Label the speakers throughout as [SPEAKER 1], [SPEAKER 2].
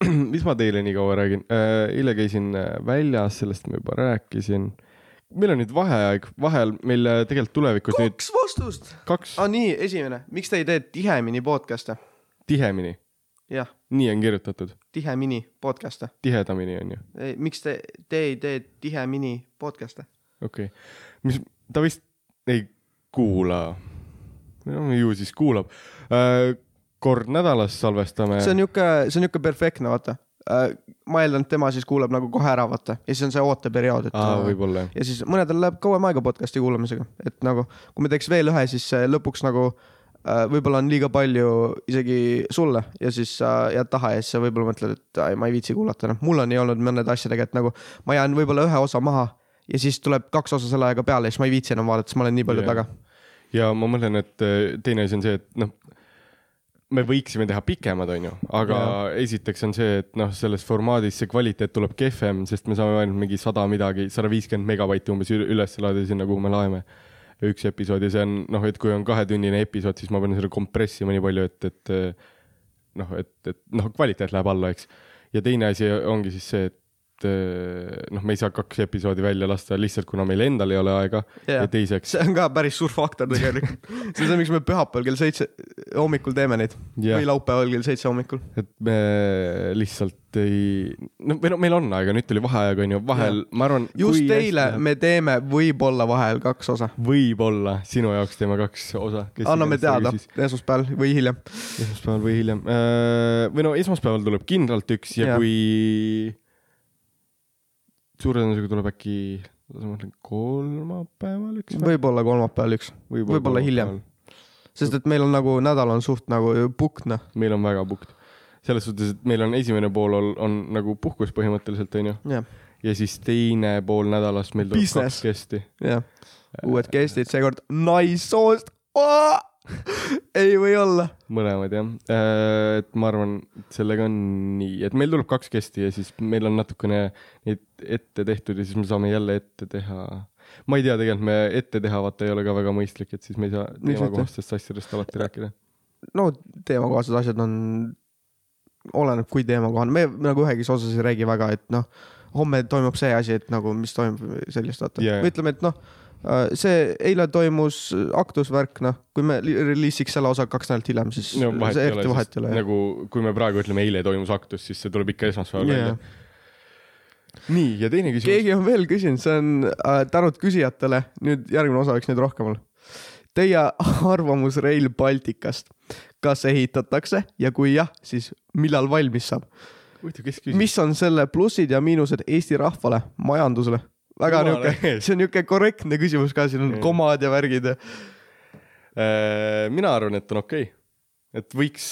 [SPEAKER 1] mis ma teile nii kaua räägin? Äh, eile käisin väljas, sellest ma juba rääkisin. meil on nüüd vaheaeg, vahel meil äh, tegelikult tulevikus nüüd
[SPEAKER 2] kaks vastust .
[SPEAKER 1] kaks
[SPEAKER 2] aa , nii , esimene , miks te ei tee tihemini podcast'e ?
[SPEAKER 1] tihemini ,
[SPEAKER 2] jah ,
[SPEAKER 1] nii on kirjutatud ,
[SPEAKER 2] tihemini podcast'e .
[SPEAKER 1] tihedamini on ju ,
[SPEAKER 2] miks te , te ei tee tihemini podcast'e ?
[SPEAKER 1] okei okay. . mis , ta vist ei kuula . no ju siis kuulab . kord nädalas salvestame .
[SPEAKER 2] see on niuke , see on niuke perfektne , vaata . ma eeldan , et tema siis kuulab nagu kohe ära , vaata , ja siis on see ooteperiood , et .
[SPEAKER 1] aa , võib-olla jah .
[SPEAKER 2] ja siis mõnedel läheb kauem aega podcast'i kuulamisega , et nagu kui me teeks veel ühe , siis see lõpuks nagu äh, võib-olla on liiga palju isegi sulle ja siis sa äh, jääd taha ja siis sa võib-olla mõtled , et ai, ma ei viitsi kuulata , noh , mul on nii olnud mõnede asjadega , et nagu ma jään võib-olla ühe osa maha ja siis tuleb kaks osa selle ajaga peale ja siis ma ei viitsi enam vaadata , sest ma olen nii palju
[SPEAKER 1] Jah.
[SPEAKER 2] yeah. taga .
[SPEAKER 1] ja ma mõtlen , et äh, teine asi on see , et noh , me võiksime teha pikemad , onju , aga ja. esiteks on see , et noh , selles formaadis see kvaliteet tuleb kehvem , sest me saame ainult mingi sada midagi , sada viiskümmend megabaiti umbes ü- üles laadida sinna , kuhu me laeme . üks episood ja see on noh , et kui on kahetunnine episood , siis ma pean selle kompressima nii palju , et , et äh, noh , et , et noh , kvaliteet läheb alla , eks . ja teine asi ongi siis see , et äh, noh , me ei saa kaks episoodi välja lasta lihtsalt , kuna meil endal ei ole aega ja,
[SPEAKER 2] Jah.
[SPEAKER 1] ja teiseks .
[SPEAKER 2] see on ka päris suur faktor tegelikult . see on see , miks me pühapäeval kell seitse hommikul teeme neid
[SPEAKER 1] Jah.
[SPEAKER 2] yeah. või laupäeval kell seitse hommikul .
[SPEAKER 1] et me lihtsalt ei , no või noh , meil on aega , nüüd tuli vaheaeg on ju , vahel ja. ma arvan .
[SPEAKER 2] just eile me teeme võib-olla vahel kaks osa .
[SPEAKER 1] võib-olla sinu jaoks teeme kaks osa .
[SPEAKER 2] anname teada . esmaspäeval või hiljem .
[SPEAKER 1] esmaspäeval või hiljem . või no esmaspäeval tuleb kindlalt üks ja,
[SPEAKER 2] Jah.
[SPEAKER 1] ja. kui suure tõenäosusega tuleb äkki , ma mõtlen kolmapäeval üks või
[SPEAKER 2] võib-olla kolmapäeval üks , võib-olla hiljem , sest et meil on nagu nädal on suht nagu pukk noh .
[SPEAKER 1] meil on väga pukt . selles suhtes , et meil on esimene pool on, on nagu puhkus põhimõtteliselt onju
[SPEAKER 2] jah ,
[SPEAKER 1] ja siis teine pool nädalast meil tuleb
[SPEAKER 2] Business.
[SPEAKER 1] kaks kesti
[SPEAKER 2] jah . uued guest'id seekord naissoost oh! . ei või olla .
[SPEAKER 1] mõlemad jah , et ma arvan , et sellega on nii , et meil tuleb kaks kesti ja siis meil on natukene neid ette tehtud ja siis me saame jälle ette teha . ma ei tea , tegelikult me ette teha vaata ei ole ka väga mõistlik , et siis me ei saa
[SPEAKER 2] Miks mitte?
[SPEAKER 1] teemakohastest asjadest alati rääkida .
[SPEAKER 2] no teemakohased asjad on , oleneb kui teemakohane , me nagu ühegis osas ei räägi väga , et noh , homme toimub see asi , et nagu mis toimub sellist , vaata
[SPEAKER 1] Jajah.
[SPEAKER 2] yeah. . ütleme , et noh , see eile toimus aktusvärk , noh , kui me li- reliisiks selle osa kaks nädalat hiljem , siis
[SPEAKER 1] no vahet
[SPEAKER 2] see
[SPEAKER 1] ei
[SPEAKER 2] eriti
[SPEAKER 1] ole ,
[SPEAKER 2] vahet
[SPEAKER 1] sest
[SPEAKER 2] ei ole jah.
[SPEAKER 1] nagu kui me praegu ütleme , eile toimus aktus , siis see tuleb ikka esmaspäeval
[SPEAKER 2] Jajah.
[SPEAKER 1] välja . nii , ja teine küsimus .
[SPEAKER 2] keegi on veel küsinud , see on äh, tänud küsijatele , nüüd järgmine osa võiks neid rohkem olla . Teie arvamus Rail Balticast , kas ehitatakse ja kui jah , siis millal valmis saab ?
[SPEAKER 1] huvitav , kes küsis ?
[SPEAKER 2] mis on selle plussid ja miinused Eesti rahvale , majandusele ? väga
[SPEAKER 1] Jumala
[SPEAKER 2] niuke ,
[SPEAKER 1] eest.
[SPEAKER 2] see on niuke korrektne küsimus ka , siin on
[SPEAKER 1] Jah.
[SPEAKER 2] komad ja värgid ja .
[SPEAKER 1] Äh, mina arvan , et on okei okay. . et võiks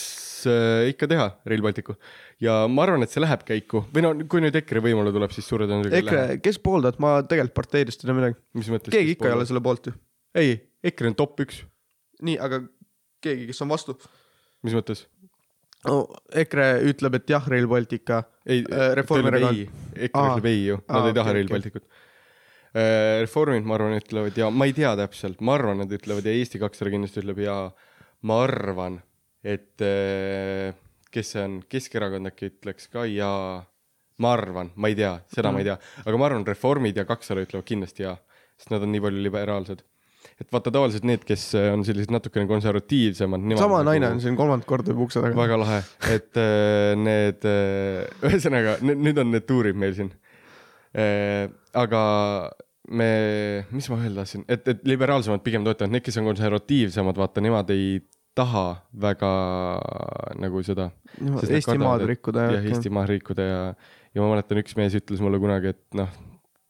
[SPEAKER 1] äh, ikka teha Rail Balticu ja ma arvan , et see läheb käiku või no kui nüüd EKRE võimule tuleb , siis suure tõenäosusega ei
[SPEAKER 2] EKRE
[SPEAKER 1] lähe .,
[SPEAKER 2] kes pooldavad , ma tegelikult parteidest ei tea midagi .
[SPEAKER 1] mis mõttes ?
[SPEAKER 2] keegi ikka ei ole . selle poolt ju .
[SPEAKER 1] ei , EKRE on top üks ,
[SPEAKER 2] nii , aga keegi , kes on vastu
[SPEAKER 1] mis mõttes ?
[SPEAKER 2] no, . EKRE ütleb , et jah , Rail Baltica .
[SPEAKER 1] ei
[SPEAKER 2] Äh, , Reformierakond. .
[SPEAKER 1] EKRE
[SPEAKER 2] Aa.
[SPEAKER 1] ütleb ei ju , nad
[SPEAKER 2] Aa,
[SPEAKER 1] ei taha
[SPEAKER 2] okei,
[SPEAKER 1] okay, Rail
[SPEAKER 2] okei.
[SPEAKER 1] Balticut okay. . Reformid , ma arvan , ütlevad ja ma ei tea täpselt , ma arvan , nad ütlevad ja Eesti kakssada kindlasti ütleb ja ma arvan , et äh, kes see on , Keskerakond äkki ütleks ka ja ma arvan , ma ei tea , seda mm. ma ei tea , aga ma arvan , Reformid ja kakssada ütlevad kindlasti ja , sest nad on nii palju liberaalsed . et vaata tavaliselt need , kes äh, on sellised natukene konservatiivsemad .
[SPEAKER 2] sama naine on siin kolmandat korda juba ukse taga .
[SPEAKER 1] nagu väga lahe , et äh, need , ühesõnaga nü- nüüd on need tuurid meil siin . aga me , mis ma öelda tahtsin , et , et liberaalsemad pigem toetavad , need , kes on konservatiivsemad , vaata nemad ei taha väga nagu seda . Sest nad
[SPEAKER 2] Eestimaad
[SPEAKER 1] kardavad, et-
[SPEAKER 2] rikkuda
[SPEAKER 1] jah , Eesti maarikkude ja , ja ma mäletan , üks mees ütles mulle kunagi , et noh ,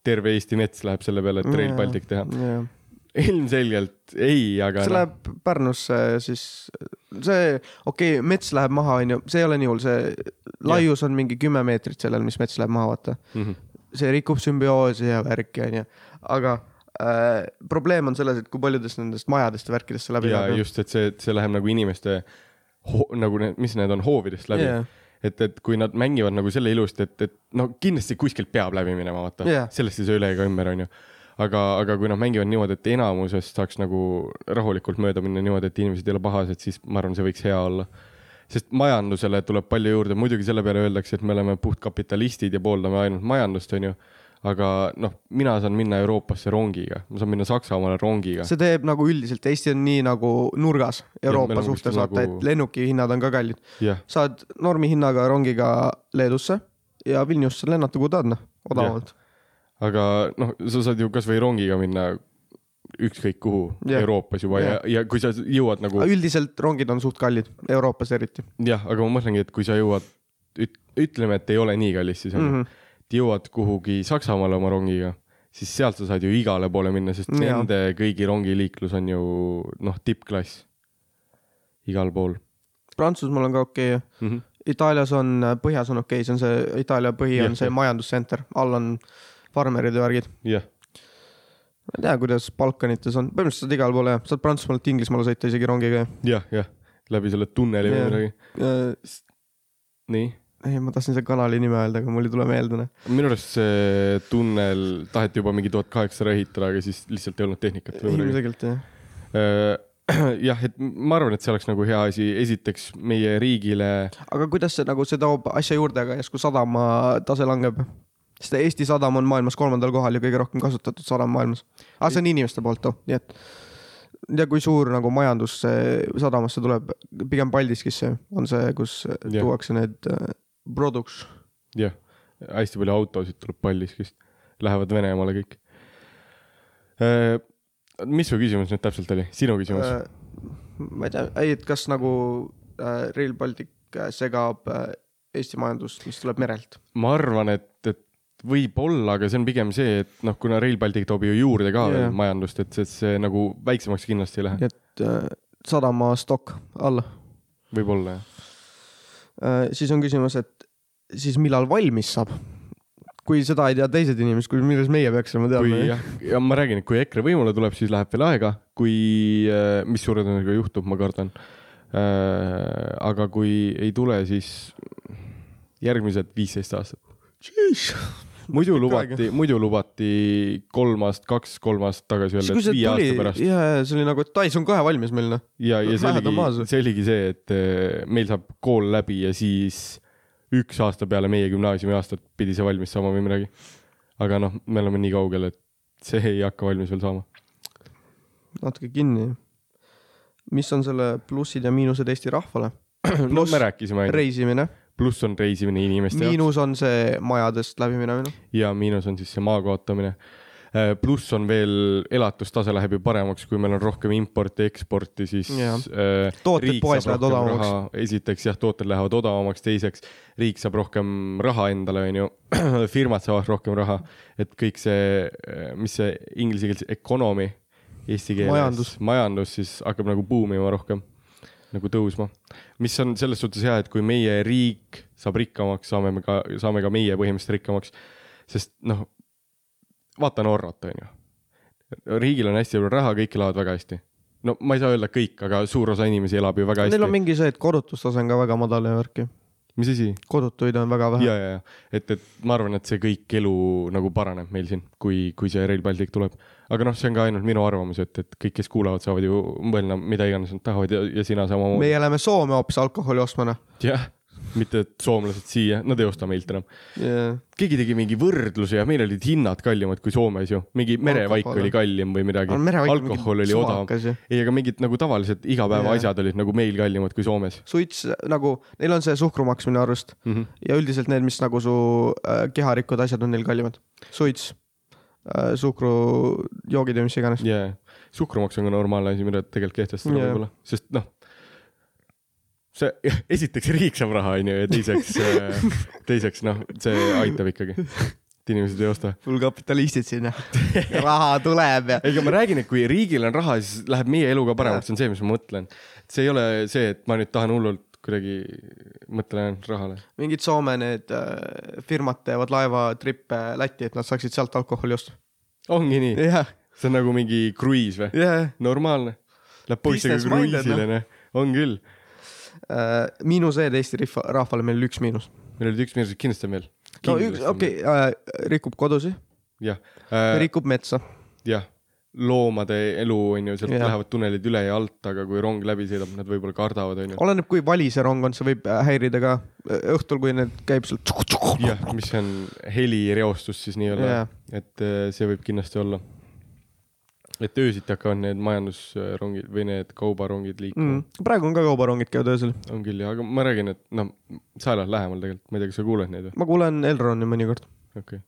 [SPEAKER 1] terve Eesti mets läheb selle peale , et Rail Baltic teha .
[SPEAKER 2] yeah. .
[SPEAKER 1] ilmselgelt ei , aga noh.
[SPEAKER 2] see . läheb Pärnusse siis , see , okei okay, , mets läheb maha , onju , see ei ole nii hull , see laius on mingi kümme meetrit sellel , mis mets läheb maha , vaata .
[SPEAKER 1] Mm -hmm.
[SPEAKER 2] see rikub sümbioosi ja värki , onju , aga äh, probleem on selles , et kui paljudest nendest majadest ja värkidest see läbi
[SPEAKER 1] ja
[SPEAKER 2] läheb .
[SPEAKER 1] just , et see , see läheb nagu inimeste ho- , nagu need , mis need on , hoovidest läbi
[SPEAKER 2] Jah.
[SPEAKER 1] yeah. . et , et kui nad mängivad nagu selle ilusti , et , et no kindlasti kuskilt peab läbi minema , vaata
[SPEAKER 2] Jah.
[SPEAKER 1] sellest ei saa üle ega ümber , onju . aga , aga kui nad mängivad niimoodi , et enamusest saaks nagu rahulikult mööda minna niimoodi , et inimesed ei ole pahased , siis ma arvan , see võiks hea olla . sest majandusele tuleb palju juurde, muidugi selle peale öeldakse, et me oleme puhtkapitalistid ja pooldame ainult majandust, onju. aga noh, mina saan minna Euroopasse rongiga, ma saan minna Saksamaale rongiga.
[SPEAKER 2] see teeb nagu üldiselt , Eesti on nii nagu nurgas Euroopa
[SPEAKER 1] meil on
[SPEAKER 2] ja, suhtes ,
[SPEAKER 1] kuskil
[SPEAKER 2] vaata
[SPEAKER 1] nagu-
[SPEAKER 2] nagu... , et lennuki hinnad on ka kallid .
[SPEAKER 1] jah ,
[SPEAKER 2] saad normi hinnaga rongiga Leedusse ja Vilniusse lennata , kuhu tahad , noh , odavamalt .
[SPEAKER 1] aga noh , sa saad ju kasvõi rongiga minna ükskõik kuhu
[SPEAKER 2] Jah.
[SPEAKER 1] Euroopas juba ja , ja kui sa jõuad nagu
[SPEAKER 2] aga üldiselt rongid on suht kallid , Euroopas eriti
[SPEAKER 1] jah , aga ma mõtlengi , et kui sa jõuad , ütleme , et ei ole nii kallis , siis on
[SPEAKER 2] mm .
[SPEAKER 1] mm ,
[SPEAKER 2] -hmm.
[SPEAKER 1] -hmm. jõuad kuhugi Saksamaale oma rongiga , siis sealt sa saad ju igale poole minna , sest
[SPEAKER 2] Jaa.
[SPEAKER 1] nende kõigi rongiliiklus on ju noh , tippklass igal pool
[SPEAKER 2] Prantsusmaal on ka okei okay. ,
[SPEAKER 1] mm . -hmm.
[SPEAKER 2] Itaalias on , põhjas on okei okay. , see on see Itaalia põhi
[SPEAKER 1] Jah,
[SPEAKER 2] on see
[SPEAKER 1] jah.
[SPEAKER 2] majandustsenter , all on farmerid ja värgid .
[SPEAKER 1] jah ,
[SPEAKER 2] ma ei tea , kuidas Balkanites on , põhimõtteliselt saad igale poole jah , saad Prantsusmaalt Inglismaale sõita isegi rongiga ja .
[SPEAKER 1] jah , jah , läbi selle tunneli või
[SPEAKER 2] Jah.
[SPEAKER 1] midagi , nii .
[SPEAKER 2] ei , ma tahtsin selle kanali nime öelda , aga mul ei tule meelde . noh.
[SPEAKER 1] minu arust see tunnel taheti juba mingi tuhat kaheksasada ehitada , aga siis lihtsalt ei olnud tehnikat või midagi .
[SPEAKER 2] ilmselgelt jah .
[SPEAKER 1] jah , et ma arvan , et see oleks nagu hea asi , esiteks meie riigile
[SPEAKER 2] aga kuidas see nagu , see toob asja juurde ka järsku sadama tase langeb ? sest Eesti sadam on maailmas kolmandal kohal ja kõige rohkem kasutatud sadam maailmas . aga see on inimeste poolt too , nii et . ja kui suur nagu majandus see sadamasse tuleb , pigem Paldiskisse on see , kus
[SPEAKER 1] Jah.
[SPEAKER 2] yeah. tuuakse need äh, products .
[SPEAKER 1] jah , hästi palju autosid tuleb Paldiskist , lähevad Venemaale kõik . mis su küsimus nüüd täpselt oli , sinu küsimus ?
[SPEAKER 2] äh, ma ei tea , ei , et kas nagu äh, Rail Baltic äh, segab äh, Eesti majandust , mis tuleb merelt .
[SPEAKER 1] ma arvan , et , et võib-olla , aga see on pigem see , et noh , kuna Rail Baltic toob ju juurde ka
[SPEAKER 2] Jaa.
[SPEAKER 1] yeah. majandust , et see, see nagu väiksemaks kindlasti ei lähe ,
[SPEAKER 2] nii et äh, sadama stokk alla
[SPEAKER 1] võib-olla jah .
[SPEAKER 2] Äh, siis on küsimus , et siis millal valmis saab ? kui seda ei tea teised inimesed , kui milles meie peaksime
[SPEAKER 1] kui
[SPEAKER 2] teadma ?
[SPEAKER 1] jah , ja ma räägin , et kui EKRE võimule tuleb , siis läheb veel aega , kui , mis suure tõenäosusega juhtub , ma kardan . aga kui ei tule , siis järgmised viisteist aastat . muidu lubati , muidu lubati kolmast , kaks kolmast tagasi
[SPEAKER 2] siis
[SPEAKER 1] öelda ,
[SPEAKER 2] kui
[SPEAKER 1] et
[SPEAKER 2] see
[SPEAKER 1] viie
[SPEAKER 2] tuli
[SPEAKER 1] aasta , pärast
[SPEAKER 2] ja , ja see oli nagu , et ai , see on kohe valmis meil noh .
[SPEAKER 1] ja , ja see
[SPEAKER 2] Lähed on maas
[SPEAKER 1] oligi
[SPEAKER 2] või? ,
[SPEAKER 1] see oligi see , et eh, meil saab kool läbi ja siis üks aasta peale meie gümnaasiumi aastat pidi see valmis saama või midagi . aga noh , me oleme nii kaugel , et see ei hakka valmis veel saama .
[SPEAKER 2] natuke kinni . mis on selle plussid ja miinused Eesti rahvale ?
[SPEAKER 1] no me rääkisime ainult ,
[SPEAKER 2] reisimine ,
[SPEAKER 1] pluss on reisimine inimeste jaoks
[SPEAKER 2] miinus on see majadest noh? läbiminemine .
[SPEAKER 1] ja miinus on siis see maa kaotamine . pluss on veel elatustase läheb ju paremaks , kui meil on rohkem importi-eksporti , siis
[SPEAKER 2] Jah.
[SPEAKER 1] eh,
[SPEAKER 2] Tooted
[SPEAKER 1] riik
[SPEAKER 2] poes
[SPEAKER 1] saab
[SPEAKER 2] lähevad
[SPEAKER 1] rohkem
[SPEAKER 2] odavamaks.
[SPEAKER 1] raha. esiteks jah , tooted lähevad odavamaks , teiseks riik saab rohkem raha endale , onju , firmad saavad rohkem raha , et kõik see , mis see inglise keeles economy eesti keeles ,
[SPEAKER 2] Majandus.
[SPEAKER 1] majandus siis hakkab nagu buumima rohkem , nagu tõusma . mis on selles suhtes hea , et kui meie riik saab rikkamaks , saame me ka , saame ka meie põhimõtteliselt rikkamaks , sest noh , vaata Norrat , onju . riigil on hästi palju raha , kõik elavad väga hästi . no ma ei saa öelda kõik , aga suur osa inimesi elab ju väga
[SPEAKER 2] Neil on
[SPEAKER 1] hästi .
[SPEAKER 2] mingi see , et kodutustase on ka väga madal ja värki .
[SPEAKER 1] mis asi ?
[SPEAKER 2] kodutuid on väga vähe .
[SPEAKER 1] ja , ja , ja , et , et ma arvan , et see kõik elu nagu paraneb meil siin , kui , kui see Rail Baltic tuleb . aga noh , see on ka ainult minu arvamus , et , et kõik , kes kuulavad , saavad ju mõelda mida iganes nad tahavad ja , ja sina samamoodi .
[SPEAKER 2] meie läheme Soome hoopis alkoholi ostma noh .
[SPEAKER 1] jah , mitte et soomlased siia , nad ei osta meilt enam .
[SPEAKER 2] Yeah.
[SPEAKER 1] keegi tegi mingi võrdluse ja meil olid hinnad kallimad kui Soomes ju , mingi merevaik
[SPEAKER 2] Alkohol.
[SPEAKER 1] oli kallim või midagi
[SPEAKER 2] Aga merevaik . on mingi
[SPEAKER 1] alkohol oli odavam .
[SPEAKER 2] suvakas ju.
[SPEAKER 1] ei , aga mingid nagu tavalised igapäevaasjad olid nagu meil kallimad kui Soomes
[SPEAKER 2] suits nagu , neil on see suhkrumaks minu arust
[SPEAKER 1] mm . -hmm.
[SPEAKER 2] ja üldiselt need , mis nagu su äh, keha rikuvad asjad , on neil kallimad . suits äh, , suhkrujoogid ja mis iganes .
[SPEAKER 1] jaa , suhkrumaks on ka normaalne asi , mida tegelikult kehtestada
[SPEAKER 2] Jaa.
[SPEAKER 1] yeah. võib-olla , sest noh , see esiteks riik saab raha , onju , ja teiseks , teiseks noh , see aitab ikkagi , et inimesed ei osta .
[SPEAKER 2] full kapitalistid sinna . raha tuleb ja .
[SPEAKER 1] ega ma räägin , et kui riigil on raha , siis läheb meie elu ka paremaks , see on see , mis ma mõtlen . see ei ole see , et ma nüüd tahan hullult kuidagi , mõtlen ainult rahale .
[SPEAKER 2] mingid Soome need äh, firmad teevad laevatrippe Lätti , et nad saaksid sealt alkoholi osta .
[SPEAKER 1] ongi nii ,
[SPEAKER 2] jah ,
[SPEAKER 1] see on nagu mingi kruiis või ?
[SPEAKER 2] jah .
[SPEAKER 1] normaalne , läheb poistega
[SPEAKER 2] Business minded,
[SPEAKER 1] kruiisile , noh , on küll .
[SPEAKER 2] miinused Äh, Eesti rihva- rahvale , meil oli üks miinus .
[SPEAKER 1] meil olid üks mees , kindlasti on veel .
[SPEAKER 2] no üks , okei , rikub äh, kodusid ,
[SPEAKER 1] jah .
[SPEAKER 2] rikub metsa .
[SPEAKER 1] jah , loomade elu onju , sealt
[SPEAKER 2] Jah.
[SPEAKER 1] lähevad tunnelid üle ja alt , aga kui rong läbi sõidab , nad võib-olla kardavad onju .
[SPEAKER 2] oleneb , kui vali see rong on , see võib äh, häirida ka äh, õhtul , kui need käib seal .
[SPEAKER 1] jah , mis on helireostus siis nii-öelda
[SPEAKER 2] Jah.
[SPEAKER 1] yeah. , et äh, see võib kindlasti olla . et öösiti hakkavad need majandusrongid või need kaubarongid liikuma
[SPEAKER 2] Mm.
[SPEAKER 1] mm. ,
[SPEAKER 2] praegu on ka kaubarongid käivad öösel ,
[SPEAKER 1] on küll ja , aga ma räägin , et noh , sa elad lähemal tegelikult , ma ei tea , kas sa kuuled neid või ?
[SPEAKER 2] ma kuulen Elroni mõnikord .
[SPEAKER 1] okei okay. .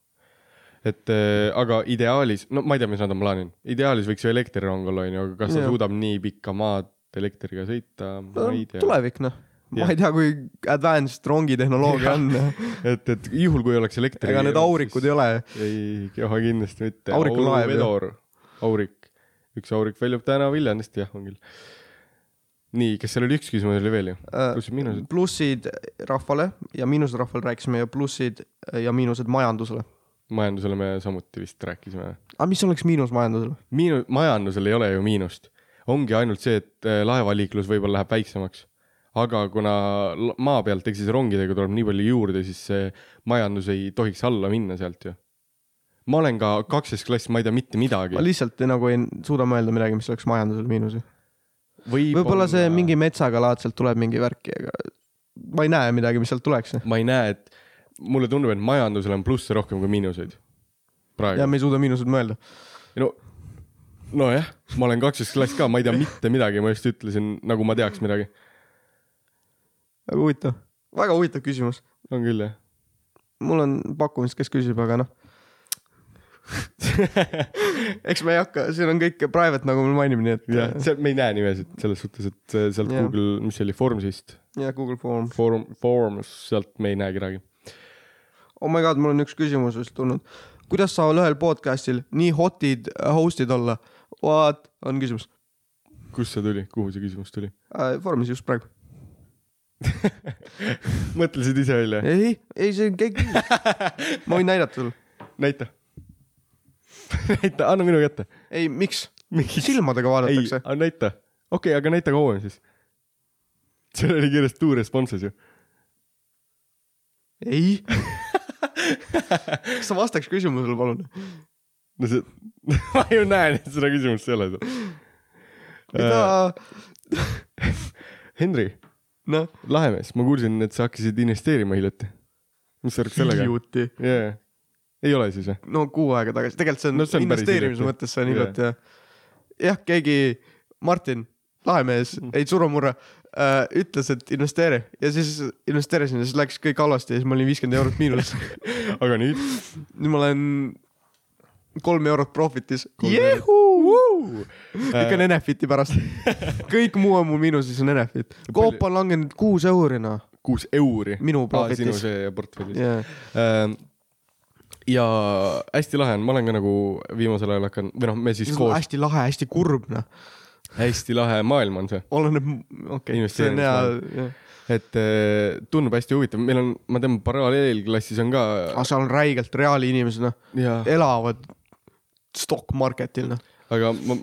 [SPEAKER 1] et äh, aga ideaalis , no ma ei tea , mis nad on plaaninud , ideaalis võiks ju elektrirong olla , onju , aga kas ta
[SPEAKER 2] Jah.
[SPEAKER 1] suudab nii pikka maad elektriga sõita , ma ei tea .
[SPEAKER 2] tulevik noh , ma
[SPEAKER 1] Jah.
[SPEAKER 2] ei tea , kui advanced rongitehnoloogia
[SPEAKER 1] Jah.
[SPEAKER 2] on ,
[SPEAKER 1] et , et juhul , kui oleks elektri .
[SPEAKER 2] ega need aurikud ei ole .
[SPEAKER 1] ei , kohe kindlasti mitte .
[SPEAKER 2] Aurik on laev,
[SPEAKER 1] vedur , aurik , üks aurik väljub täna Viljandist , jah , on küll . nii , kas seal oli üks küsimus oli veel ju ?
[SPEAKER 2] Äh,
[SPEAKER 1] plussid , miinused ?
[SPEAKER 2] plussid rahvale ja miinused rahvale rääkisime ja plussid äh, ja miinused majandusele .
[SPEAKER 1] majandusele me samuti vist rääkisime .
[SPEAKER 2] aga mis oleks miinus majandusele ?
[SPEAKER 1] miinu- , majandusel ei ole ju miinust . ongi ainult see , et äh, laevaliiklus võib-olla läheb väiksemaks . aga kuna l- maa pealt ehk siis rongidega tuleb nii palju juurde , siis see majandus ei tohiks alla minna sealt ju . ma olen ka kaksteist klass , ma ei tea mitte midagi
[SPEAKER 2] ma . lihtsalt nagu ei suuda mõelda midagi , mis oleks majandusele miinus . võib-olla see mingi metsaga laadselt tuleb mingi värki , aga ma ei näe midagi , mis sealt tuleks .
[SPEAKER 1] ma ei näe , et mulle tundub , et majandusel on plusse rohkem kui miinuseid .
[SPEAKER 2] ja
[SPEAKER 1] praegu .
[SPEAKER 2] me ei suuda miinuseid mõelda .
[SPEAKER 1] no , nojah , ma olen kaksteist klass ka , ma ei tea mitte midagi , ma just ütlesin , nagu ma teaks midagi .
[SPEAKER 2] väga huvitav , väga huvitav küsimus .
[SPEAKER 1] on küll jah .
[SPEAKER 2] mul on pakkumist , kes küsib , aga noh . eks me ei hakka , siin on kõik private , nagu me mainime , nii et
[SPEAKER 1] jah , see , me ei näe nimesid selles suhtes , et äh, sealt
[SPEAKER 2] Jah.
[SPEAKER 1] Google , mis see oli , Formsist ,
[SPEAKER 2] ja Google Form .
[SPEAKER 1] Form , Forms , sealt me ei näe kedagi .
[SPEAKER 2] oh my god , mul on üks küsimus just tulnud . kuidas saavad ühel podcast'il nii hot'id äh, host'id olla ? What on küsimus
[SPEAKER 1] kust see tuli , kuhu see küsimus tuli ?
[SPEAKER 2] äh, . Foorumis just praegu .
[SPEAKER 1] mõtlesid ise välja ?
[SPEAKER 2] ei , ei see on kõik . ma võin näidata sulle .
[SPEAKER 1] näita . näita , anna minu kätte .
[SPEAKER 2] ei , miks ?
[SPEAKER 1] Miks?
[SPEAKER 2] silmadega
[SPEAKER 1] ei
[SPEAKER 2] vaadatakse ,.
[SPEAKER 1] näita . okei okay, , aga näita kauem siis . seal oli kirjas two responses ju .
[SPEAKER 2] ei . kas sa vastaks küsimusele , palun ?
[SPEAKER 1] no see , ma ju näen , et seda küsimust ei ole seal .
[SPEAKER 2] mida ?
[SPEAKER 1] Henri ,
[SPEAKER 2] noh ,
[SPEAKER 1] lahemees , ma kuulsin , et sa hakkasid investeerima hiljuti . mis sa arvad sellega ?
[SPEAKER 2] hiljuti .
[SPEAKER 1] jaa , ei ole siis või ?
[SPEAKER 2] no kuu aega tagasi , tegelikult see on,
[SPEAKER 1] No see on päris
[SPEAKER 2] investeerimise
[SPEAKER 1] hiljuti.
[SPEAKER 2] mõttes see on
[SPEAKER 1] Jah.
[SPEAKER 2] hiljuti jah . jah , keegi , Martin , lahe mees ,
[SPEAKER 1] Mm.
[SPEAKER 2] ei surumurra äh, , ütles , et investeeri ja siis investeerisin ja siis läks kõik halvasti ja siis ma olin viiskümmend eurot miinus .
[SPEAKER 1] aga nüüd ?
[SPEAKER 2] nüüd ma olen kolm eurot profitis .
[SPEAKER 1] Kolm Äh.
[SPEAKER 2] ikka on Enefiti pärast . kõik muu on mul miinuses , on Enefit . Coop on langenud kuus euri noh .
[SPEAKER 1] kuus euri .
[SPEAKER 2] Minu profitis.
[SPEAKER 1] sinu see portfellis .
[SPEAKER 2] jah ,
[SPEAKER 1] ja hästi lahe on , ma olen ka nagu viimasel ajal hakanud , või noh , me siis koos ,
[SPEAKER 2] hästi lahe , hästi kurb noh .
[SPEAKER 1] hästi lahe maailm on see .
[SPEAKER 2] oleneb , okei , see on hea .
[SPEAKER 1] et eh, tundub hästi huvitav , meil on , ma tean , paralleelklassis on ka
[SPEAKER 2] aga seal on räigelt reaali inimesed noh
[SPEAKER 1] jaa
[SPEAKER 2] elavad stock market'il noh .
[SPEAKER 1] aga ma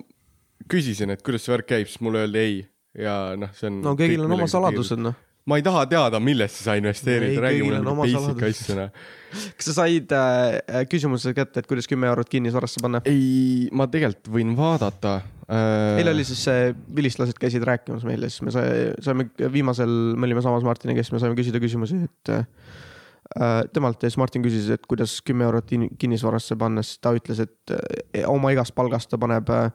[SPEAKER 1] küsisin , et kuidas see värk käib , siis mulle öeldi ei ja noh , see on .
[SPEAKER 2] no kõigil on oma saladused . noh .
[SPEAKER 1] ma ei taha teada , millesse sa investeerid
[SPEAKER 2] Ei, ,
[SPEAKER 1] räägi
[SPEAKER 2] kõigil
[SPEAKER 1] mulle
[SPEAKER 2] on
[SPEAKER 1] mingi
[SPEAKER 2] oma
[SPEAKER 1] basic
[SPEAKER 2] saladused.
[SPEAKER 1] asjana .
[SPEAKER 2] kas sa said äh, küsimuse kätte , et kuidas kümme eurot kinnisvarasse panna ?
[SPEAKER 1] ei , ma tegelikult võin vaadata äh,
[SPEAKER 2] eile oli siis see , vilistlased käisid rääkimas meile , siis me sai, saime viimasel , me olime samas Martiniga , siis me saime küsida küsimusi , et äh, temalt ja siis Martin küsis , et kuidas kümme eurot in- kinnisvarasse panna , siis ta ütles , et äh, oma igast palgast ta paneb äh,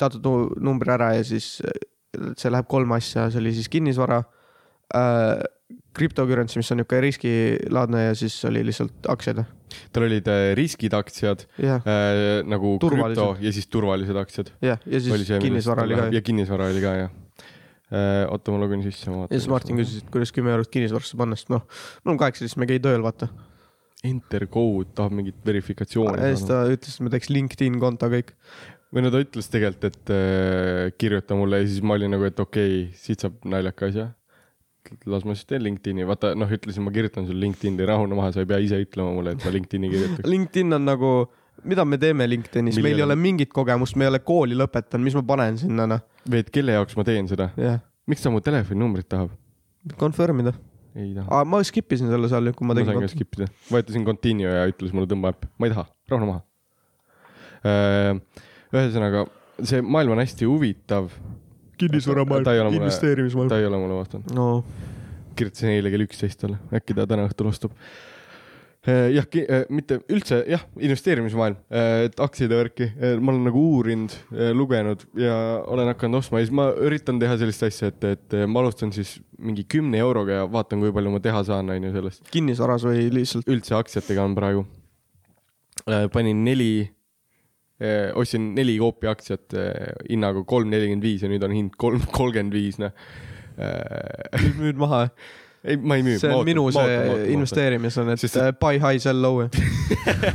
[SPEAKER 2] teatud nu- numbri ära ja siis äh, see läheb kolme asja , see oli siis kinnisvara äh, , krüptokürentsii , mis on niisugune riskilaadne ja siis oli lihtsalt aktsiad .
[SPEAKER 1] tal olid äh, riskid aktsiad
[SPEAKER 2] jah ,
[SPEAKER 1] äh, nagu
[SPEAKER 2] Turvalised.
[SPEAKER 1] krüpto ja siis turvalised aktsiad .
[SPEAKER 2] jah , ja siis kinnisvara oli ka .
[SPEAKER 1] ja kinnisvara oli ka jah äh, . oota , ma login sisse , ma vaatan .
[SPEAKER 2] ja siis Martin . küsis , et kuidas kümme eurot kinnisvarasse panna , sest noh , me oleme kaheksateist , me ei käi tööl , vaata .
[SPEAKER 1] Intercode tahab mingit
[SPEAKER 2] ja
[SPEAKER 1] verifikatsiooni
[SPEAKER 2] Äh, siis
[SPEAKER 1] saada.
[SPEAKER 2] ta ütles , et me teeks LinkedIn konto kõik .
[SPEAKER 1] või no ta ütles tegelikult , et äh, kirjuta mulle ja siis ma olin nagu , et okei okay, , siit saab naljaka asja . las ma siis teen LinkedIn'i , vaata noh , ütlesin , ma kirjutan sulle LinkedIn'i , rahune maha , sa ei pea ise ütlema mulle , et ma LinkedIn'i kirjutan .
[SPEAKER 2] LinkedIn on nagu , mida me teeme LinkedInis , meil ei ole mingit kogemust , me ei ole kooli lõpetanud , mis ma panen sinna , noh .
[SPEAKER 1] või et kelle jaoks ma teen seda ,
[SPEAKER 2] jah ,
[SPEAKER 1] miks ta mu telefoninumbrit tahab ?
[SPEAKER 2] confirm ida .
[SPEAKER 1] ei taha .
[SPEAKER 2] aa , ma skip isin selle seal , kui ma
[SPEAKER 1] ma sain
[SPEAKER 2] tegin
[SPEAKER 1] ka . skip ida , vajutasin continue ja ütles mulle tõmba äpp , ma ei taha , rahune maha . Äh, ühesõnaga see maailm on hästi huvitav . Ta ei ole
[SPEAKER 3] kinnisvaramaailm ,
[SPEAKER 1] mulle-
[SPEAKER 3] investeerimismaailm .
[SPEAKER 1] ta ei ole mulle vaadanud .
[SPEAKER 2] no
[SPEAKER 1] kirjutasin eile kell üksteist talle , äkki ta täna õhtul ostub . jah , mitte üldse jah , investeerimismaailm , et aktsiade värki , ma olen nagu uurinud , lugenud ja olen hakanud ostma ja siis ma üritan teha sellist asja , et , et eh, ma alustan siis mingi kümne euroga ja vaatan , kui palju ma teha saan , onju sellest .
[SPEAKER 2] kinnisvaras või lihtsalt
[SPEAKER 1] üldse aktsiatega on praegu . panin neli , ostsin neli koopi aktsiat eh, hinnaga kolm nelikümmend viis ja nüüd on hind kolm kolmkümmend viis , noh .
[SPEAKER 2] nüüd müüd maha .
[SPEAKER 1] ei , ma ei müü .
[SPEAKER 2] see on minu see . investeerimis on , et
[SPEAKER 1] Sest-
[SPEAKER 2] Sest... buy high , sell low . eh.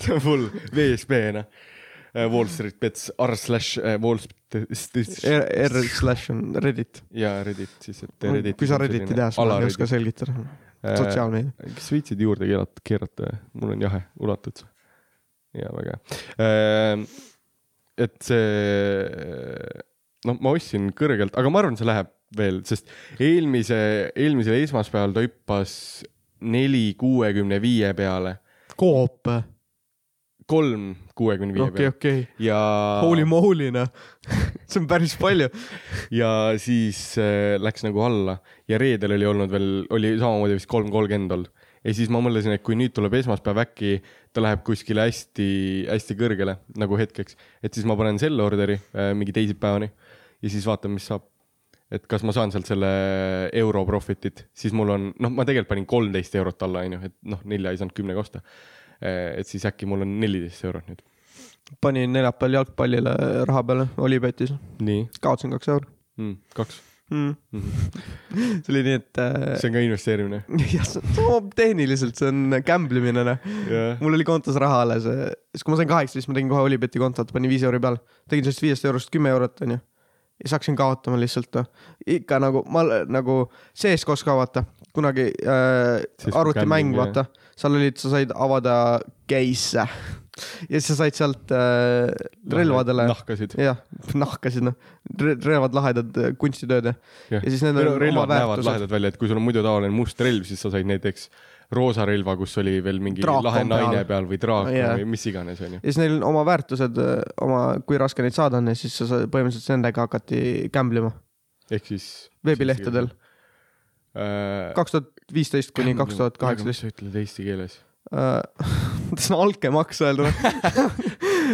[SPEAKER 1] see on full VSB-na . noh. Äh, Wall Street Bets R slash eh, Wall Street .
[SPEAKER 2] R R slash on Reddit .
[SPEAKER 1] ja Reddit siis , et Reddit .
[SPEAKER 2] kui sa Redditit ei tea , siis ma ei oska selgitada .
[SPEAKER 1] Äh,
[SPEAKER 2] sotsiaalmeedia .
[SPEAKER 1] kas viitsid juurde keelata , keerata , mul on jahe , ulatud sa . ja väga hea . et see , noh , ma ostsin kõrgelt , aga ma arvan , see läheb veel , sest eelmise , eelmisel esmaspäeval ta hüppas neli kuuekümne viie peale ,
[SPEAKER 2] Coop .
[SPEAKER 1] kolm kuuekümne viie
[SPEAKER 2] eh. okei ,
[SPEAKER 1] peale
[SPEAKER 2] okei .
[SPEAKER 1] ja ,
[SPEAKER 2] Holy moly , noh . see on päris palju .
[SPEAKER 1] ja siis äh, läks nagu alla ja reedel oli olnud veel , oli samamoodi vist kolm kolmkümmend olnud . ja siis ma mõtlesin , et kui nüüd tuleb esmaspäev , äkki ta läheb kuskile hästi-hästi kõrgele nagu hetkeks , et siis ma panen selle orderi äh, mingi teisipäevani ja siis vaatan , mis saab . et kas ma saan sealt selle euro profit'it , siis mul on , noh , ma tegelikult panin kolmteist eurot alla , onju , et noh , nelja ei saanud kümnega osta . et siis äkki mul on neliteist eurot nüüd .
[SPEAKER 2] panin neljapäeval jalgpallile raha peale , Olipetis .
[SPEAKER 1] nii
[SPEAKER 2] kaotasin kaks euri
[SPEAKER 1] mm, , kaks ,
[SPEAKER 2] mm. . see oli nii , et äh, .
[SPEAKER 1] see on ka investeerimine .
[SPEAKER 2] jah , see on tehniliselt , see on gamblemine , noh .
[SPEAKER 1] jah ,
[SPEAKER 2] mul oli kontos raha alles , siis kui ma sain kaheksa , siis ma tegin kohe Olibeti kontot , panin viis euri peale , tegin sellest viiest eurost kümme eurot , onju . ja siis hakkasin kaotama lihtsalt , ikka nagu ma l- nagu sees koos ka vaata , kunagi äh,
[SPEAKER 1] Siis kui
[SPEAKER 2] arvutimäng ,
[SPEAKER 1] gambling,
[SPEAKER 2] vaata , seal olid , sa said avada case'e ja siis sa said sealt äh, relvadele nah.
[SPEAKER 1] nahkasid .
[SPEAKER 2] jah , nahkasid noh , relvad lahedad äh, kunstitööd ja
[SPEAKER 1] Jah.
[SPEAKER 2] ja siis need
[SPEAKER 1] Minu
[SPEAKER 2] on oma
[SPEAKER 1] relvad näevad
[SPEAKER 2] väärtused .
[SPEAKER 1] lahedad välja , et kui sul on muidu tavaline must relv , siis sa said näiteks roosa relva , kus oli veel mingi
[SPEAKER 2] Draakon
[SPEAKER 1] Draakon lahe naine
[SPEAKER 2] peal.
[SPEAKER 1] peal, peal või draakon
[SPEAKER 2] Jaa.
[SPEAKER 1] yeah. või mis iganes , onju .
[SPEAKER 2] ja siis neil on oma väärtused , oma , kui raske neid saada on ja siis sa sa- põhimõtteliselt nendega hakati gamblema
[SPEAKER 1] ehk siis .
[SPEAKER 2] veebilehtedel .
[SPEAKER 1] kaks
[SPEAKER 2] kaks tuhat Äh, viisteist kuni kaks tuhat kaheksateist ..
[SPEAKER 1] sa ütled eesti keeles ?
[SPEAKER 2] Äh, see on altkäemaks öelda või ?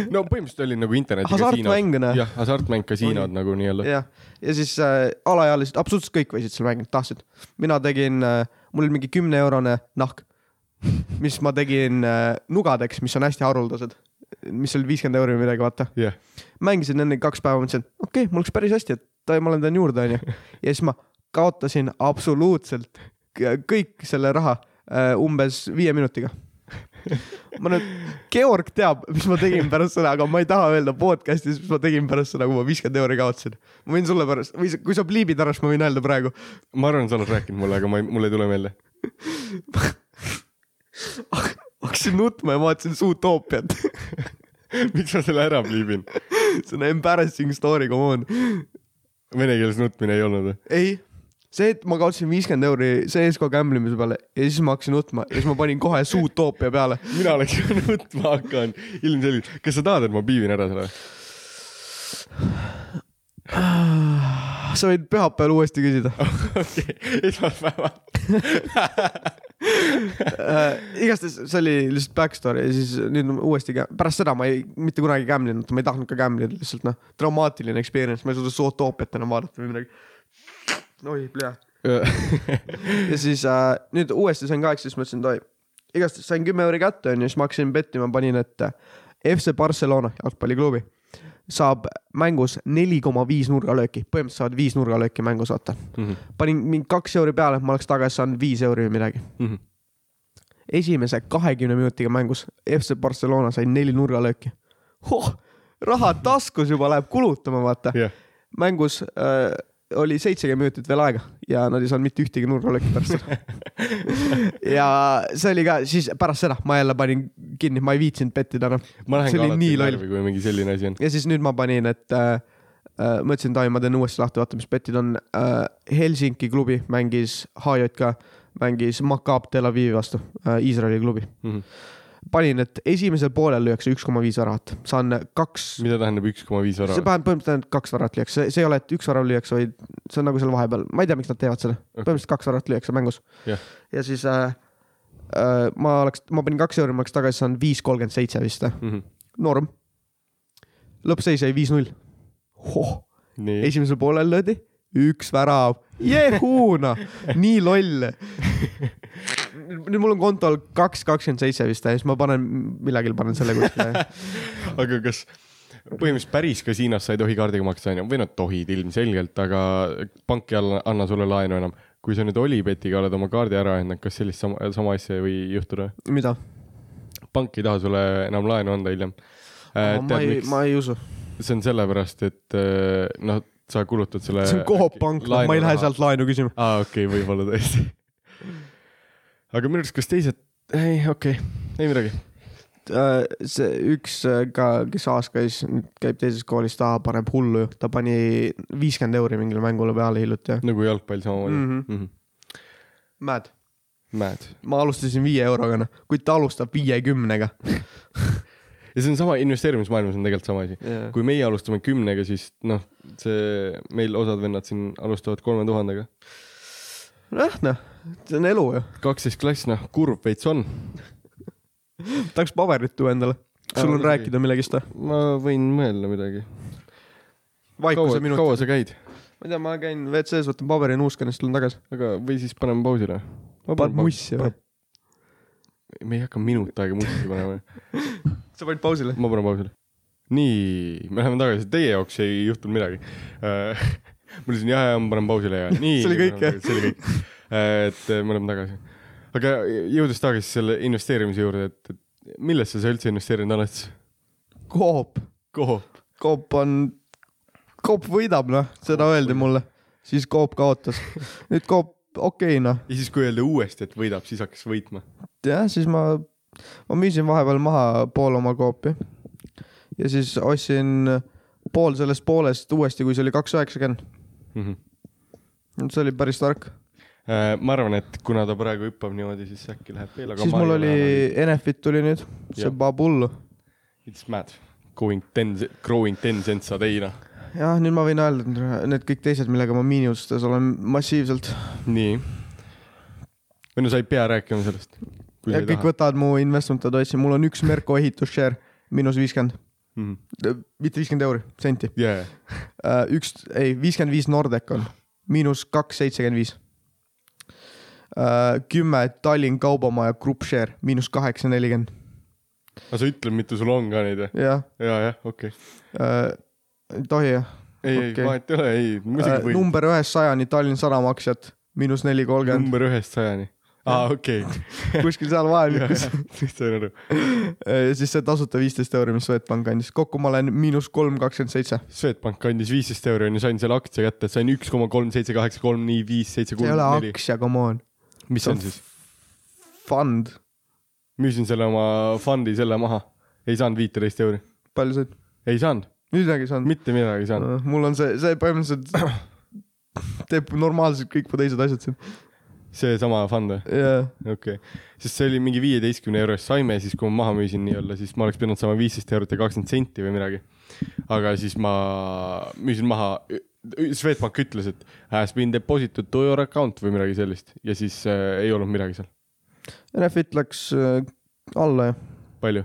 [SPEAKER 1] no põhimõtteliselt oli nagu internetikasiinod .
[SPEAKER 2] hasartmänguna .
[SPEAKER 1] jah , hasartmängkasiinod nagu nii-öelda .
[SPEAKER 2] jah , ja siis äh, alaealised , absoluutselt kõik võisid seal mängida , tahtsid . mina tegin äh, , mul oli mingi kümneeurone nahk , mis ma tegin äh, nugadeks , mis on hästi haruldased , mis oli viiskümmend euri või midagi , vaata .
[SPEAKER 1] jah ,
[SPEAKER 2] mängisin nendega kaks päeva , mõtlesin , et okei okay, , mul läks päris hästi , et ta- ma lähen teen juurde , onju . ja siis ma kaotasin absoluutselt k- kõik selle raha äh, umbes viie minutiga . ma nüüd , Georg teab , mis ma tegin pärast seda , aga ma ei taha öelda podcast'is , mis ma tegin pärast seda , kui ma viiskümmend euri kaotasin . ma võin sulle pärast , või sa- kui sa pliibid ära , siis ma võin öelda praegu .
[SPEAKER 1] ma arvan , sa oled rääkinud mulle , aga ma ei , mul ei tule meelde .
[SPEAKER 2] hakkasin nutma ja vaatasin Zootopiat .
[SPEAKER 1] miks ma selle ära pliibin ?
[SPEAKER 2] see on embarrassing story , come on .
[SPEAKER 1] Vene keeles nutmine ei olnud või ?
[SPEAKER 2] ei , see , et ma kaotasin viiskümmend euri CSGO gamblemise peale ja siis ma hakkasin nutma ja siis ma panin kohe Zootoopia peale .
[SPEAKER 1] mina oleks nutma hakanud , ilmselgelt . kas sa tahad , et ma piivin ära selle ?
[SPEAKER 2] Ah, sa võid pühapäeval uuesti küsida .
[SPEAKER 1] okei , esmaspäeval .
[SPEAKER 2] igastahes Äh, see oli lihtsalt back story ja siis nüüd ma uuesti , pärast seda ma ei , mitte kunagi gamblinud , ma ei tahtnud ka gamblida , lihtsalt noh , traumaatiline experience , ma ei suuda Zootoopiat enam vaadata või midagi . oi , plea . ja siis äh, nüüd uuesti sain kaheksa , siis mõtlesin , et oi , igastahes sain kümme euri kätte onju , siis ma hakkasin bettima , panin , et äh, FC Barcelona jalgpalliklubi saab mängus neli koma viis nurgalööki , põhimõtteliselt saavad viis nurgalööki mängus vaata . panin mingi kaks euri peale , ma oleks tagasi saanud viis euri või midagi . esimese kahekümne minutiga mängus FC Barcelona sai neli nurgalööki oh, . raha taskus juba läheb kulutama , vaata .
[SPEAKER 1] jah ,
[SPEAKER 2] mängus äh, oli seitsekümmend minutit veel aega ja nad ei saanud mitte ühtegi nurgalööki pärast seda . ja see oli ka siis pärast seda ma jälle panin kinni , ma ei viitsinud pettida enam .
[SPEAKER 1] ma lähen
[SPEAKER 2] see
[SPEAKER 1] ka
[SPEAKER 2] oli
[SPEAKER 1] alati
[SPEAKER 2] nii loll .
[SPEAKER 1] närvi , kui mingi selline asi on .
[SPEAKER 2] ja siis nüüd ma panin , et äh, äh, mõtlesin , et ai , ma teen uuesti lahti , vaata , mis betid on äh, . Helsingi klubi
[SPEAKER 1] Mhm.
[SPEAKER 2] mängis HJK , mängis Makab Tel Avivi vastu äh, , Iisraeli klubi . panin , et esimesel poolel lüüakse üks koma viis väravat , saan kaks ,
[SPEAKER 1] mida tähendab üks koma viis
[SPEAKER 2] see
[SPEAKER 1] väravat ?
[SPEAKER 2] tähendab põhimõtteliselt kaks väravat lüüakse , see ei ole , et üks värav lüüakse , vaid see on nagu seal vahepeal , ma ei tea , miks nad teevad seda okay. , põhimõtteliselt kaks väravat lüüakse mängus
[SPEAKER 1] Jah.
[SPEAKER 2] ja siis äh, äh, ma oleks , ma panin kaks euri , ma oleks tagasi saanud viis kolmkümmend seitse vist ,
[SPEAKER 1] Mhm.
[SPEAKER 2] norm . lõppseis jäi viis-null oh, .
[SPEAKER 1] nii ,
[SPEAKER 2] esimesel poolel löödi üks värav , jehuuna , nii loll . nüüd mul on kontol kaks kakskümmend seitse vist ja siis ma panen , millalgi panen selle kuskile .
[SPEAKER 1] aga kas põhimõtteliselt päris kasiinos sa ei tohi kaardiga maksta , onju , või no tohid ilmselgelt , aga pank ei anna- anna sulle laenu enam . kui sa nüüd Olipetiga oled oma kaardi ära andnud , kas sellist sama , sama asja ei või juhtuda ?
[SPEAKER 2] mida ?
[SPEAKER 1] pank ei taha sulle enam laenu anda hiljem . Äh,
[SPEAKER 2] ma ei , ma ei usu .
[SPEAKER 1] see on sellepärast , et äh, noh , sa kulutad selle .
[SPEAKER 2] see on Coop pank , ma ei lähe . sealt laenu küsima .
[SPEAKER 1] aa , okei okay, , võib-olla tõesti . aga minu arust , kas teised , ei , okei okay. , ei midagi .
[SPEAKER 2] Äh, see üks äh, ka , kes A-s käis , nüüd käib teises koolis , ta paneb hullu ju , ta pani viiskümmend euri mingile mängule peale hiljuti .
[SPEAKER 1] nagu jalgpall samamoodi mm .
[SPEAKER 2] Mhm.
[SPEAKER 1] -hmm.
[SPEAKER 2] mäed ,
[SPEAKER 1] Mad .
[SPEAKER 2] ma alustasin viie euroga , noh , kuid ta alustab viiekümnega .
[SPEAKER 1] ja see on sama , investeerimismaailmas on tegelikult sama asi . kui meie alustame kümnega , siis noh , see , meil osad vennad siin alustavad kolme tuhandega .
[SPEAKER 2] nojah , noh , see on elu ju .
[SPEAKER 1] kaksteist klass , noh , kurb veits on .
[SPEAKER 2] tahaks paberit ju endale . sul on
[SPEAKER 1] muidugi.
[SPEAKER 2] rääkida millegist või ?
[SPEAKER 1] ma võin mõelda midagi .
[SPEAKER 2] vaikuse
[SPEAKER 1] kaua ,
[SPEAKER 2] minut .
[SPEAKER 1] kaua sa käid ?
[SPEAKER 2] ma ei tea , ma käin WC-s , võtan paberi nuuskan ja siis tulen tagasi .
[SPEAKER 1] aga , või siis paneme pausile .
[SPEAKER 2] paned mussi või ?
[SPEAKER 1] me ei hakka minut aega mussi panema .
[SPEAKER 2] sa panid pausile ?
[SPEAKER 1] ma panen pausile . nii , me läheme tagasi , teie jaoks ei juhtunud midagi . ma ütlesin jah , jah , ma panen pausile ja nii .
[SPEAKER 2] See oli kõik, jah?
[SPEAKER 1] see oli kõik . et äh, me oleme tagasi . aga jõudes tagasi selle investeerimise juurde , et , et millesse sa üldse investeerinud oled ?
[SPEAKER 2] Coop ,
[SPEAKER 1] kuhu ?
[SPEAKER 2] Coop on , Coop võidab , noh , seda öeldi mulle . siis Coop kaotas . nüüd Coop , okei okay, , noh ,
[SPEAKER 1] ja siis , kui öelda uuesti , et võidab , siis hakkas võitma .
[SPEAKER 2] jah , siis ma , ma müüsin vahepeal maha pool oma Coopi . ja siis ostsin pool sellest poolest uuesti , kui see oli kaks üheksakümmend .
[SPEAKER 1] Mhm.
[SPEAKER 2] see oli päris tark
[SPEAKER 1] Äh, ma arvan , et kuna ta praegu hüppab niimoodi , siis äkki läheb veel , aga
[SPEAKER 2] siis
[SPEAKER 1] ma
[SPEAKER 2] mul
[SPEAKER 1] ei ole
[SPEAKER 2] oli
[SPEAKER 1] enam- ,
[SPEAKER 2] Enefit tuli nüüd , see
[SPEAKER 1] Jah.
[SPEAKER 2] paab hullu .
[SPEAKER 1] It's mad . Going ten , growing ten cents a day , noh .
[SPEAKER 2] jah , nüüd ma võin öelda , et need kõik teised , millega ma miinustes olen massiivselt
[SPEAKER 1] nii . või no sa ei pea rääkima sellest .
[SPEAKER 2] ja kõik taha. võtavad mu investment'e toitsi , mul on üks Merko ehitusshare , miinus viiskümmend ,
[SPEAKER 1] mm. .
[SPEAKER 2] mitte viiskümmend euri , senti .
[SPEAKER 1] Yeah.
[SPEAKER 2] üks , ei , viiskümmend viis Nordec on , miinus kaks seitsekümmend viis . kümme Tallinn Kaubamaja Grupp Share , miinus kaheksa nelikümmend ,
[SPEAKER 1] aga sa ütled , mitu sul on ka neid või ?
[SPEAKER 2] jah .
[SPEAKER 1] ja , jah , okei okay. .
[SPEAKER 2] ei tohi jah ?
[SPEAKER 1] ei , ei
[SPEAKER 2] Okei. Äh,
[SPEAKER 1] okay. , vahet ei ole , ei , muidugi võib .
[SPEAKER 2] number ühest sajani Tallinn sada maksjat , miinus neli kolmkümmend ,
[SPEAKER 1] number ühest sajani . aa , okei .
[SPEAKER 2] kuskil seal vahemikus .
[SPEAKER 1] nüüd sain aru .
[SPEAKER 2] ja siis see tasuta viisteist euri , mis Swedbank andis , kokku ma olen miinus kolm kakskümmend seitse .
[SPEAKER 1] Swedbank andis viisteist euri onju , sain selle aktsia kätte , sain üks koma kolm seitse kaheksa kolm nii viis seitse
[SPEAKER 2] see
[SPEAKER 1] kuus
[SPEAKER 2] ei ole
[SPEAKER 1] neli .
[SPEAKER 2] aktsia , come on ,
[SPEAKER 1] mis see on siis ?
[SPEAKER 2] fond ,
[SPEAKER 1] müüsin selle oma fondi selle maha , ei saanud viiteist euri ,
[SPEAKER 2] palju see ,
[SPEAKER 1] ei saanud ,
[SPEAKER 2] midagi ei saanud .
[SPEAKER 1] mitte midagi ei saanud .
[SPEAKER 2] mul on see , see põhimõtteliselt teeb normaalselt kõik mu teised asjad siin .
[SPEAKER 1] seesama fond või ?
[SPEAKER 2] jaa ,
[SPEAKER 1] okei okay. , sest see oli mingi viieteistkümne eurost saime , siis kui ma maha müüsin nii-öelda , siis ma oleks pidanud saama viisteist eurot ja kakskümmend senti või midagi . aga siis ma müüsin maha , Swedbank ütles , et has been deposited to your account või midagi sellist ja siis äh, ei olnud midagi seal ,
[SPEAKER 2] Enefit läks äh, alla ju
[SPEAKER 1] palju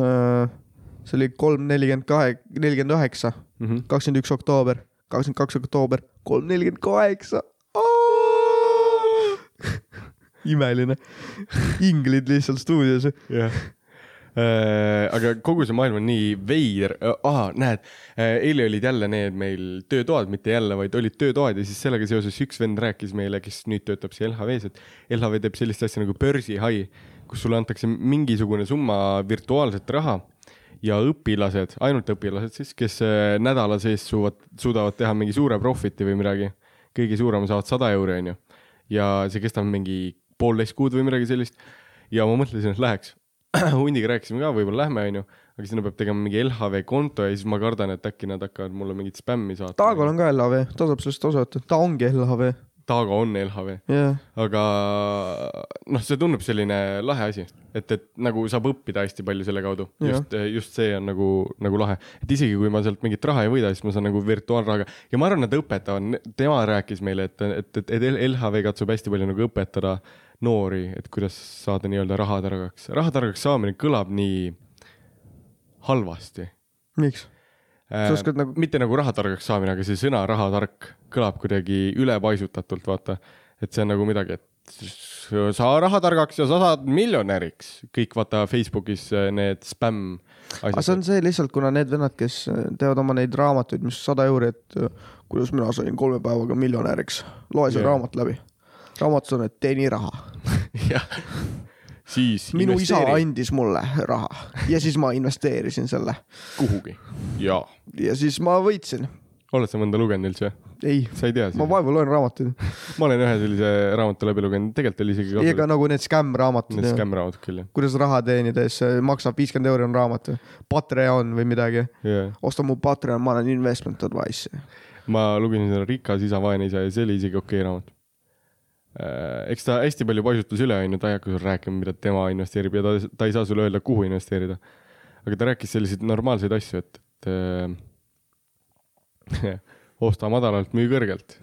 [SPEAKER 2] äh, . see oli kolm nelikümmend kahe , nelikümmend üheksa ,
[SPEAKER 1] mm . -hmm.
[SPEAKER 2] kakskümmend üks oktoober , kakskümmend kaks oktoober , kolm nelikümmend kaheksa . imeline , inglid lihtsalt stuudios .
[SPEAKER 1] jah . aga kogu see maailm on nii veider , aa , näed , eile olid jälle need meil töötoad , mitte jälle , vaid olid töötoad ja siis sellega seoses üks vend rääkis meile , kes nüüd töötab siin LHV-s , et LHV teeb sellist asja nagu börsihai , kus sulle antakse mingisugune summa virtuaalset raha ja õpilased , ainult õpilased siis , kes äh, nädala sees suuvad , suudavad teha mingi suure profit'i või midagi , kõige suurema saavad sada euri , onju . ja see kestab mingi poolteist kuud või midagi sellist . ja ma mõtlesin , et läheks . hundiga rääkisime ka , võib-olla lähme , onju , aga sinna peab tegema mingi LHV konto ja siis ma kardan , et äkki nad hakkavad mulle mingit spämmi saatma .
[SPEAKER 2] Taagol on ka LHV , ta saab sellest osa võtta , ta ongi LHV .
[SPEAKER 1] Taago on LHV ,
[SPEAKER 2] jah ,
[SPEAKER 1] aga noh , see tundub selline lahe asi , et , et nagu saab õppida hästi palju selle kaudu .
[SPEAKER 2] Jah.
[SPEAKER 1] just , just see on nagu , nagu lahe , et isegi kui ma sealt mingit raha ei võida , siis ma saan nagu virtuaalrahaga ja ma arvan , nad õpetavad , tema rääkis meile , et , et , et L- LHV katsub hästi palju nagu õpetada noori , et kuidas saada nii-öelda rahatargaks . rahatargaks saamine kõlab nii halvasti
[SPEAKER 2] miks ? Sa oskad nagu-
[SPEAKER 1] mitte nagu rahatargaks saamine , aga see sõna rahatark kõlab kuidagi ülepaisutatult , vaata . et see on nagu midagi , et s- sa rahatargaks ja sa saad miljonäriks . kõik vaata Facebookis äh, need spämm
[SPEAKER 2] aga Ah, see
[SPEAKER 1] asjad
[SPEAKER 2] on . see lihtsalt , kuna need vennad , kes äh, teevad oma neid raamatuid , mis sada euri , et äh, kuidas mina sain kolme päevaga miljonäriks , loe see
[SPEAKER 1] Jah.
[SPEAKER 2] raamat läbi . raamatus on , et teeni raha .
[SPEAKER 1] jah , siis
[SPEAKER 2] minu isa
[SPEAKER 1] investeeri
[SPEAKER 2] andis mulle raha ja siis ma investeerisin selle
[SPEAKER 1] kuhugi . jaa .
[SPEAKER 2] ja siis ma võitsin .
[SPEAKER 1] oled sa mõnda lugenud üldse ?
[SPEAKER 2] ei ,
[SPEAKER 1] sa ei tea siis ?
[SPEAKER 2] ma vaevu loen raamatuid .
[SPEAKER 1] ma olen ühe sellise raamatu läbi lugenud , tegelikult oli
[SPEAKER 2] ei ,
[SPEAKER 1] isegi
[SPEAKER 2] aga . nagu need skämmraamatud
[SPEAKER 1] Need , skämmraamatud küll jah
[SPEAKER 2] kuidas raha teenida ja siis see maksab viiskümmend euri on raamat . Patreon või midagi .
[SPEAKER 1] yeah. .
[SPEAKER 2] osta mu Patreon , ma olen investment advice .
[SPEAKER 1] ma lugesin seda Rikas isa , vaene isa ja see oli isegi okei raamat . eks ta hästi palju paisutas üle , onju , ta ei hakka sulle rääkima , mida tema investeerib ja ta , ta ei saa sulle öelda , kuhu investeerida . aga ta rääkis selliseid normaalseid asju , et , et äh, osta madalalt , müü kõrgelt .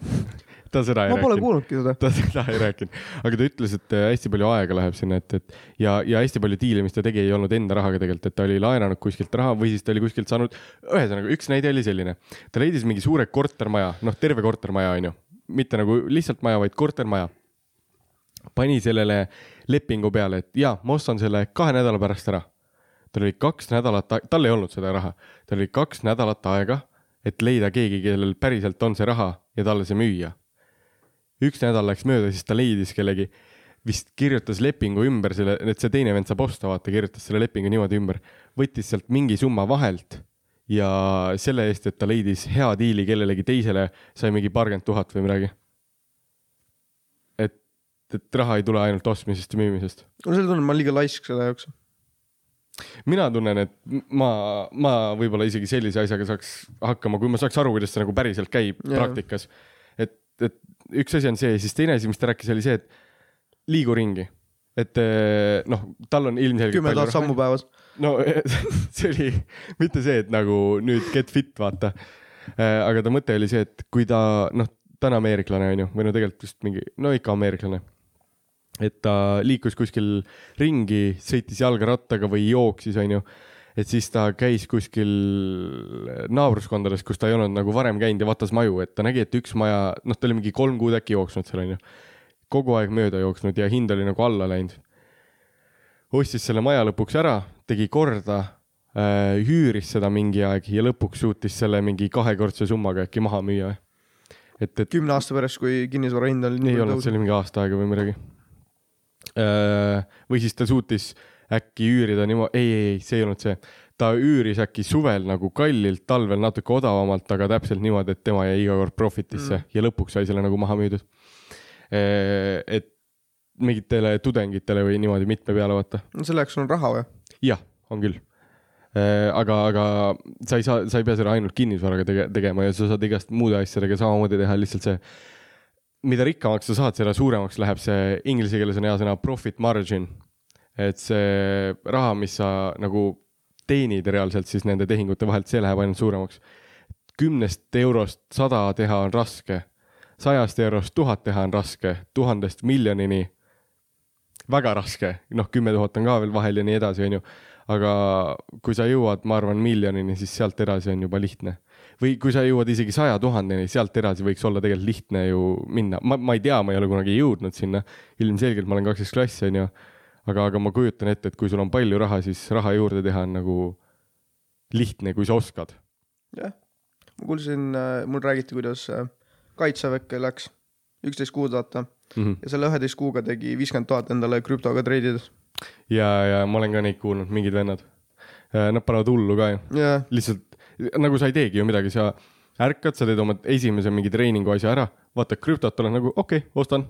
[SPEAKER 1] ta seda ei
[SPEAKER 2] ma pole
[SPEAKER 1] rääkinud .
[SPEAKER 2] kuulnudki seda .
[SPEAKER 1] ta seda ei rääkinud , aga ta ütles , et äh, hästi palju aega läheb sinna , et , et ja , ja hästi palju diile , mis ta tegi , ei olnud enda rahaga tegelikult , et ta oli laenanud kuskilt raha või siis ta oli kuskilt saanud . ühesõnaga , üks näide oli selline , ta leidis mingi suure kortermaja , noh , terve kortermaja onju , mitte nagu lihtsalt maja , vaid kortermaja . pani sellele lepingu peale , et jaa , ma ostan selle kahe nädala pärast ära . tal oli kaks nädalat , tal ei olnud seda raha , tal oli kaks nädalat aega , et leida keegi , kellel päriselt on see raha ja talle see müüa üks nädal läks mööda , siis ta leidis kellegi , vist kirjutas lepingu ümber selle , et see teine vend saab osta , vaata , kirjutas selle lepingu niimoodi ümber , võttis sealt mingi summa vahelt ja selle eest , et ta leidis hea diili kellelegi teisele , sai mingi paarkümmend tuhat või midagi . et , et raha ei tule ainult ostmisest ja müümisest .
[SPEAKER 2] mul on selline tunne , et ma olen liiga laisk selle jaoks .
[SPEAKER 1] mina tunnen , et m- ma , ma võib-olla isegi sellise asjaga saaks hakkama , kui ma saaks aru , kuidas see nagu päriselt käib
[SPEAKER 2] Jaa.
[SPEAKER 1] yeah. praktikas . et , et üks asi on see , siis teine asi , mis ta rääkis , oli see , et liigu ringi , et eh, noh , tal on ilmselgelt .
[SPEAKER 2] kümme tuhat sammu . päevas .
[SPEAKER 1] no see oli mitte see , et nagu nüüd get fit , vaata . aga ta mõte oli see , et kui ta noh , ta on ameeriklane onju , või no tegelikult vist mingi , no ikka ameeriklane . et ta liikus kuskil ringi , sõitis jalgrattaga või jooksis onju , et siis ta käis kuskil naabruskondades , kus ta ei olnud nagu varem käinud ja vaatas maju , et ta nägi , et üks maja , noh , ta oli mingi kolm kuud äkki jooksnud seal onju , kogu aeg mööda jooksnud ja hind oli nagu alla läinud ostis selle maja lõpuks ära , tegi korda , hüüris seda mingi aeg ja lõpuks suutis selle mingi kahekordse summaga äkki maha müüa . et , et
[SPEAKER 2] kümne aasta pärast , kui kinnisvara hind oli
[SPEAKER 1] ei
[SPEAKER 2] nii
[SPEAKER 1] olnud , see
[SPEAKER 2] tõusnud .
[SPEAKER 1] oli mingi aasta aega või midagi . või siis ta suutis äkki üürida niimoodi , ei , ei , ei , see ei olnud see . ta üüris äkki suvel nagu kallilt , talvel natuke odavamalt , aga täpselt niimoodi , et tema jäi iga kord profitisse mm. ja lõpuks sai selle nagu maha müüdud . et mingitele tudengitele või niimoodi mitme peale vaata .
[SPEAKER 2] selle jaoks on raha või ?
[SPEAKER 1] jah , on küll . aga , aga sa ei saa , sa ei pea seda ainult kinnisvaraga tege- , tegema ja sa saad igast muude asjadega samamoodi teha , lihtsalt see , mida rikkamaks sa saad , seda suuremaks läheb see , inglise keeles on hea sõna profit margin . et see raha , mis sa nagu teenid reaalselt siis nende tehingute vahelt , see läheb ainult suuremaks . kümnest eurost sada teha on raske , sajast eurost tuhat teha on raske , tuhandest miljonini väga raske , noh , kümme tuhat on ka veel vahel ja nii edasi , onju . aga kui sa jõuad , ma arvan , miljonini , siis sealt edasi on juba lihtne . või kui sa jõuad isegi saja tuhandeni , sealt edasi võiks olla tegelikult lihtne ju minna . ma , ma ei tea , ma ei ole kunagi jõudnud sinna . ilmselgelt ma olen kaksteist klassi , onju . aga , aga ma kujutan ette , et kui sul on palju raha , siis raha juurde teha on nagu lihtne , kui sa oskad .
[SPEAKER 2] ma kuulsin , mul räägiti , kuidas äh, kaitseväkke läks üksteist kuud vaata
[SPEAKER 1] Mm -hmm.
[SPEAKER 2] ja selle üheteist kuuga tegi viiskümmend tuhat endale krüptoga treidides .
[SPEAKER 1] ja , ja ma olen ka neid kuulnud , mingid vennad . Nad panevad hullu ka ju .
[SPEAKER 2] ja ,
[SPEAKER 1] lihtsalt nagu sa ei teegi ju midagi , sa ärkad , sa teed oma esimese mingi treeningu asja ära , vaatad krüptot , oled nagu okei okay, , ostan .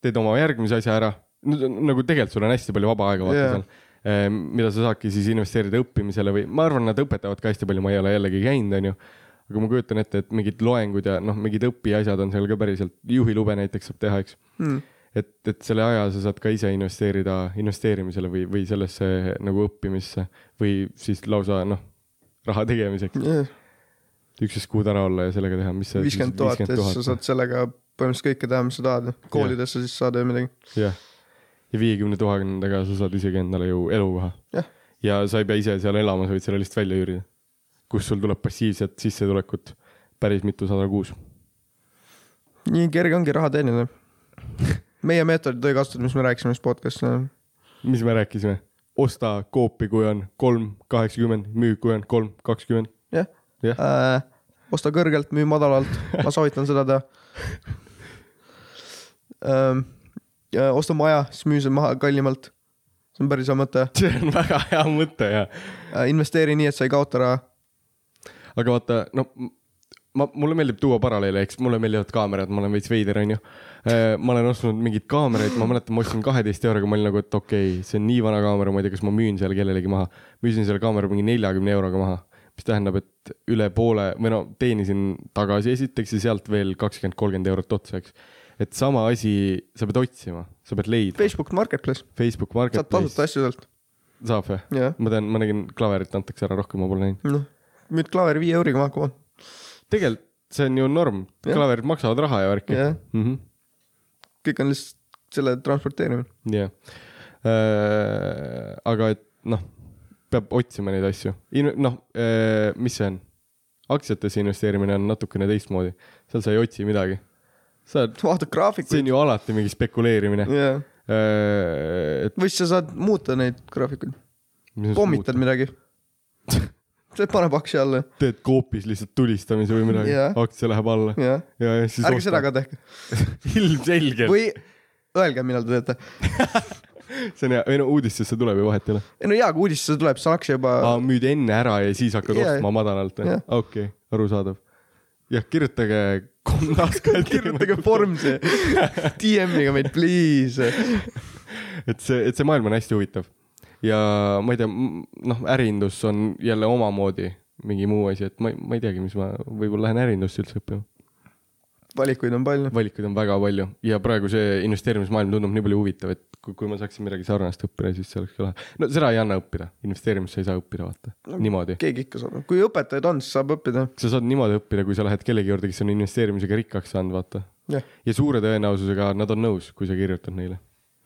[SPEAKER 1] teed oma järgmise asja ära , nagu tegelikult sul on hästi palju vaba aega vaata
[SPEAKER 2] Jaa.
[SPEAKER 1] yeah. seal eh, mida sa saadki siis investeerida õppimisele või ma arvan , nad õpetavad ka hästi palju , ma ei ole jällegi käinud , onju . aga ma kujutan ette , et mingid loengud ja noh , mingid õpiasjad on seal ka päriselt , juhilube näiteks saab teha , eks .
[SPEAKER 2] mm. .
[SPEAKER 1] et , et selle aja sa saad ka ise investeerida investeerimisele või , või sellesse nagu õppimisse või siis lausa noh , raha tegemiseks , üksteist kuud ära olla ja sellega teha , mis see
[SPEAKER 2] viiskümmend tuhat ja siis sa saad sellega põhimõtteliselt kõike teha , mis sa tahad . koolidesse siis saad ju midagi .
[SPEAKER 1] jah , ja viiekümne tuhandega sa saad isegi endale ju elukoha
[SPEAKER 2] Jah. .
[SPEAKER 1] ja sa ei pea ise seal elama , sa võid selle lihtsalt välja üürida , kus sul tuleb passiivset sissetulekut päris mitusada kuus .
[SPEAKER 2] nii kerge ongi raha teenida . meie meetodid oli kasutatud , mis me rääkisime siis podcast'is .
[SPEAKER 1] mis me rääkisime ? osta koopi , kui on kolm kaheksakümmend , müü , kui on kolm kakskümmend .
[SPEAKER 2] jah
[SPEAKER 1] Jah.
[SPEAKER 2] äh, , osta kõrgelt , müü madalalt , ma soovitan seda teha ähm, . osta maja , siis müü see maha kallimalt . see on päris hea mõte
[SPEAKER 1] see on väga hea mõte ja ,
[SPEAKER 2] äh, . investeeri nii , et sa ei kaota raha .
[SPEAKER 1] aga vaata , no m- ma , mulle meeldib tuua paralleele , eks mulle meeldivad kaamerad , ma olen veits veider , onju . ma olen ostnud mingeid kaameraid , ma mäletan , ma ostsin kaheteist euroga , ma olin nagu , et okei okay, , see on nii vana kaamera , ma ei tea , kas ma müün selle kellelegi maha . müüsin selle kaamera mingi neljakümne euroga maha , mis tähendab , et üle poole või no teenisin tagasi esiteks ja sealt veel kakskümmend , kolmkümmend eurot otsa , eks . et sama asi , sa pead otsima , sa pead leidma .
[SPEAKER 2] Facebook Marketplace ,
[SPEAKER 1] Facebook
[SPEAKER 2] saad tasuta
[SPEAKER 1] Marketplace
[SPEAKER 2] asju sealt ,
[SPEAKER 1] saab või ?
[SPEAKER 2] jah .
[SPEAKER 1] ma tean , ma nägin , klaverit antakse ära rohkem , ma pole näinud .
[SPEAKER 2] noh , müüd klaveri viie euriga maha , come on .
[SPEAKER 1] tegelikult see on ju norm ,
[SPEAKER 2] Jah.
[SPEAKER 1] klaverid maksavad raha ja värki .
[SPEAKER 2] jah ,
[SPEAKER 1] mm . -hmm.
[SPEAKER 2] kõik on lihtsalt selle transporteerimine .
[SPEAKER 1] jah yeah. . aga et noh , peab otsima neid asju , noh , mis see on ? aktsiatesse investeerimine on natukene teistmoodi , seal sa ei otsi midagi . sa ,
[SPEAKER 2] vaata
[SPEAKER 1] see
[SPEAKER 2] graafikuid ,
[SPEAKER 1] on ju alati mingi spekuleerimine .
[SPEAKER 2] jah .
[SPEAKER 1] et
[SPEAKER 2] või siis sa saad muuta neid graafikuid ,
[SPEAKER 1] mis on
[SPEAKER 2] pommitad midagi . see paneb aktsia alla ,
[SPEAKER 1] muud- teed koopis lihtsalt tulistamise või midagi
[SPEAKER 2] Jah.
[SPEAKER 1] yeah. , aktsia läheb alla
[SPEAKER 2] jah .
[SPEAKER 1] ja , ja siis
[SPEAKER 2] ärge seda . ka tehke .
[SPEAKER 1] ilmselgelt või... ,
[SPEAKER 2] või öelge , millal te teete .
[SPEAKER 1] see on hea , ei no uudistesse tuleb ju vahet ei ole .
[SPEAKER 2] ei no hea , kui uudistesse tuleb , siis oleks juba
[SPEAKER 1] aa , müüd enne ära ja siis hakkad
[SPEAKER 2] Jaa,
[SPEAKER 1] yeah. ostma madalalt või
[SPEAKER 2] jah. ?
[SPEAKER 1] okei okay, , arusaadav . jah , kirjutage komnaskalt .
[SPEAKER 2] kirjutage . Formsi DM-iga meid , please .
[SPEAKER 1] et see , et see maailm on hästi huvitav . ja ma ei tea , noh , ärindus on jälle omamoodi mingi muu asi , et ma ei , ma ei teagi , mis ma , võib-olla lähen ärindusse üldse õppima .
[SPEAKER 2] valikuid on palju .
[SPEAKER 1] valikuid on väga palju ja praegu see investeerimismaailm tundub nii palju huvitav , et kui, kui ma saaksin midagi sarnast õppida , siis see oleks ka lahe . no seda ei anna õppida , investeerimist sa ei saa õppida , vaata no. , niimoodi .
[SPEAKER 2] keegi ikka saab , kui õpetajaid on , siis saab õppida .
[SPEAKER 1] sa saad niimoodi õppida , kui sa lähed kellegi juurde , kes on investeerimisega rikkaks saanud , vaata .
[SPEAKER 2] jah ,
[SPEAKER 1] ja suure tõenäosusega nad on nõus , kui sa kirjutad neile .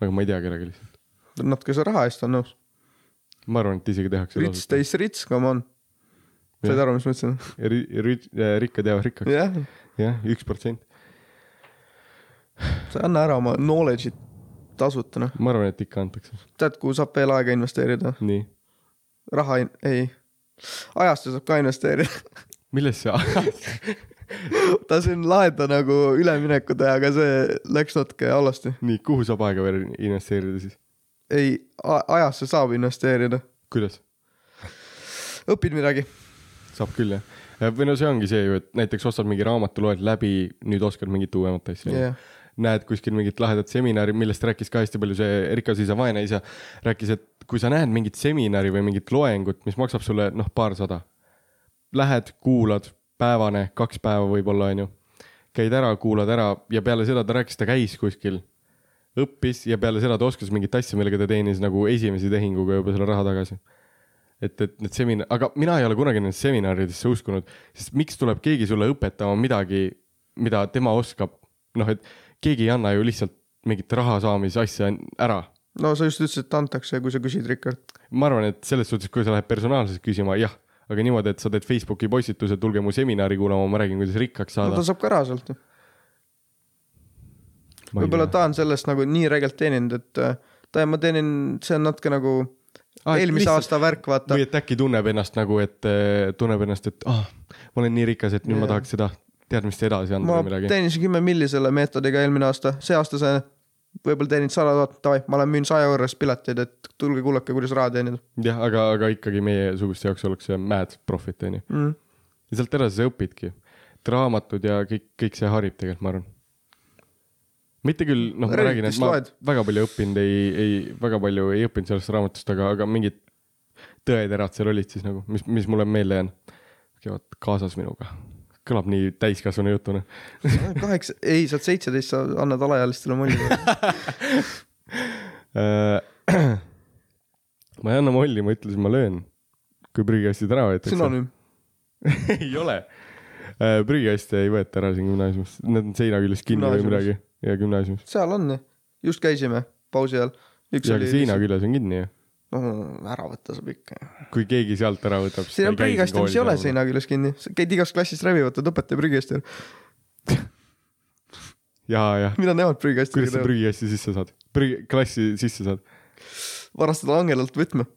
[SPEAKER 1] aga ma ei tea kedagi lihtsalt .
[SPEAKER 2] natukese raha eest on nõus .
[SPEAKER 1] ma arvan , et isegi tehakse .
[SPEAKER 2] rits täis rits , come on . said
[SPEAKER 1] Jah.
[SPEAKER 2] aru , mis ma ütlesin ?
[SPEAKER 1] äh, rikkad jäävad rikkaks ,
[SPEAKER 2] jah ,
[SPEAKER 1] jah , üks protsent .
[SPEAKER 2] sa anna ära oma knowledge'it tasuta , noh .
[SPEAKER 1] ma arvan , et ikka antakse ,
[SPEAKER 2] tead , kuhu saab veel aega investeerida ?
[SPEAKER 1] nii .
[SPEAKER 2] raha in- , ei . ajastu saab ka investeerida .
[SPEAKER 1] milles see ,
[SPEAKER 2] ta siin laheda nagu ülemineku teha , aga see läks natuke halvasti .
[SPEAKER 1] nii , kuhu saab aega veel investeerida siis ,
[SPEAKER 2] ei , ajasse saab investeerida ,
[SPEAKER 1] kuidas ?
[SPEAKER 2] õpid midagi ,
[SPEAKER 1] saab küll jah , või no see ongi see ju , et näiteks ostad mingi raamatu , loed läbi , nüüd oskad mingit uuemat asja
[SPEAKER 2] jah .
[SPEAKER 1] näed kuskil mingit lahedat seminari , millest rääkis ka hästi palju see rikas isa , vaene isa , rääkis , et kui sa näed mingit seminari või mingit loengut , mis maksab sulle noh , paarsada . Lähed , kuulad , päevane , kaks päeva võib-olla onju , käid ära , kuulad ära ja peale seda ta rääkis , ta käis kuskil , õppis ja peale seda ta oskas mingit asja , millega ta teenis nagu esimese tehinguga juba selle raha tagasi et , et need semin- , aga mina ei ole kunagi nendesse seminaridesse uskunud , sest miks tuleb keegi sulle õpetama midagi , mida tema oskab , noh , et keegi ei anna ju lihtsalt mingit raha saamise asja ära .
[SPEAKER 2] no sa just ütlesid , et antakse , kui sa küsid , Rikard .
[SPEAKER 1] ma arvan , et selles suhtes , kui sa lähed personaalselt küsima , jah , aga niimoodi , et sa teed Facebooki postituse , tulge mu seminari kuulama , ma räägin , kuidas rikkaks
[SPEAKER 2] no
[SPEAKER 1] saada
[SPEAKER 2] ta . saab ka raha sealt ju . võib-olla ta on sellest nagu nii räigelt teeninud , et äh, ta , ma teenin , see on natuke nagu
[SPEAKER 1] Aa, Ah, et
[SPEAKER 2] eelmise
[SPEAKER 1] lihtsalt-
[SPEAKER 2] aasta värk , vaata
[SPEAKER 1] või . et äkki tunneb ennast nagu , et eh, tunneb ennast , et ah , ma olen nii rikas , et nüüd yeah. ma
[SPEAKER 2] Jaa.
[SPEAKER 1] tahaks seda teadmist edasi anda
[SPEAKER 2] ma
[SPEAKER 1] või midagi .
[SPEAKER 2] teenisin kümme milli selle meetodiga eelmine aasta , see aasta see võib-olla teenid sada tuhat , davai , ma lähen müün saja euro eest pileteid , et tulge kuulake , kuidas raha teenida
[SPEAKER 1] jah , aga , aga ikkagi meiesuguste jaoks oleks see mad profit onju .
[SPEAKER 2] mm. .
[SPEAKER 1] ja sealt edasi sa õpidki . et raamatud ja kõik , kõik see harib tegelikult , ma arvan . mitte küll , noh , ma räägin , et
[SPEAKER 2] Redditist
[SPEAKER 1] ma
[SPEAKER 2] loed.
[SPEAKER 1] väga palju õppinud ei , ei , väga palju ei õppinud sellest raamatust , aga , aga mingid tõeterad seal olid siis nagu , mis , mis mulle meelde jäänud . käivad kaasas minuga . kõlab nii täiskasvanu jutuna .
[SPEAKER 2] kaheksa , ei , sa oled seitseteist , sa annad alaealistele mulje .
[SPEAKER 1] ma ei anna molli , Äh, ma ütlesin , ma löön . kui prügikastid ära võetakse .
[SPEAKER 2] sünonüüm .
[SPEAKER 1] ei ole . prügikaste ei võeta ära siin gümnaasiumis , nad on seina küljes kinni või
[SPEAKER 2] Gümnaasiumis.
[SPEAKER 1] midagi ja gümnaasiumis .
[SPEAKER 2] seal on ju , just käisime pausi ajal . üks
[SPEAKER 1] ja aga
[SPEAKER 2] oli
[SPEAKER 1] seina , küljes on kinni ju .
[SPEAKER 2] no Noh, ära võtta saab ikka .
[SPEAKER 1] kui keegi sealt ära võtab .
[SPEAKER 2] siin on prügikast , mis ei
[SPEAKER 1] nagu.
[SPEAKER 2] ole . seina küljes kinni , sa käid igas klassis rävi , võtad õpetaja prügikasti ,
[SPEAKER 1] ja , ja .
[SPEAKER 2] mida nemad
[SPEAKER 1] kuidas sa
[SPEAKER 2] prügikastidega teevad ,
[SPEAKER 1] prügikasti sisse saad ? prügi , klassi sisse saad ?
[SPEAKER 2] varastada angelalt võtme ,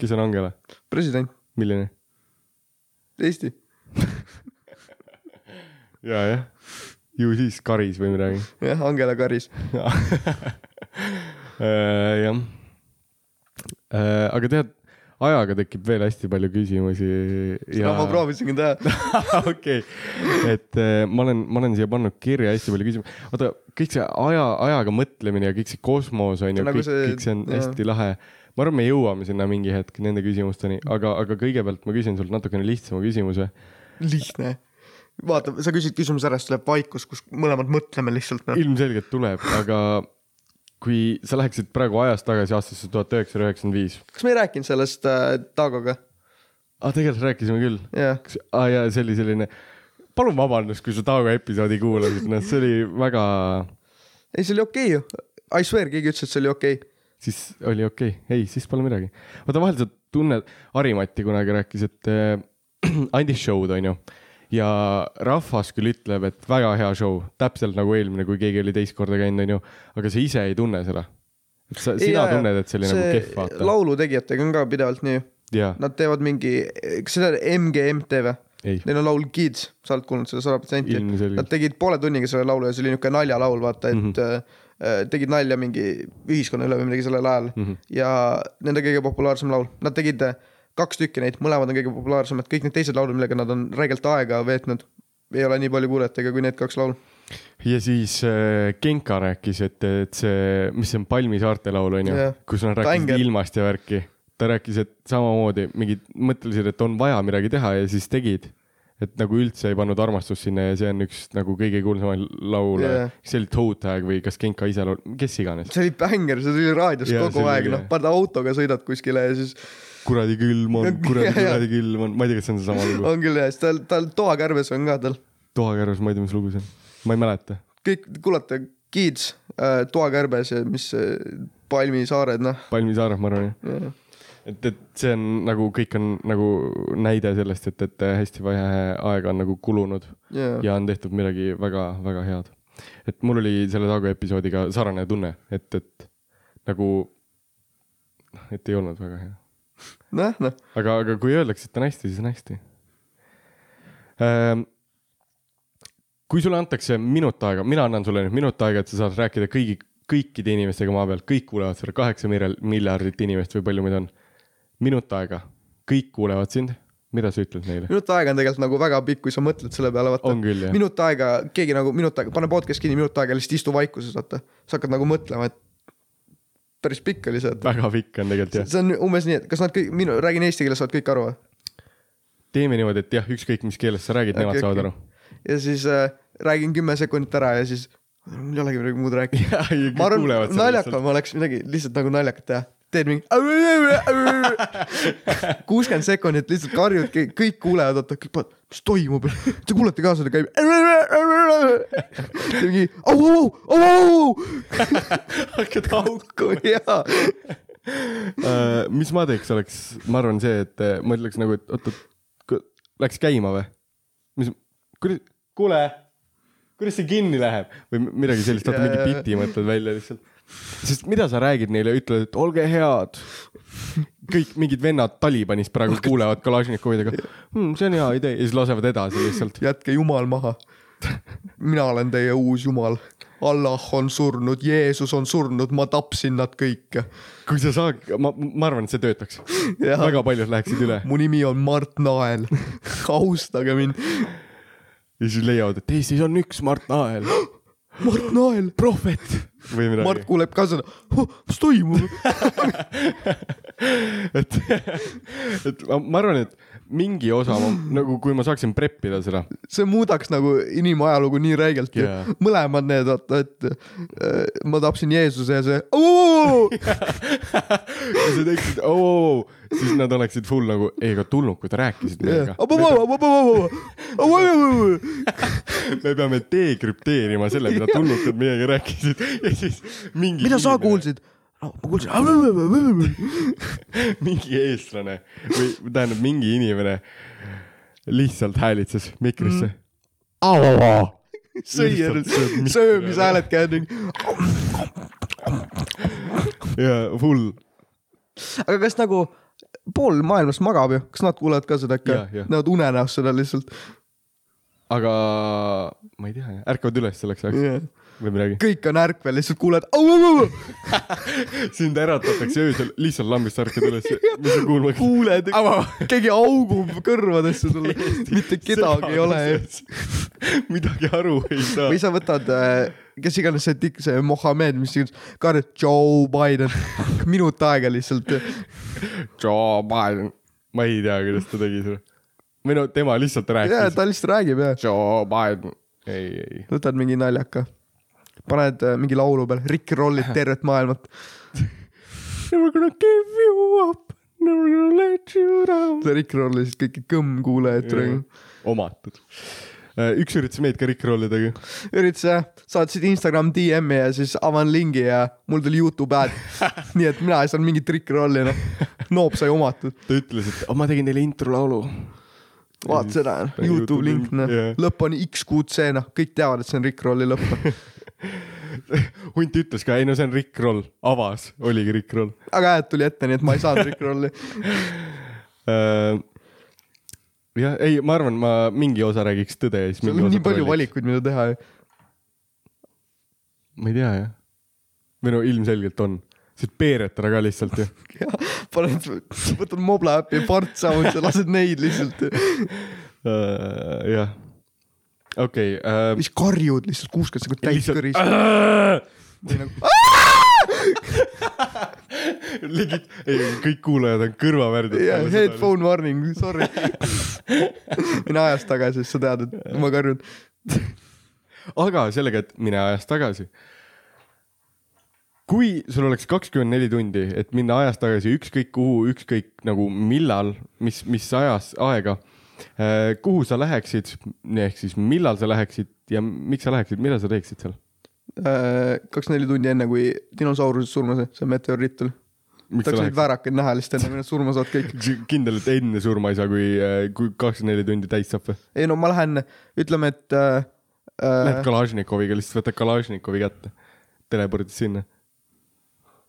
[SPEAKER 1] kes on Angela ?
[SPEAKER 2] president ,
[SPEAKER 1] milline ?
[SPEAKER 2] Eesti ,
[SPEAKER 1] ja , jah . ju siis karis või midagi .
[SPEAKER 2] jah , Angela Karis ,
[SPEAKER 1] jah . aga tead , ajaga tekib veel hästi palju küsimusi .
[SPEAKER 2] seda ma proovisingi teha .
[SPEAKER 1] okei , et eh, ma olen , ma olen siia pannud kirja hästi palju küsimusi . oota , kõik see aja , ajaga mõtlemine ja kõik see kosmos on ju ,
[SPEAKER 2] Nagu
[SPEAKER 1] kõik
[SPEAKER 2] see-
[SPEAKER 1] see, kõik see on
[SPEAKER 2] jah.
[SPEAKER 1] jah. hästi lahe . ma arvan , me jõuame sinna mingi hetk nende küsimusteni , aga , aga kõigepealt ma küsin sult natukene lihtsama küsimuse .
[SPEAKER 2] lihtne . vaata , sa küsid küsimuse ära , siis tuleb vaikus , kus mõlemad mõtleme lihtsalt . noh.
[SPEAKER 1] ilmselgelt tuleb , aga kui sa läheksid praegu ajas tagasi aastasse tuhat üheksasada üheksakümmend viis .
[SPEAKER 2] kas me ei rääkinud sellest äh, Taagoga ?
[SPEAKER 1] aa , tegelikult rääkisime küll .
[SPEAKER 2] jah ,
[SPEAKER 1] kas , aa jaa , see oli selline , palun vabandust , kui sa Taago episoodi kuulasid , noh , see oli väga ,
[SPEAKER 2] ei see oli okei okay ju , I swear , keegi ütles , et see oli okei okay. .
[SPEAKER 1] siis oli okei okay. , ei , siis pole midagi . vaata vahel sa tunned , Harimati kunagi rääkis , et äh, andis show'd , onju . ja rahvas küll ütleb , et väga hea show , täpselt nagu eelmine , kui keegi oli teist korda käinud , onju , aga sa ise ei tunne seda . sa , sina tunned , et see oli nagu kehv , vaata .
[SPEAKER 2] laulutegijatega on ka pidevalt nii ,
[SPEAKER 1] jaa ,
[SPEAKER 2] nad teevad mingi , kas see on MGMTV ?
[SPEAKER 1] ei ,
[SPEAKER 2] Neil on laul Kids , sa oled kuulnud seda sada protsenti . Nad
[SPEAKER 1] ilmselgelt . Mhm.
[SPEAKER 2] tegid poole tunniga selle laulu ja see oli niisugune naljalaul , vaata , et mm -hmm. tegid nalja mingi ühiskonna üle või midagi sellel ajal mm .
[SPEAKER 1] Mhm.
[SPEAKER 2] -hmm. ja nende kõige populaarsem laul , nad tegid äh, kaks tükki neid , mõlemad on kõige populaarsemad , kõik need teised laulud , millega nad on räigelt aega veetnud , ei ole nii palju kuulajatega kui need kaks laulu .
[SPEAKER 1] ja siis äh, Genka rääkis , et , et see , mis see on , Palmi saarte laul onju
[SPEAKER 2] Jah.
[SPEAKER 1] yeah. , kus nad rääkisid
[SPEAKER 2] Banger.
[SPEAKER 1] ilmast ja värki . ta rääkis , et samamoodi mingid mõtlesid , et on vaja midagi teha ja siis tegid . et nagu üldse ei pannud armastust sinna ja see on üks nagu kõige kuulsamaid laule
[SPEAKER 2] Jah.
[SPEAKER 1] yeah. . see oli Toe Tag või kas Genka ise laul , kes iganes .
[SPEAKER 2] see oli bänger , see tuli raadios
[SPEAKER 1] Jaa,
[SPEAKER 2] yeah,
[SPEAKER 1] see
[SPEAKER 2] kogu
[SPEAKER 1] oli
[SPEAKER 2] aeg ,
[SPEAKER 1] äge.
[SPEAKER 2] noh , paned autoga , sõidad kuskile ja siis
[SPEAKER 1] kuradi külm on , kuradi
[SPEAKER 2] Jah, jah.
[SPEAKER 1] kuradi külm on , ma ei tea , kas see on seesama lugu .
[SPEAKER 2] on küll jah , siis tal , tal toakärves on ka tal ,
[SPEAKER 1] toakärves , ma ei tea , mis lugu see on , ma ei mäleta .
[SPEAKER 2] kõik kuulate , Kids äh, , toakärbes ja mis äh, palmisaared , noh .
[SPEAKER 1] Palmi saar , ma arvan jah et , et see on nagu kõik on nagu näide sellest , et , et hästi vähe aega on nagu kulunud
[SPEAKER 2] Yeah.
[SPEAKER 1] ja on tehtud midagi väga-väga head . et mul oli selle Taago episoodiga sarnane tunne , et , et nagu , et ei olnud väga hea .
[SPEAKER 2] noh , noh ,
[SPEAKER 1] aga , aga kui öeldakse , et on hästi , siis on hästi ähm, . kui sulle antakse minut aega , mina annan sulle nüüd minut aega , et sa saad rääkida kõigi , kõikide inimestega maa peal , kõik kuulevad seda kaheksa miljard- miljardit inimest või palju meid on . minut aega , kõik kuulevad sind , mida sa ütled neile ?
[SPEAKER 2] minut aega on tegelikult nagu väga pikk , kui sa mõtled selle peale , vaata .
[SPEAKER 1] on küll jah ,
[SPEAKER 2] minut aega , keegi nagu minut aega , pane podcast kinni , minut aega lihtsalt istu vaikuses , vaata . sa hakkad nagu mõtlema , et päris pikk oli see , et
[SPEAKER 1] väga pikk on tegelikult jah .
[SPEAKER 2] see on umbes nii , et kas nad kõik , minu , räägin eesti keeles , saavad kõik aru või ?
[SPEAKER 1] teeme niimoodi , et jah , ükskõik mis keeles sa räägid , nemad
[SPEAKER 2] Okei,
[SPEAKER 1] saavad
[SPEAKER 2] okei.
[SPEAKER 1] aru .
[SPEAKER 2] ja siis äh, räägin kümme sekundit ära ja siis mul ei olegi midagi muud rääkida .
[SPEAKER 1] ja , ja
[SPEAKER 2] ma
[SPEAKER 1] kõik
[SPEAKER 2] arvan
[SPEAKER 1] kuulevad , seda .
[SPEAKER 2] naljakam oleks midagi lihtsalt nagu naljakat teha . teed mingi kuuskümmend sekundit lihtsalt karjud , kõik kuulevad , oota , kõik vaatavad , mis toimub , te kuulete ka seda käib . mingi au , au , au , au ,
[SPEAKER 1] hakkad haukama
[SPEAKER 2] au , jaa .
[SPEAKER 1] Äh, mis ma teeks , oleks , ma arvan , see , et äh, ma ütleks nagu , et oot , oot , läks käima või ? mis , kuidas , kuule , kuidas see kinni läheb või mi- midagi sellist , vaata
[SPEAKER 2] Jaa,
[SPEAKER 1] mingi
[SPEAKER 2] jaa.
[SPEAKER 1] biti mõtled välja lihtsalt . sest mida sa räägid neile , ütled , et olge head . kõik mingid vennad Talibanis praegu kuulevad Kalašnikovidega hmm, , see on hea idee ja siis lasevad edasi lihtsalt .
[SPEAKER 2] jätke jumal maha . mina olen teie uus jumal . Allah on surnud , Jeesus on surnud , ma tapsin nad kõik .
[SPEAKER 1] kui sa saad , ma , ma arvan , et see töötaks .
[SPEAKER 2] Jaa.
[SPEAKER 1] väga paljud läheksid üle
[SPEAKER 2] mu nimi on Mart Nael . austage mind ,
[SPEAKER 1] ja siis leiavad , et Eestis on üks Mart Nael ,
[SPEAKER 2] Mart Nael , prohvet
[SPEAKER 1] või midagi .
[SPEAKER 2] Mart kuuleb ka seda , mis toimub ?
[SPEAKER 1] et , et ma- ma arvan , et mingi osa ma, nagu , kui ma saaksin prep ida seda .
[SPEAKER 2] see muudaks nagu inimajalugu nii räigelt yeah. .
[SPEAKER 1] jaa ,
[SPEAKER 2] mõlemad need , vaata , et äh, ma tapsin Jeesuse ja see oo!
[SPEAKER 1] kui sa teeksid oo oh, , oh, oh, siis nad oleksid full nagu , ei , aga tulnukud rääkisid
[SPEAKER 2] Jah.
[SPEAKER 1] meiega .
[SPEAKER 2] Abababa, abababa.
[SPEAKER 1] me peame dekrüpteerima selle , mida tulnukud meiega rääkisid ja siis mingi .
[SPEAKER 2] mida sa ? kuulsid ? ma kuulsin .
[SPEAKER 1] mingi eestlane või tähendab mingi inimene lihtsalt häälitses mikrisse mm. .
[SPEAKER 2] sõi , söömishääled käivad ringi .
[SPEAKER 1] ja full ,
[SPEAKER 2] aga kas nagu pool maailmast magab ju , kas nad kuulevad ka seda
[SPEAKER 1] Jah,
[SPEAKER 2] äkki
[SPEAKER 1] jah. ?
[SPEAKER 2] Nad unenäos seda lihtsalt .
[SPEAKER 1] aga ma ei tea , ärkavad üles selleks ajaks või midagi .
[SPEAKER 2] kõik on ärkvel , lihtsalt kuuled .
[SPEAKER 1] sind äratatakse öösel , lihtsalt lambist ärkad üles , mis sa kuulma .
[SPEAKER 2] kuuled , keegi augub kõrvadesse sulle , mitte kedagi ei ole .
[SPEAKER 1] midagi aru ei saa
[SPEAKER 2] või . sa võtad , kes iganes see tikk , see Mohammed , mis iganes , Garrett Joe Biden , minut aega lihtsalt .
[SPEAKER 1] Joe Biden , ma ei tea , kuidas ta tegi seda . või no tema lihtsalt
[SPEAKER 2] ja
[SPEAKER 1] rääkis .
[SPEAKER 2] ta lihtsalt räägib ja
[SPEAKER 1] Joe Biden , ei , ei ,
[SPEAKER 2] võtad mingi naljaka , paned äh, mingi laulu peale , rickrollid tervet maailmat ,
[SPEAKER 1] Never gonna give you up , never gonna let you down .
[SPEAKER 2] rickrollisid kõiki kõmmkuulajad praegu .
[SPEAKER 1] omatud . üks üritas meid ka rikrollidega .
[SPEAKER 2] üritas jah , saatsid Instagram DM-i ja siis avan lingi ja mul tuli Youtube ad , nii et mina ei saanud mingit rickrolli , noh . Noop sai omatud ,
[SPEAKER 1] ta ütles , et oh, ma tegin teile introlaulu .
[SPEAKER 2] vaata seda ,
[SPEAKER 1] Pani
[SPEAKER 2] Youtube
[SPEAKER 1] YouTube
[SPEAKER 2] link
[SPEAKER 1] link, ,
[SPEAKER 2] noh
[SPEAKER 1] jah. ,
[SPEAKER 2] lõpp on XQC , noh , kõik teavad , et see on rickrolli lõpp .
[SPEAKER 1] hunt ütles ka , ei no see on rikroll , avas , oligi rikroll .
[SPEAKER 2] aga hääd tuli ette , nii et ma ei saanud rickrolli .
[SPEAKER 1] jah , Äh, ei , ma arvan , ma mingi osa räägiks tõde ja siis
[SPEAKER 2] sul
[SPEAKER 1] mingi
[SPEAKER 2] on
[SPEAKER 1] osa
[SPEAKER 2] nii palju
[SPEAKER 1] trolliks.
[SPEAKER 2] valikuid , mida teha ju .
[SPEAKER 1] ma ei tea jah . või no ilmselgelt on , sest peeretada ka lihtsalt ju .
[SPEAKER 2] paned , võtad mobla äppi , part samuti , lased neid lihtsalt
[SPEAKER 1] Äh, jah , okei . äh,
[SPEAKER 2] mis karjud lihtsalt kuuskümmend sekundit täis kõris . või nagu ,
[SPEAKER 1] Legit , ei kõik kuulajad on kõrvavärd .
[SPEAKER 2] jah , headphone warning , sorry . mine ajas tagasi , siis sa tead , et ma karjun .
[SPEAKER 1] aga sellega , et mine ajas tagasi . kui sul oleks kakskümmend neli tundi , et minna ajas tagasi ükskõik kuhu , ükskõik nagu millal , mis , mis ajas , aega , kuhu sa läheksid , ehk siis millal sa läheksid ja miks sa läheksid , mida sa teeksid seal ?
[SPEAKER 2] Äh, kaks-neli tundi enne , kui dinosaurused surma sai , see meteoriit tuli .
[SPEAKER 1] miks sa
[SPEAKER 2] tahaks neid
[SPEAKER 1] läheksid ?
[SPEAKER 2] väärakaid näha lihtsalt enne , kui nad surma saavad kõik .
[SPEAKER 1] kindel , et enne surma ei saa , kui , kui kakskümmend neli tundi täis saab või ?
[SPEAKER 2] ei no ma lähen , ütleme , et äh,
[SPEAKER 1] Lähed
[SPEAKER 2] äh,
[SPEAKER 1] Kalašnikoviga , lihtsalt võtad Kalašnikovi kätte , teleportid sinna .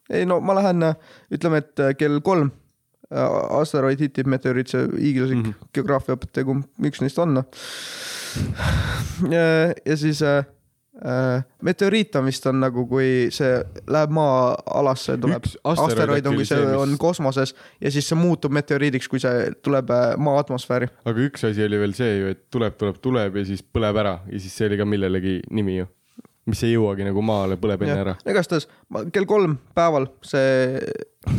[SPEAKER 2] ei no ma lähen , ütleme , et äh, kell kolm äh, asteroid hitib meteoriit , see hiiglaslik mm
[SPEAKER 1] Mhm.
[SPEAKER 2] -hmm. geograafiaõpetaja , kumb üks neist on . ja siis äh, äh, meteoriit on vist on nagu , kui see läheb maa-alasse , tuleb .
[SPEAKER 1] Üks asteroid
[SPEAKER 2] asteroid on ,
[SPEAKER 1] äkki
[SPEAKER 2] kui
[SPEAKER 1] oli
[SPEAKER 2] see
[SPEAKER 1] see, mis-
[SPEAKER 2] on kosmoses ja siis see muutub meteoriidiks , kui see tuleb äh, maa atmosfääri .
[SPEAKER 1] aga üks asi oli veel see ju , et tuleb , tuleb , tuleb ja siis põleb ära ja siis see oli ka millelegi nimi ju , mis ei jõuagi nagu maale , põleb enne ära .
[SPEAKER 2] igastahes ma- kell kolm päeval see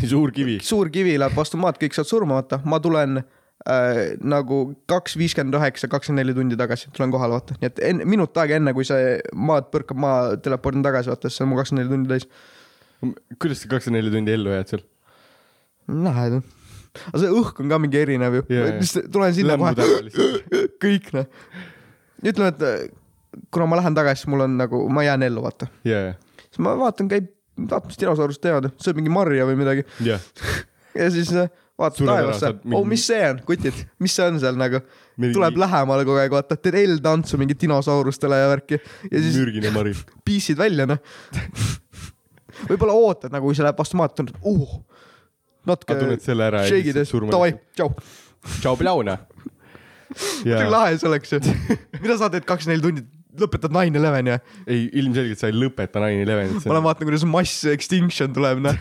[SPEAKER 1] suur kivi .
[SPEAKER 2] suur kivi läheb vastu maad , kõik saavad surma , vaata , ma tulen äh, nagu kaks viiskümmend üheksa , kakskümmend neli tundi tagasi tulen kohale , vaata , nii et enne , minut aega enne , kui see maad põrkab , ma teleportin tagasi , vaata , siis on mu kakskümmend neli tundi täis .
[SPEAKER 1] kuidas sa kakskümmend neli tundi ellu jääd seal ?
[SPEAKER 2] näed , aga see õhk on ka mingi erinev ju
[SPEAKER 1] Jaa, jaa.
[SPEAKER 2] yeah, , tulen sinna
[SPEAKER 1] Lämmud ära
[SPEAKER 2] kohe , kõik noh . ütleme , et äh, kuna ma lähen tagasi , siis mul on nagu , ma jään ellu , vaata ,
[SPEAKER 1] ja ,
[SPEAKER 2] siis ma vaatan , käib , vaatan , mis dinosaurused teevad , sööb mingi marja või midagi
[SPEAKER 1] ja ,
[SPEAKER 2] ja siis äh, vaatad
[SPEAKER 1] Sured ära,
[SPEAKER 2] taevasse
[SPEAKER 1] saad , mingi-
[SPEAKER 2] oh mis see on , kutid , mis see on seal nagu ,
[SPEAKER 1] Mingi-
[SPEAKER 2] tuleb lähemale kogu aeg , vaatad , teed L-tantsu mingi dinosaurustele ja värki ja siis
[SPEAKER 1] mürgine mari .
[SPEAKER 2] piisid välja noh . võib-olla ootad nagu , kui see läheb vastu maad , tunned , uh ,
[SPEAKER 1] aga
[SPEAKER 2] natuke
[SPEAKER 1] tunned selle ära ja
[SPEAKER 2] shake'id ja
[SPEAKER 1] siis
[SPEAKER 2] siis davai
[SPEAKER 1] surmad .,
[SPEAKER 2] tšau .
[SPEAKER 1] tšau , plauna .
[SPEAKER 2] muidugi
[SPEAKER 1] ja ,
[SPEAKER 2] lahe see oleks ju . mida sa teed kakskümmend neli tundi , lõpetad nine eleven ja
[SPEAKER 1] ei ilmselgelt sa ei lõpeta nine elevenit
[SPEAKER 2] ma
[SPEAKER 1] seal .
[SPEAKER 2] lähen vaatan , kuidas mass extinction tuleb noh .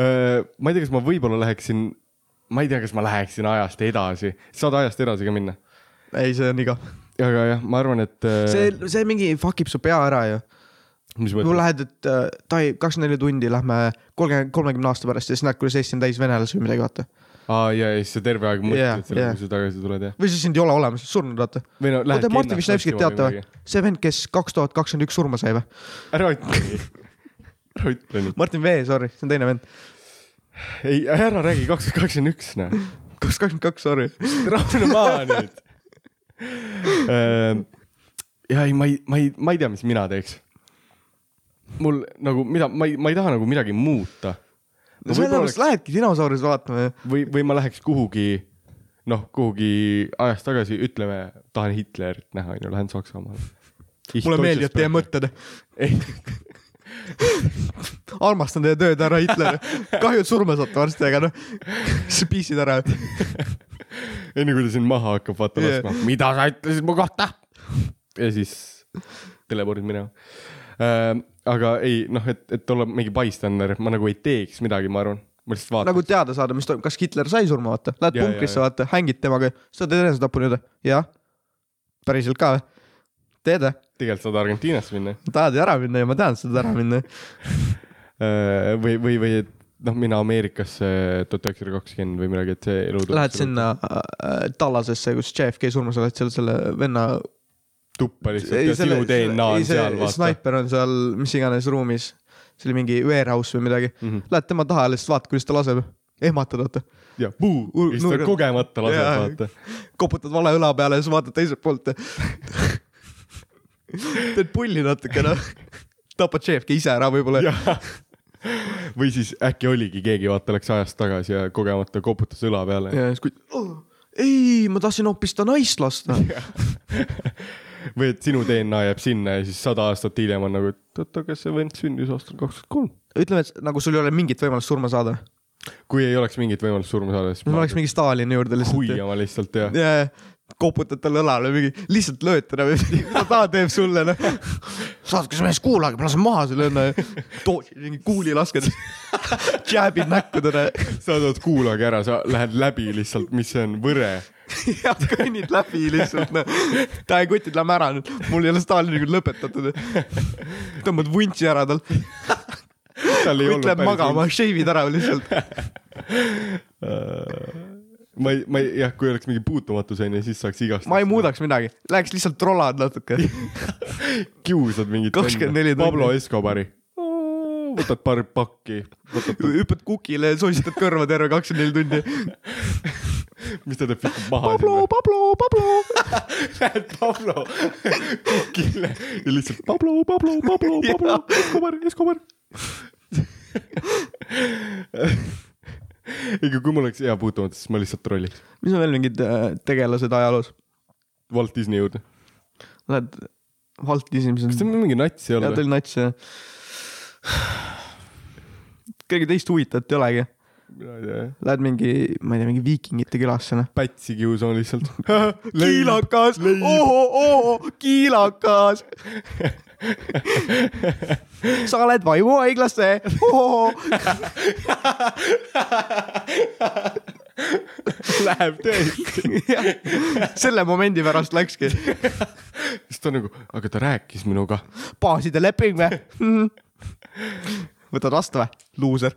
[SPEAKER 1] Äh, ma ei tea , kas ma võib-olla läheksin , ma ei tea , kas ma läheksin ajast edasi , saad ajast edasi ka minna .
[SPEAKER 2] ei , see on igav .
[SPEAKER 1] aga jah , ma arvan , et .
[SPEAKER 2] see , see mingi fuck ib su pea ära ju
[SPEAKER 1] mis
[SPEAKER 2] kui
[SPEAKER 1] mõttes ?
[SPEAKER 2] lähed , et äh, davai , kakskümmend neli tundi lähme kolmkümmend , kolmekümne aasta pärast ja siis näed , kuidas Eesti on täis venelasi või midagi , vaata .
[SPEAKER 1] aa ja , ja siis sa terve aeg mõtled
[SPEAKER 2] Jah,
[SPEAKER 1] yeah, selle
[SPEAKER 2] jah.
[SPEAKER 1] yeah. , kui sa tagasi tuled ja .
[SPEAKER 2] või siis sind ei ole olemas , surnud vaata .
[SPEAKER 1] või no lähed .
[SPEAKER 2] oota , Martin Višnevskit teate või ?? see vend , kes kaks tuhat kakskümmend üks surma sai või ?
[SPEAKER 1] ära ütle nii , ära ütle nii .
[SPEAKER 2] Martin Vee , sorry , see on teine vend .
[SPEAKER 1] ei , ära räägi kakskümmend kakskümmend üks , noh .
[SPEAKER 2] kaks kakskümmend kaks , sorry .
[SPEAKER 1] rahune maha nüüd . ja ei , ma ei , ma ei , ma ei tea , mis mina teeks . mul nagu , mida , ma ei , ma ei taha nagu midagi muuta .
[SPEAKER 2] no sellepärast oleks... lähedki dinosaurus vaatama ju .
[SPEAKER 1] või , või ma läheks kuhugi , noh , kuhugi ajas tagasi , ütleme , tahan Hitlerit näha , onju , lähen Saksamaale .
[SPEAKER 2] mulle meeldivad teie . mõtted .
[SPEAKER 1] ei ,
[SPEAKER 2] armastan teie tööd , härra Hitler . kahju , et surma saate varsti , aga noh , sa piisid ära .
[SPEAKER 1] enne kui ta sind maha hakkab vaata
[SPEAKER 2] Jah.
[SPEAKER 1] laskma , mida sa ütlesid mu kohta . ja siis teleportid minema ähm, . aga ei noh , et , et olla mingi bystander , ma nagu ei teeks midagi , ma arvan , ma lihtsalt vaatan
[SPEAKER 2] nagu
[SPEAKER 1] nagu... .
[SPEAKER 2] teada saada , mis toimub , kas Hitler sai surma , vaata . Lähed
[SPEAKER 1] Jaa,
[SPEAKER 2] punkrisse ,
[SPEAKER 1] jaa,
[SPEAKER 2] vaata , hängid temaga , saad enesetapu nii-öelda . jah . päriselt ka või ? teed või ?
[SPEAKER 1] tegelikult saad Argentiinasse minna
[SPEAKER 2] tahad ju ära minna ja ma tean , et sa tahad ära minna .
[SPEAKER 1] äh, või , või , või et noh , mina Ameerikasse tuhat üheksasada kakskümmend või midagi , et see elu .
[SPEAKER 2] Lähed . sinna äh, Tallasesse , kus JFK surma sai , oled seal selle venna .
[SPEAKER 1] tuppa lihtsalt ja sinu DNA on seal vaata .
[SPEAKER 2] snaiper on seal mis iganes ruumis . see oli mingi warehouse või midagi .
[SPEAKER 1] Mm -hmm.
[SPEAKER 2] Lähed tema taha ja lihtsalt vaatad , kuidas ta laseb . ehmatad , vaata .
[SPEAKER 1] ja puu ,
[SPEAKER 2] Ur-
[SPEAKER 1] siis ta
[SPEAKER 2] nurga-
[SPEAKER 1] kogemata laseb
[SPEAKER 2] Jaa.
[SPEAKER 1] vaata .
[SPEAKER 2] koputad vale õla peale ja siis vaatad teiselt poolt . teed pulli natukene . tapad JFK ise ära võib-olla .
[SPEAKER 1] Jah. või siis äkki oligi keegi , vaata , läks ajas tagasi ja kogemata koputas õla peale .
[SPEAKER 2] ja siis kui oh, , ei , ma tahtsin hoopis ta naist lasta .
[SPEAKER 1] või et sinu DNA jääb sinna ja siis sada aastat hiljem on nagu , et oota , kas see vend sündis aastal kaks tuhat kolm .
[SPEAKER 2] ütleme , et nagu sul ei ole mingit võimalust surma saada .
[SPEAKER 1] kui ei oleks mingit võimalust surma saada , siis
[SPEAKER 2] ma oleks mingi Stalini juurde lihtsalt .
[SPEAKER 1] huiama lihtsalt ja ,
[SPEAKER 2] ja , ja koputad talle õlale mingi , lihtsalt lööd teda või midagi , mida ta teeb sulle , noh . saatke see mees , kuulage , ma lasen maha selle õnne . toosid mingi kuuli lasked . jääbid näkku teda .
[SPEAKER 1] sa saad kuulage ära , sa lähed läbi lihtsalt , mis see on , võre .
[SPEAKER 2] ja kõnnid läbi lihtsalt , noh . täie kutid , lähme ära nüüd . mul ei ole Stalini küll lõpetatud . tõmbad vuntsi ära tal .
[SPEAKER 1] tal ei
[SPEAKER 2] kõik
[SPEAKER 1] olnud
[SPEAKER 2] läheb magama , shave'id ära lihtsalt .
[SPEAKER 1] Äh, ma ei , ma ei , jah , kui oleks mingi puutumatus onju , siis saaks igast .
[SPEAKER 2] ma ei . muudaks midagi , läheks lihtsalt trollad natuke .
[SPEAKER 1] kiusad mingit .
[SPEAKER 2] 24 tundi.
[SPEAKER 1] Pablo Escobari . võtad paar pakki , võtad ,
[SPEAKER 2] hüppad kukile , sositad kõrva terve kakskümmend neli tundi .
[SPEAKER 1] mis ta teeb , viskab maha
[SPEAKER 2] Pablo , Pablo , Pablo .
[SPEAKER 1] Lähed Pablo kukile ja lihtsalt Pablo , Pablo , Pablo , Pablo , Escobar , Escobar . ega kui mul oleks hea puutumatus , siis ma lihtsalt trolliks .
[SPEAKER 2] mis on veel mingid äh, tegelased ajaloos ?
[SPEAKER 1] Walt Disney juurde .
[SPEAKER 2] Lähed Walt Disney , mis
[SPEAKER 1] kas ta
[SPEAKER 2] on ,
[SPEAKER 1] mingi nats ei
[SPEAKER 2] jah
[SPEAKER 1] ole
[SPEAKER 2] ta ? oli nats ja . kõige teist huvitavat ei olegi .
[SPEAKER 1] mina ei tea jah .
[SPEAKER 2] Lähed mingi , ma ei tea , mingi viikingite külasse , noh .
[SPEAKER 1] Pätsi kius on lihtsalt .
[SPEAKER 2] kiilakas , ohoo , kiilakas . sa oled vaimuhaiglasse , ohoo .
[SPEAKER 1] Läheb tõesti .
[SPEAKER 2] selle momendi pärast läkski
[SPEAKER 1] siis ta on nagu , aga ta rääkis minuga .
[SPEAKER 2] baaside leping või ? võtad vastu või ? luuser .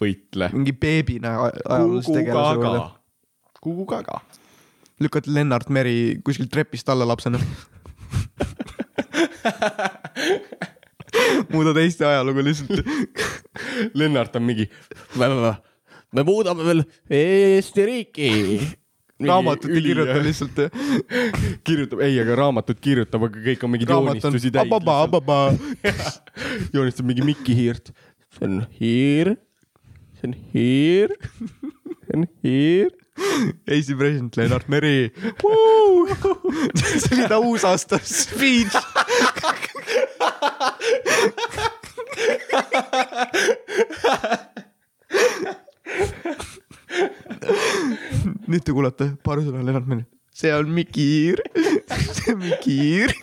[SPEAKER 1] võitle .
[SPEAKER 2] mingi beebina aj- ajaloolist tegelase
[SPEAKER 1] kukugaga
[SPEAKER 2] juurde ..
[SPEAKER 1] kukugaga .
[SPEAKER 2] lükkad Lennart Meri kuskilt trepist alla lapsena . muudad Eesti ajalugu lihtsalt .
[SPEAKER 1] Lennart on mingi
[SPEAKER 3] me muudame veel Eesti riiki .
[SPEAKER 2] raamatut ei
[SPEAKER 1] üli-
[SPEAKER 2] kirjuta lihtsalt .
[SPEAKER 1] kirjutab , ei , aga raamatut kirjutab , aga kõik on mingid
[SPEAKER 2] raamat on
[SPEAKER 1] joonistusi täis .
[SPEAKER 2] ababa , ababa .
[SPEAKER 1] joonistab mingi Mikki hiirt .
[SPEAKER 3] see on hiir , see on hiir , see on hiir .
[SPEAKER 2] Eesti president Lennart Meri . see oli ta uusaasta speech . nüüd te kuulate paari sõna Lennart Meri . see on Miki Hiir , see on Miki Hiir .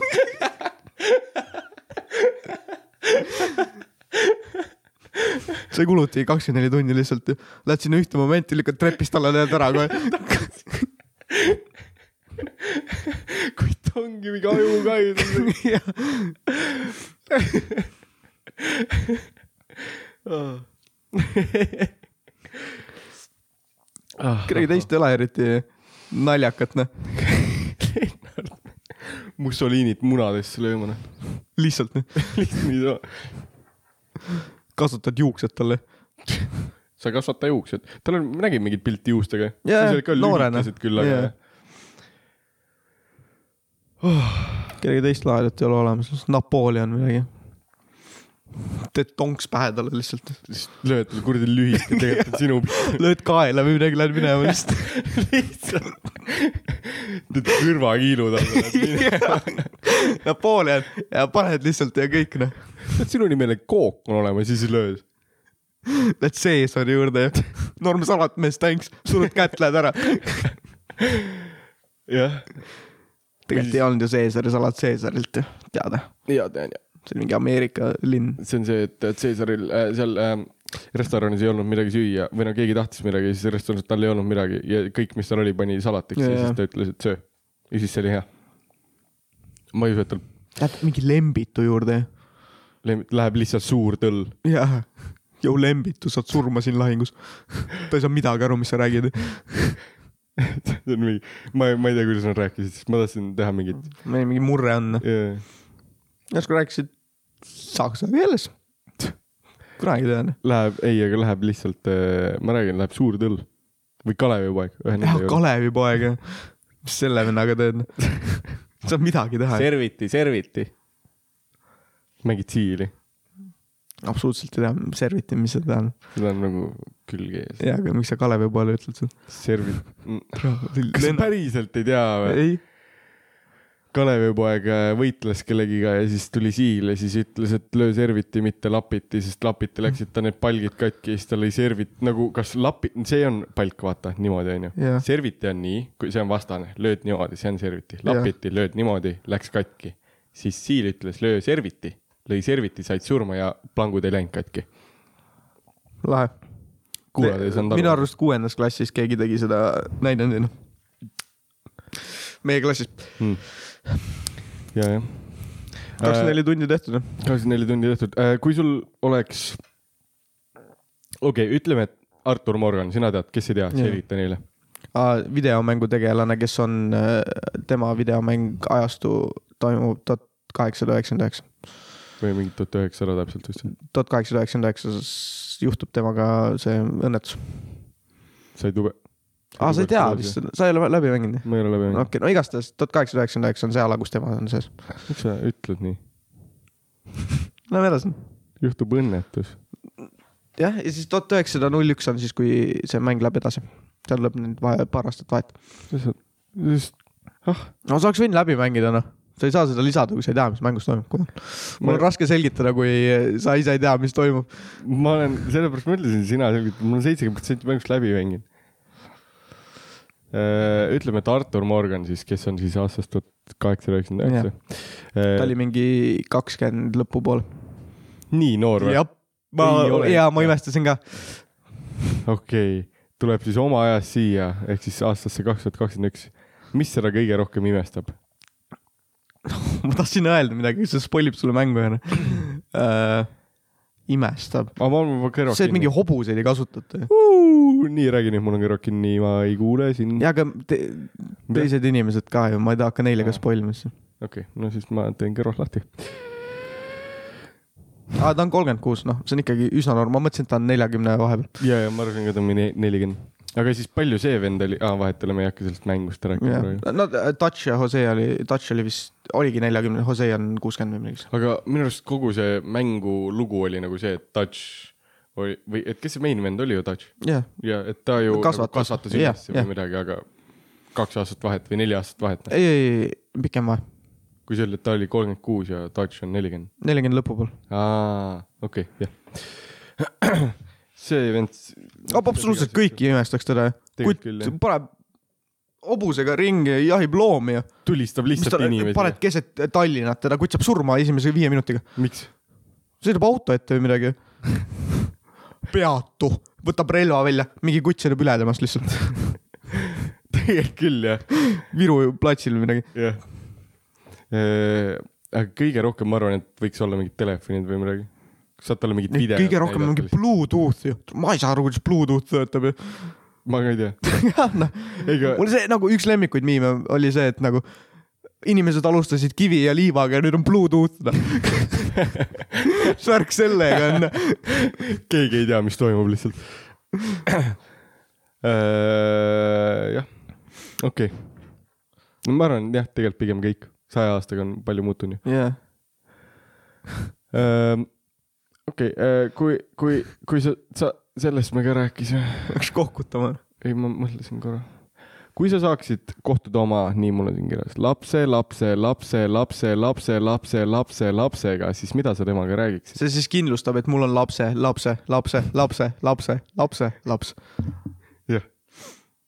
[SPEAKER 2] see kuluti kakskümmend neli tundi lihtsalt , lähed sinna ühte momenti , lükkad trepist alla , lähed ära kohe .
[SPEAKER 1] kuid ta ongi mingi ajukaju . Ah.
[SPEAKER 2] kedagi teist ei ole eriti naljakat , noh ,
[SPEAKER 1] Mussolinit munadesse lööma , noh .
[SPEAKER 2] lihtsalt noh ,
[SPEAKER 1] lihtsalt nii too .
[SPEAKER 2] kasutad juuksed talle .
[SPEAKER 1] sa ei kasvata juuksed , tal on , ma nägin mingit pilti juustega .
[SPEAKER 2] Jaa, noorena.
[SPEAKER 1] lühikesed küll , aga
[SPEAKER 2] Jaa. kedagi teist lahedat ei ole olemas , Napoleon midagi . teed tonks pähe talle lihtsalt ,
[SPEAKER 1] siis lööd talle kuradi lühike , tegelikult on sinu pilt .
[SPEAKER 2] lööd kaela või midagi , lähed minema lihtsalt .
[SPEAKER 1] lihtsalt . teed kõrvakiilud alla .
[SPEAKER 2] Napoleon ja paned lihtsalt ja kõik noh ,
[SPEAKER 1] sinu nimele kook on olemas ja siis lööd .
[SPEAKER 2] lähed seesari juurde ja norm salat mees , thanks , sured kätt , lähed ära .
[SPEAKER 1] jah .
[SPEAKER 2] tegelikult ei olnud ju seesari salat Seesarilt ju , teada ,
[SPEAKER 1] ja tean ja .
[SPEAKER 2] see on mingi Ameerika linn .
[SPEAKER 1] see on see , et et Caesaril äh, seal äh, restoranis ei olnud midagi süüa või no keegi tahtis midagi ja siis restoranis tal ei olnud midagi ja kõik , mis tal oli , pani salatiks ja,
[SPEAKER 2] Jaa,
[SPEAKER 1] ja
[SPEAKER 2] jaa.
[SPEAKER 1] siis ta ütles , et söö . ja siis see oli hea . ma ei usu , et tal
[SPEAKER 2] Lähed mingi Lembitu juurde ju .
[SPEAKER 1] lem- läheb lihtsalt suur tõll .
[SPEAKER 2] jah , jõu Lembitu , saad surma siin lahingus . ta ei saa midagi aru , mis sa räägid .
[SPEAKER 1] see on mingi , ma , ma ei tea , kuidas nad rääkisid , sest ma tahtsin teha mingit
[SPEAKER 2] meil mingi murre on .
[SPEAKER 1] yeah. .
[SPEAKER 2] järsku rääkisid saksa keeles . kunagi ei tea .
[SPEAKER 1] Läheb , ei , aga läheb lihtsalt , ma räägin , läheb suur tõll või Kalevipoeg .
[SPEAKER 2] jah , Kalevipoeg , mis selle vennaga teed ? saab midagi teha .
[SPEAKER 3] serviti , serviti .
[SPEAKER 1] mängid siili ,
[SPEAKER 2] absoluutselt ei tea , serviti , mis see tähendab .
[SPEAKER 1] seda on nagu külge ees .
[SPEAKER 2] jaa , aga miks sa Kalevipoele ütled seda ?
[SPEAKER 1] servid . kas sa päriselt ei tea või ?
[SPEAKER 2] Mm, ei ,
[SPEAKER 1] Kalevipoeg äh, võitles kellegiga ja siis tuli siil ja siis ütles , et löö serviti , mitte lapiti , sest lapiti läksid ta need palgid katki ja siis tal oli servit nagu , kas lapi , see on palk , vaata niimoodi onju .
[SPEAKER 2] Jah.
[SPEAKER 1] serviti on nii , kui see on vastane , lööd niimoodi , see on serviti , lapiti , lööd niimoodi , läks katki . siis siil ütles , löö serviti , lõi serviti , said surma ja plangud ei läinud katki .
[SPEAKER 2] lahe .
[SPEAKER 1] kuulajad ei saanud
[SPEAKER 2] minu
[SPEAKER 1] aru .
[SPEAKER 2] arust kuuendas klassis keegi tegi seda näidendina . meie klassis
[SPEAKER 1] Äh, ja , jah . Äh,
[SPEAKER 2] kakskümmend Hmm. neli tundi tehtud .
[SPEAKER 1] kakskümmend neli tundi tehtud . kui sul oleks , okei okay, , ütleme , et Artur Morgan , sina tead , kes ei tea ,
[SPEAKER 2] Jah.
[SPEAKER 1] selgita neile .
[SPEAKER 2] Ah, videomängutegelane , kes on , tema videomäng ajastu toimub tuhat kaheksasada üheksakümmend üheksa .
[SPEAKER 1] või mingi tuhat üheksasada täpselt vist .
[SPEAKER 2] tuhat kaheksasada üheksakümmend üheksas juhtub temaga see õnnetus .
[SPEAKER 1] sai tube .
[SPEAKER 2] aa , Ah, sa ei tea Ah. vist ,? sa ei ole läbi mänginud jah ?
[SPEAKER 1] ma ei ole läbi
[SPEAKER 2] okei
[SPEAKER 1] mänginud
[SPEAKER 2] okay, , no igastahes tuhat kaheksasada üheksakümmend üheksa on see ala , kus tema on sees .
[SPEAKER 1] no. . miks sa ütled nii ?
[SPEAKER 2] Lähme edasi .
[SPEAKER 1] juhtub õnnetus .
[SPEAKER 2] jah , ja siis tuhat üheksasada null üks on siis , kui see mäng läheb edasi . seal läheb nüüd vahe , paar aastat vahet .
[SPEAKER 1] lihtsalt , just , ah ,
[SPEAKER 2] no sa oleks võinud läbi mängida noh , sa ei saa seda lisada , kui sa ei tea , mis mängus toimub . mul
[SPEAKER 1] Ma-
[SPEAKER 2] on raske selgitada , kui sa ise ei tea , mis toimub .
[SPEAKER 1] ma olen , sellepärast ma ütlesin , sina selgitad , ma olen seitsekümmend protsenti mängust läbi mänginud . ütleme , et Artur Morgan siis , kes on siis aastast tuhat kaheksasada üheksakümmend Äh,
[SPEAKER 2] ta
[SPEAKER 1] üheksa
[SPEAKER 2] oli . mingi kakskümmend lõpupoole .
[SPEAKER 1] nii noor või ?
[SPEAKER 2] jah , ma
[SPEAKER 1] Ei ole. ,
[SPEAKER 2] ja ma imestasin ka .
[SPEAKER 1] okei okay. , tuleb siis oma ajast siia ehk siis aastasse kaks tuhat kakskümmend üks . mis seda kõige rohkem imestab ?
[SPEAKER 2] ma tahtsin öelda midagi , see spoilib sulle mängu jälle uh, . imestab .
[SPEAKER 1] aga Ah, ma arvan , ma kõrva
[SPEAKER 2] see , et mingi hobuseid ei kasutata .
[SPEAKER 1] uh, . nii , räägi nüüd , mul on kõrva kinni , ma ei kuule sind .
[SPEAKER 2] ja aga te, teised inimesed ka ju , ma ei taha ka neile ka spoilima siis .
[SPEAKER 1] okei okay, , no siis ma teen kõrvad lahti .
[SPEAKER 2] aa , ta on kolmkümmend kuus , noh , see on ikkagi üsna norm- , ma mõtlesin , et ta on neljakümne vahepeal .
[SPEAKER 1] ja , ja ma arvan ka , et on mingi nelikümmend . aga siis palju see vend oli ah, , vahet ei ole , me ei hakka sellest mängust rääkima
[SPEAKER 2] jah
[SPEAKER 1] praegu .,
[SPEAKER 2] no Touch ja Jose oli , Touch oli vist , oligi neljakümne , Jose on kuuskümmend või midagi .
[SPEAKER 1] aga minu arust kogu see mängu lugu oli nagu see , et Touch oli või et kes see main vend oli ju Touch
[SPEAKER 2] jah ,
[SPEAKER 1] ja et ta ju
[SPEAKER 2] Kasvatas.
[SPEAKER 1] nagu kasvatas
[SPEAKER 2] Jah,
[SPEAKER 1] ülesse või
[SPEAKER 2] jah.
[SPEAKER 1] midagi , aga kaks aastat vahet või neli aastat vahet .
[SPEAKER 2] ei , ei , ei , pikem vahe ,
[SPEAKER 1] kui see oli , et ta oli kolmkümmend kuus ja Touch on nelikümmend .
[SPEAKER 2] neljakümne lõpupoole .
[SPEAKER 1] aa , okei okay, , jah . see vend .
[SPEAKER 2] Ab- absoluutselt . kõiki imestaks teda ju .
[SPEAKER 1] Tegelikult
[SPEAKER 2] kutt
[SPEAKER 1] küll, jah.
[SPEAKER 2] paneb hobusega ringi , jahib loomi ja
[SPEAKER 1] tulistab
[SPEAKER 2] mis
[SPEAKER 1] lihtsalt
[SPEAKER 2] ta
[SPEAKER 1] ta, , inimesi paned... .
[SPEAKER 2] paned keset Tallinnat , teda kutsub surma esimese viie minutiga .
[SPEAKER 1] miks ?
[SPEAKER 2] sõidab auto ette või midagi . peatu , võtab relva välja , mingi kutt sõidab üle temast lihtsalt
[SPEAKER 1] tegelikult küll , jah ,
[SPEAKER 2] Viru platsil või midagi .
[SPEAKER 1] jah . aga kõige rohkem ma arvan , et võiks olla mingid telefonid või midagi . saad talle mingit videot .
[SPEAKER 2] kõige rohkem mingi . Bluetooth ju , ma ei saa aru , kuidas Bluetooth töötab ju .
[SPEAKER 1] ma ka ei tea .
[SPEAKER 2] noh ,
[SPEAKER 1] ega
[SPEAKER 2] mul see nagu üks lemmikuid miime oli see , et nagu inimesed alustasid kivi ja liivaga ja nüüd on Bluetooth no. . värk sellega on .
[SPEAKER 1] keegi ei tea , mis toimub lihtsalt . Äh, jah , okei . no ma arvan , jah , tegelikult pigem kõik , saja aastaga on palju muutunud ju .
[SPEAKER 2] jah ,
[SPEAKER 1] okei , kui , kui , kui sa , sa , sellest me ka rääkisime .
[SPEAKER 2] peaks kohkutama .
[SPEAKER 1] ei , ma mõtlesin korra . kui sa saaksid kohtuda oma , nii mul on siin kirjas , lapse , lapse , lapse , lapse , lapse , lapse , lapse , lapsega , siis mida sa temaga räägiksid ?
[SPEAKER 2] see siis kindlustab , et mul on lapse , lapse , lapse , lapse , lapse , lapse , laps .
[SPEAKER 1] Jah.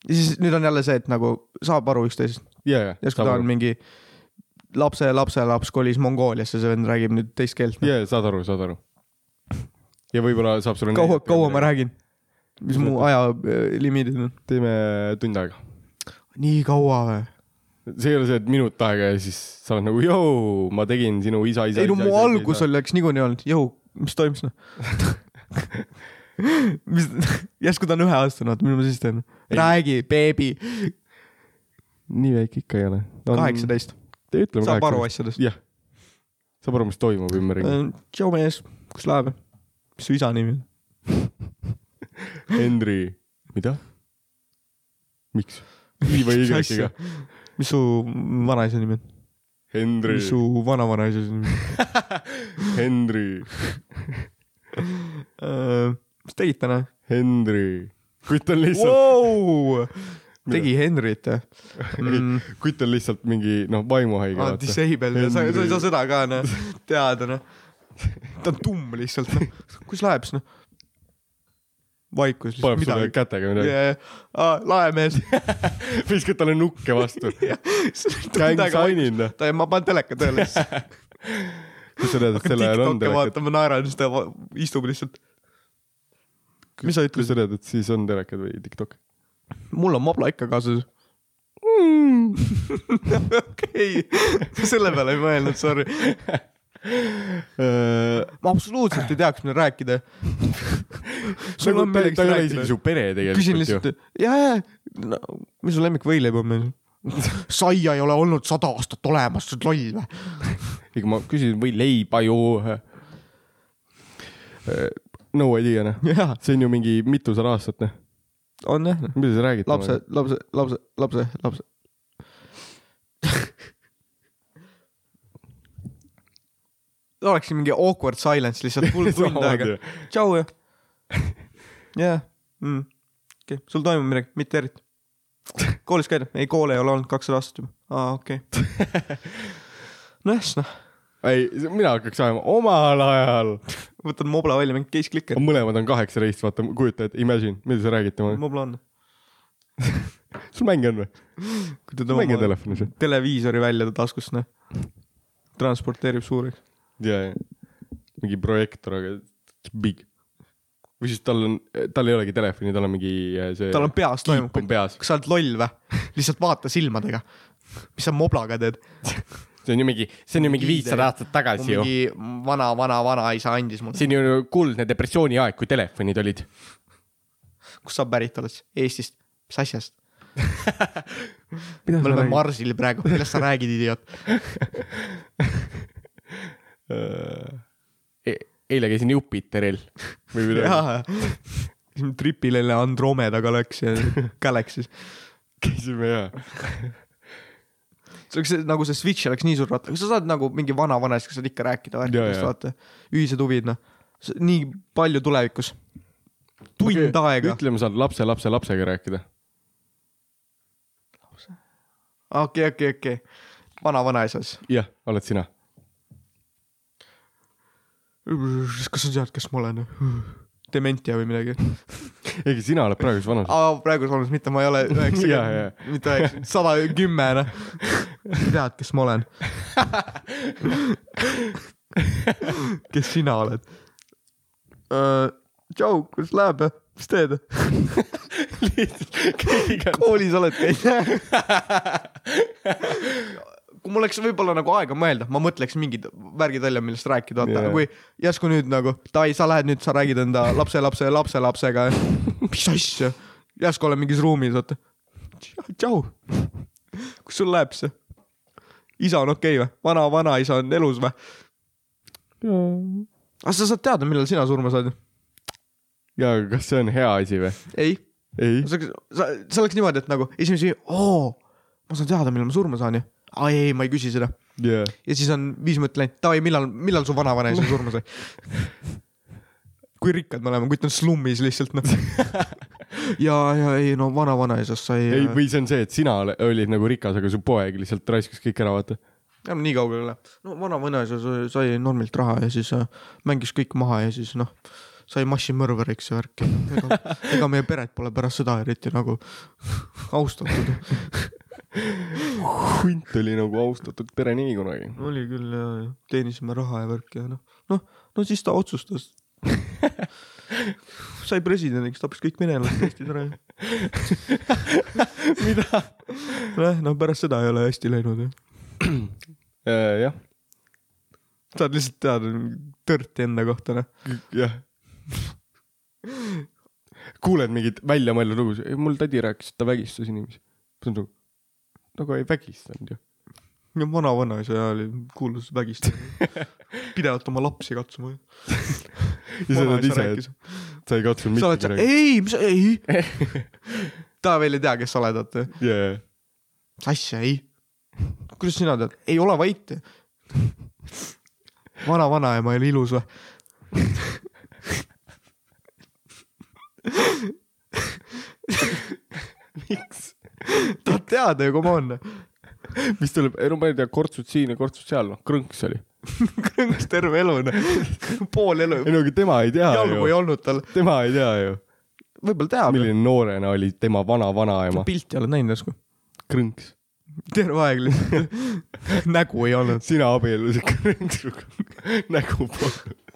[SPEAKER 2] ja siis nüüd on jälle see , et nagu saab aru üksteisest .
[SPEAKER 1] ja , ja .
[SPEAKER 2] järsku ta on mingi lapse , lapselaps kolis Mongooliasse , see vend räägib nüüd teist keelt .
[SPEAKER 1] ja , ja saad aru , saad aru . ja võib-olla saab sulle .
[SPEAKER 2] kaua , kaua ma ? räägin ? mis mu aja äh, limiidid on ?
[SPEAKER 1] teeme tund aega .
[SPEAKER 2] nii kaua või ?
[SPEAKER 1] see ei ole see , et minut aega ja siis sa oled nagu , joo , ma tegin sinu isa , isa .
[SPEAKER 2] ei no mu algus . oleks niikuinii olnud , jõu , mis toimus noh ? mis , järsku ta on üheaastane , vaata , mida ma siis teen ?
[SPEAKER 1] Ei.
[SPEAKER 2] räägi , beebi ,
[SPEAKER 1] nii väike ikka ei ole .
[SPEAKER 2] kaheksateist ,
[SPEAKER 1] ütleme
[SPEAKER 2] saab aru
[SPEAKER 1] kaheksateist .
[SPEAKER 2] asjadest .
[SPEAKER 1] jah . saab aru , mis toimub ümberringi .
[SPEAKER 2] tšau mees , kus läheb ? mis su isa nimi on ? Äh.
[SPEAKER 1] Henri , mida ? miks ? I või Y-ga ?
[SPEAKER 2] mis su vanaisa nimi on ?
[SPEAKER 1] Henri
[SPEAKER 2] mis , su vanavanaisa nimi
[SPEAKER 1] Henri ,
[SPEAKER 2] on ? Äh, mis tegid täna ?
[SPEAKER 1] Henri . kutt on lihtsalt ,
[SPEAKER 2] tegi Henrit jah mm. ?
[SPEAKER 1] kutt on lihtsalt mingi noh , vaimuhaige .
[SPEAKER 2] aa , disable , sa , sa ei saa seda ka noh teada noh . ta on tumm lihtsalt noh . kus läheb siis noh ? vaikus
[SPEAKER 1] paneb
[SPEAKER 2] lihtsalt
[SPEAKER 1] sulle
[SPEAKER 2] midagi .
[SPEAKER 1] kätega midagi ,
[SPEAKER 2] jajah , aa laemees .
[SPEAKER 1] viskad talle nukke vastu . Gang signing , noh .
[SPEAKER 2] ta , ma panen teleka tööle siis .
[SPEAKER 1] kas sa tead , et selle ajal on
[SPEAKER 2] TikTok'e
[SPEAKER 1] telekad ?
[SPEAKER 2] vaatama , naeran , siis ta va- istub lihtsalt . mis sa
[SPEAKER 1] kas
[SPEAKER 2] ütlesid ?
[SPEAKER 1] sa tead , et siis on telekad või TikTok ?
[SPEAKER 2] mul on mabla ikka kaasas .
[SPEAKER 1] Nagu
[SPEAKER 2] okei , selle peale ei mõelnud , sorry . ma Äh, absoluutselt ei teaks , mida rääkida .
[SPEAKER 1] sul on midagi , ta ei ole isegi su pere
[SPEAKER 2] küsin
[SPEAKER 1] tegelikult ju .
[SPEAKER 2] lihtsalt , ja , ja , no mis su lemmikvõileib on meil ? saia ei ole olnud sada aastat olemas , sa oled loll või ?
[SPEAKER 1] ega ma küsin , või leiba ju . no idea , noh .
[SPEAKER 2] jaa ,
[SPEAKER 1] see on ju mingi mitusada aastat , noh .
[SPEAKER 2] on jah .
[SPEAKER 1] mida sa räägid ?
[SPEAKER 2] lapse ,, lapse , lapse , lapse , lapse . oleks mingi awkward silence lihtsalt full tund aega . tšau ja . jaa , okei , sul toimub midagi , mitte eriti . koolis käid ? ei , kool ei ole olnud kakssada aastat juba . aa , okei . nojah , siis noh ,
[SPEAKER 1] ei , mina hakkaks ajama omal ajal .
[SPEAKER 2] võtad mobla välja , mingi case clicker .
[SPEAKER 1] mõlemad on kaheksateist , vaata , kujuta ette , imagine , mida sa räägid temaga .
[SPEAKER 2] mobla on .
[SPEAKER 1] sul mänge on või ?
[SPEAKER 2] kui ta
[SPEAKER 1] mänge
[SPEAKER 2] tõmbab
[SPEAKER 1] telefonis või ?
[SPEAKER 2] televiisori välja taskust , noh . transporteerib suureks .
[SPEAKER 1] ja , ja mingi projektor , aga big . või siis tal on , tal ei olegi telefoni , tal on mingi äh, see .
[SPEAKER 2] tal on peas toimub
[SPEAKER 1] kiip on
[SPEAKER 2] kõik .
[SPEAKER 1] peas ,
[SPEAKER 2] kas sa oled loll või ? lihtsalt vaata silmadega . mis sa moblaga teed ?
[SPEAKER 1] see on ju mingi , see on ju mingi viissada aastat tagasi ju .
[SPEAKER 2] mingi vana , vana , vanaisa andis mulle .
[SPEAKER 1] see on ju kuldne depressiooni aeg , kui telefonid olid .
[SPEAKER 2] kust sa pärit oled ? Eestist . mis asjast ?
[SPEAKER 1] mida
[SPEAKER 2] me oleme ? Marsil praegu , millest sa räägid , idioot ? Äh.
[SPEAKER 1] E-, eile käisin Jupiteril või midagi ,
[SPEAKER 2] tripil jälle Andromedaga läks ja Galaxy's .
[SPEAKER 1] käisime ja .
[SPEAKER 2] see oleks see- nagu see Switch oleks nii suur ratta , kas sa saad nagu mingi vanavanaisega saad ikka rääkida värkidest ,
[SPEAKER 1] jaa.
[SPEAKER 2] vaata . ühised huvid , noh . nii palju tulevikus . tund aega .
[SPEAKER 1] ütleme , saad lapse , lapse , lapsega rääkida .
[SPEAKER 2] okei , okei , okei . vanavanaisa siis .
[SPEAKER 1] jah , oled sina .
[SPEAKER 2] kas sa tead , kes ma olen ? Dementia või midagi ?
[SPEAKER 1] ei , sina oled praeguses vanuses .
[SPEAKER 2] aa , praeguses olukorras mitte , ma ei ole
[SPEAKER 1] Jaa, jaa.
[SPEAKER 2] üheksakümmend , mitte üheksakümmend , sada kümme , noh . sa tead , kes ma olen . kes sina oled ? tšau , kuidas läheb , mis teed ? koolis oled käinud ? kui mul oleks võib-olla nagu aega mõelda , ma mõtleks mingid värgid välja , millest rääkida , vaata
[SPEAKER 1] Jaa.
[SPEAKER 2] yeah. , kui järsku nüüd nagu davai , sa lähed nüüd , sa räägid enda lapselapse lapselapsega . mis asja , järsku olen mingis ruumis , vaata . tšau . kus sul läheb see ? isa on okei okay, või ? vana , vanaisa on elus või ? aga sa saad teada , millal sina surma saad ju ?
[SPEAKER 1] ja kas see on hea asi või ?
[SPEAKER 2] ei .
[SPEAKER 1] ei ,
[SPEAKER 2] sa , sa , see oleks niimoodi , et nagu esimese , oo , ma saan teada , millal ma surma saan ju . aa ei , ei , ma ei küsi seda .
[SPEAKER 1] jaa .
[SPEAKER 2] ja siis on viis minutit läinud , davai , millal , millal su vanavanaisa surma sai ? kui rikkad me oleme , kutt on slummis lihtsalt noh . ja , ja ei no vanavanaisast sai . äh,
[SPEAKER 1] ei , või see on see , et sina ole- olid nagu rikas , aga su poeg lihtsalt raiskas kõik ära , vaata .
[SPEAKER 2] enam nii kaugele ei lähe . no vanavanaisa sai- sai normilt raha ja siis äh, mängis kõik maha ja siis noh , sai massimõrvariks ja värki . ega, ega meie peret pole pärast seda eriti nagu austatud .
[SPEAKER 1] hunt oli nagu austatud perenimi kunagi .
[SPEAKER 2] oli küll ja , ja teenisime raha ja värki ja noh , noh , no siis ta otsustas . sai presidendiks , tapis kõik venelased Eestis ära .
[SPEAKER 1] mida ?
[SPEAKER 2] nojah , no pärast seda ei ole hästi läinud ju .
[SPEAKER 1] Äh, jah ,
[SPEAKER 2] saad lihtsalt teada tõrti enda kohta noh .
[SPEAKER 1] jah . kuuled mingeid väljamõeldud lugusid , ei mul tädi rääkis , et ta vägistas inimesi . see on nagu , aga ei vägistanud ju .
[SPEAKER 2] ja vanavanaisa ja oli kuulus vägistaja . pidevalt oma lapsi katsuma ju .
[SPEAKER 1] ja sa tead ise , et sa ei katsunud
[SPEAKER 2] sa oled
[SPEAKER 1] mitte
[SPEAKER 2] seal ,
[SPEAKER 1] midagi .
[SPEAKER 2] ei , mis , ei . ta veel ei tea , kes sa oled , vaata .
[SPEAKER 1] jajah .
[SPEAKER 2] mis asja , ei . kuidas sina tead ? ei ole vait . vana vanaema oli ilus või ?
[SPEAKER 1] miks ?
[SPEAKER 2] tahad teada ju , come on .
[SPEAKER 1] mis tuleb , ei no ma ei tea , kortsud siin ja kortsud seal , noh , krõnks oli .
[SPEAKER 2] krõnks terve elu , pool elu
[SPEAKER 1] ei . no aga tema ei tea
[SPEAKER 2] jalgu ei
[SPEAKER 1] ju ,
[SPEAKER 2] olnud tal .
[SPEAKER 1] tema ei tea ju ,
[SPEAKER 2] võib-olla teab .
[SPEAKER 1] milline noorena oli tema vana-vanaema ,
[SPEAKER 2] pilti oled näinud järsku ?
[SPEAKER 1] krõnks .
[SPEAKER 2] terve aeg lihtsalt . nägu ei olnud .
[SPEAKER 1] sina abiellusid krõnksuga , nägu polnud .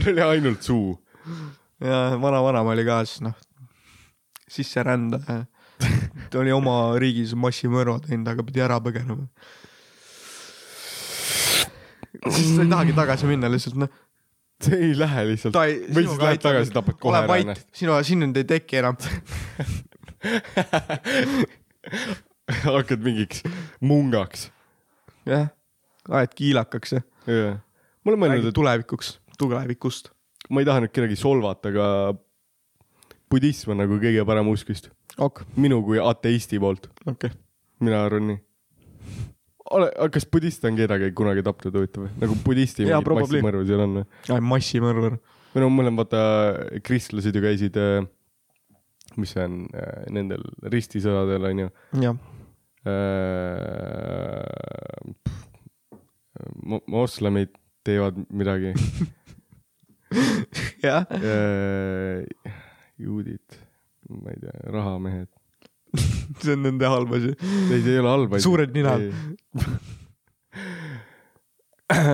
[SPEAKER 1] tal oli ainult suu .
[SPEAKER 2] ja vana-vanaema oli ka siis noh , sisserändaja . ta oli oma riigis massimõrva teinud , aga pidi ära põgenema . siis ta ei tahagi tagasi minna lihtsalt noh ,
[SPEAKER 1] see ei lähe lihtsalt
[SPEAKER 2] ta ei .
[SPEAKER 1] Või siis lähed tagasi, tapad kohe ära noh.
[SPEAKER 2] ära
[SPEAKER 1] ennast.
[SPEAKER 2] ennast . sinu , sinust ei teki enam .
[SPEAKER 1] hakkad mingiks mungaks .
[SPEAKER 2] jah , aed kiilakaks ja
[SPEAKER 1] ma olen mõelnud ,
[SPEAKER 2] räägid tulevikuks , tulevikust .
[SPEAKER 1] et ma ei taha nüüd kedagi solvata , aga budism on nagu kõige parem usk vist .
[SPEAKER 2] ok ,
[SPEAKER 1] minu kui ateisti poolt ,
[SPEAKER 2] okei okay. .
[SPEAKER 1] mina arvan nii . ole , kas budist on kedagi kunagi tapnud huvitav või ? nagu budisti
[SPEAKER 2] Jaa,
[SPEAKER 1] mingid
[SPEAKER 2] probably.
[SPEAKER 1] massimõrvad seal on või ?
[SPEAKER 2] massimõrvar .
[SPEAKER 1] või no mõlemad vaata kristlased ju käisid , mis see on , nendel ristisõdadel onju .
[SPEAKER 2] jah ,
[SPEAKER 1] äh, moslemid teevad midagi ,
[SPEAKER 2] jah .
[SPEAKER 1] äh, juudid , ma ei tea , rahamehed ,
[SPEAKER 2] see on nende halb asi .
[SPEAKER 1] neid ei ole halba .
[SPEAKER 2] Suured ninad. .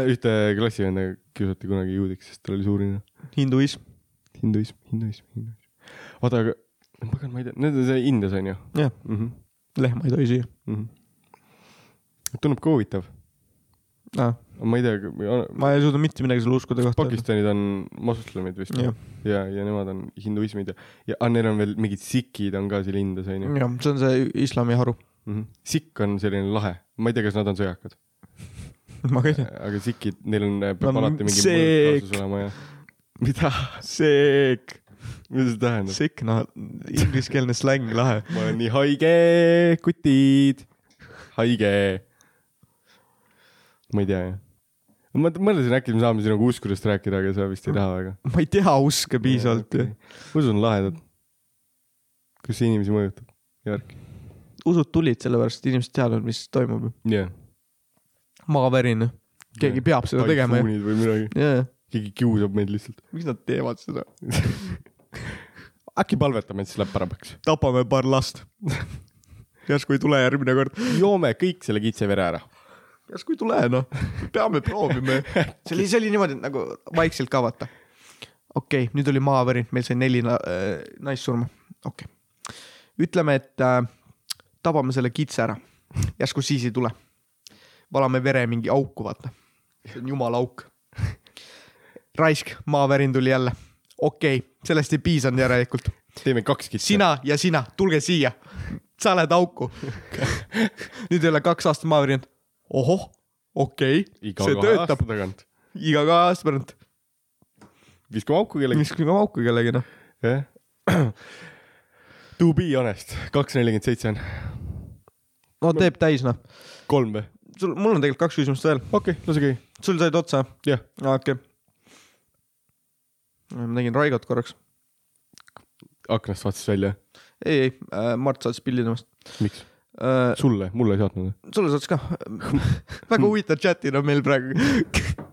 [SPEAKER 1] ühte klassivenda kiusati kunagi juudiks , sest tal oli suur nina .
[SPEAKER 2] hinduism .
[SPEAKER 1] hinduism , hinduism , hinduism . oota , aga , pagan , ma ei tea , need on see Indias onju
[SPEAKER 2] jah ,
[SPEAKER 1] mm ? -hmm.
[SPEAKER 2] lehma ei tohi süüa
[SPEAKER 1] Mm -hmm. tundub ka huvitav ,
[SPEAKER 2] ah. .
[SPEAKER 1] ma ei tea ,
[SPEAKER 2] ma ei suuda mitte midagi selle uskude kohta öelda .
[SPEAKER 1] Pakistanid on moslemid vist
[SPEAKER 2] jah ,
[SPEAKER 1] ja , ja nemad on hinduismid ja , ja aga neil on veel mingid sikid on ka seal Indias onju .
[SPEAKER 2] jah , see on see islami haru .
[SPEAKER 1] sikk on selline lahe , ma ei tea , kas nad on sõjakad ,
[SPEAKER 2] ma ka ei tea .
[SPEAKER 1] aga sikid , neil on , peab
[SPEAKER 2] on
[SPEAKER 1] alati mingi
[SPEAKER 2] sikk.
[SPEAKER 1] mõõt kaasas olema ja . mida ,
[SPEAKER 2] Sick ,
[SPEAKER 1] mida see tähendab ?
[SPEAKER 2] sick noh , ingliskeelne släng , lahe .
[SPEAKER 1] ma olen nii haige , kutid , haige . ma ei tea jah . ma mõtlesin , äkki me saame sinuga uskudest rääkida , aga sa vist ei taha väga .
[SPEAKER 2] ma ei tea uske piisavalt ju .
[SPEAKER 1] okay. . ma usun lahedad . kuidas see inimesi mõjutab ja värki .
[SPEAKER 2] usud tulid sellepärast , et inimesed teadnud , mis toimub ju .
[SPEAKER 1] jah .
[SPEAKER 2] maavärin , keegi peab seda tegema ju .
[SPEAKER 1] ju . või midagi ,
[SPEAKER 2] jajah ,
[SPEAKER 1] keegi kiusab meid lihtsalt .
[SPEAKER 2] miks nad teevad seda ?
[SPEAKER 1] äkki palvetame , et siis läheb paremaks .
[SPEAKER 2] tapame paar last . järsku ei tule järgmine kord .
[SPEAKER 1] joome kõik selle kitse vere ära .
[SPEAKER 2] järsku ei tule noh , peame proovima ju . see oli , see oli niimoodi , et nagu vaikselt ka vaata . okei okay, , nüüd oli maavärin , meil sai neli na- äh, naist surma , okei okay. . ütleme , et äh, tabame selle kitse ära , järsku siis ei tule . valame vere mingi auku , vaata . see on jumala auk . raisk , maavärin tuli jälle , okei okay, , sellest ei piisanud järelikult .
[SPEAKER 1] teeme kaks kitsa .
[SPEAKER 2] sina ja sina , tulge siia . sa lähed auku . nüüd ei ole kaks aastat maha virinud . ohoh , okei okay. ,
[SPEAKER 1] iga
[SPEAKER 2] see
[SPEAKER 1] kahe
[SPEAKER 2] töötab
[SPEAKER 1] aasta . tagant .
[SPEAKER 2] iga kahe aasta pärast
[SPEAKER 1] viskame auku kellegi .
[SPEAKER 2] viskame auku kellegi noh .
[SPEAKER 1] jah . To be honest , kaks nelikümmend seitse on .
[SPEAKER 2] no teeb täis noh .
[SPEAKER 1] kolm või ?
[SPEAKER 2] sul , mul on tegelikult kaks küsimust veel .
[SPEAKER 1] okei okay, , lase käia .
[SPEAKER 2] sul said otsa ?
[SPEAKER 1] Jah. .
[SPEAKER 2] okei okay. . ma nägin Raigot korraks .
[SPEAKER 1] aknast vaatas välja .
[SPEAKER 2] ei , ei , Mart saatis pildi temast .
[SPEAKER 1] miks ? sulle , mulle ei saatnud .
[SPEAKER 2] sulle saatis ka . väga huvitav chat'id on meil praegu .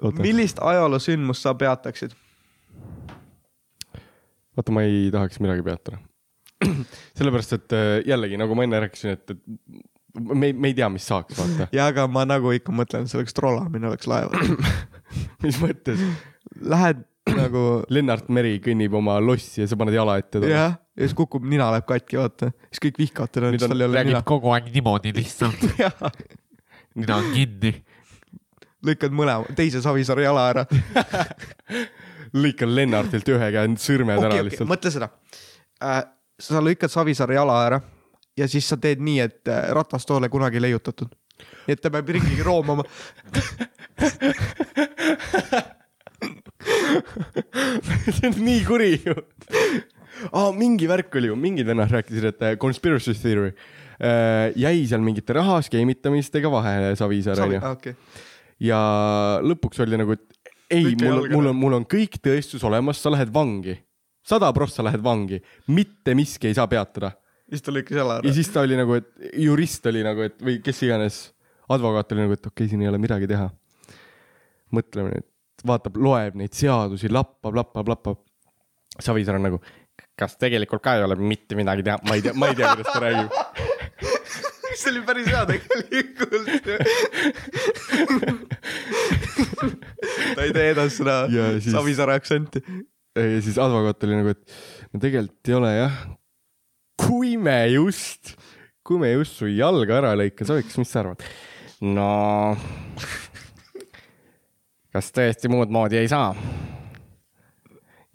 [SPEAKER 1] Oota.
[SPEAKER 2] millist ajaloosündmust sa peataksid ?
[SPEAKER 1] vaata , ma ei tahaks midagi peatada . sellepärast , et äh, jällegi nagu ma enne rääkisin , et , et me , me ei tea , mis saaks , vaata .
[SPEAKER 2] ja , aga ma nagu ikka mõtlen , see oleks trollamine oleks laeval .
[SPEAKER 1] mis mõttes ,
[SPEAKER 2] Lähed nagu
[SPEAKER 1] Lennart Meri kõnnib oma lossi ja sa paned jala ette talle .
[SPEAKER 2] jah , ja siis kukub , nina läheb katki , vaata . siis kõik vihkavad teda ,
[SPEAKER 1] Nüüd
[SPEAKER 2] siis
[SPEAKER 1] on-
[SPEAKER 2] tal ei ole
[SPEAKER 4] räägib
[SPEAKER 2] nina .
[SPEAKER 4] kogu aeg niimoodi lihtsalt , nina on kinni .
[SPEAKER 2] lõikad mõlema , teise Savisaare jala ära .
[SPEAKER 1] lõikan Lennartilt ühe käe sõrmed okay, ära
[SPEAKER 2] okei ,
[SPEAKER 1] okay,
[SPEAKER 2] okei ,
[SPEAKER 1] lihtsalt .
[SPEAKER 2] mõtle seda äh, . sa lõikad Savisaare jala ära ja siis sa teed nii , et äh, ratast ei ole kunagi leiutatud . nii et ta peab ringi roomama .
[SPEAKER 1] see on nii kuri ju . aa , mingi värk oli ju , mingid vennad rääkisid , et äh, conspiracy theory äh, jäi seal mingite raha skeemitamistega vahele Savisaar onju .
[SPEAKER 2] okei ,
[SPEAKER 1] ja lõpuks oli nagu , et ei ,
[SPEAKER 2] Kõik ei
[SPEAKER 1] mul ,
[SPEAKER 2] alga
[SPEAKER 1] mul on , mul on kõik tõestus olemas , sa lähed vangi . sada prossa lähed vangi , mitte miski ei saa peatada .
[SPEAKER 2] siis ta lõikas jala
[SPEAKER 1] ja
[SPEAKER 2] ära .
[SPEAKER 1] siis ta oli nagu , et jurist oli nagu , et või kes iganes , advokaat oli nagu , et okei okay, , siin ei ole midagi teha . mõtleme nüüd , vaatab , loeb neid seadusi , lappab , lappab , lappab . Savisaar on nagu , kas tegelikult ka ei ole mitte midagi teha , ma ei tea , ma ei tea , kuidas ta räägib .
[SPEAKER 2] see oli päris hea tegelikult . ta ei tee edasi seda
[SPEAKER 1] Ja siis-
[SPEAKER 2] Savisaare aktsenti .
[SPEAKER 1] ja siis advokaat oli nagu , et no tegelikult ei ole jah . kui me just , kui me just su jalga ära lõika sooviks , mis sa arvad ? no . kas tõesti muud moodi ei saa ?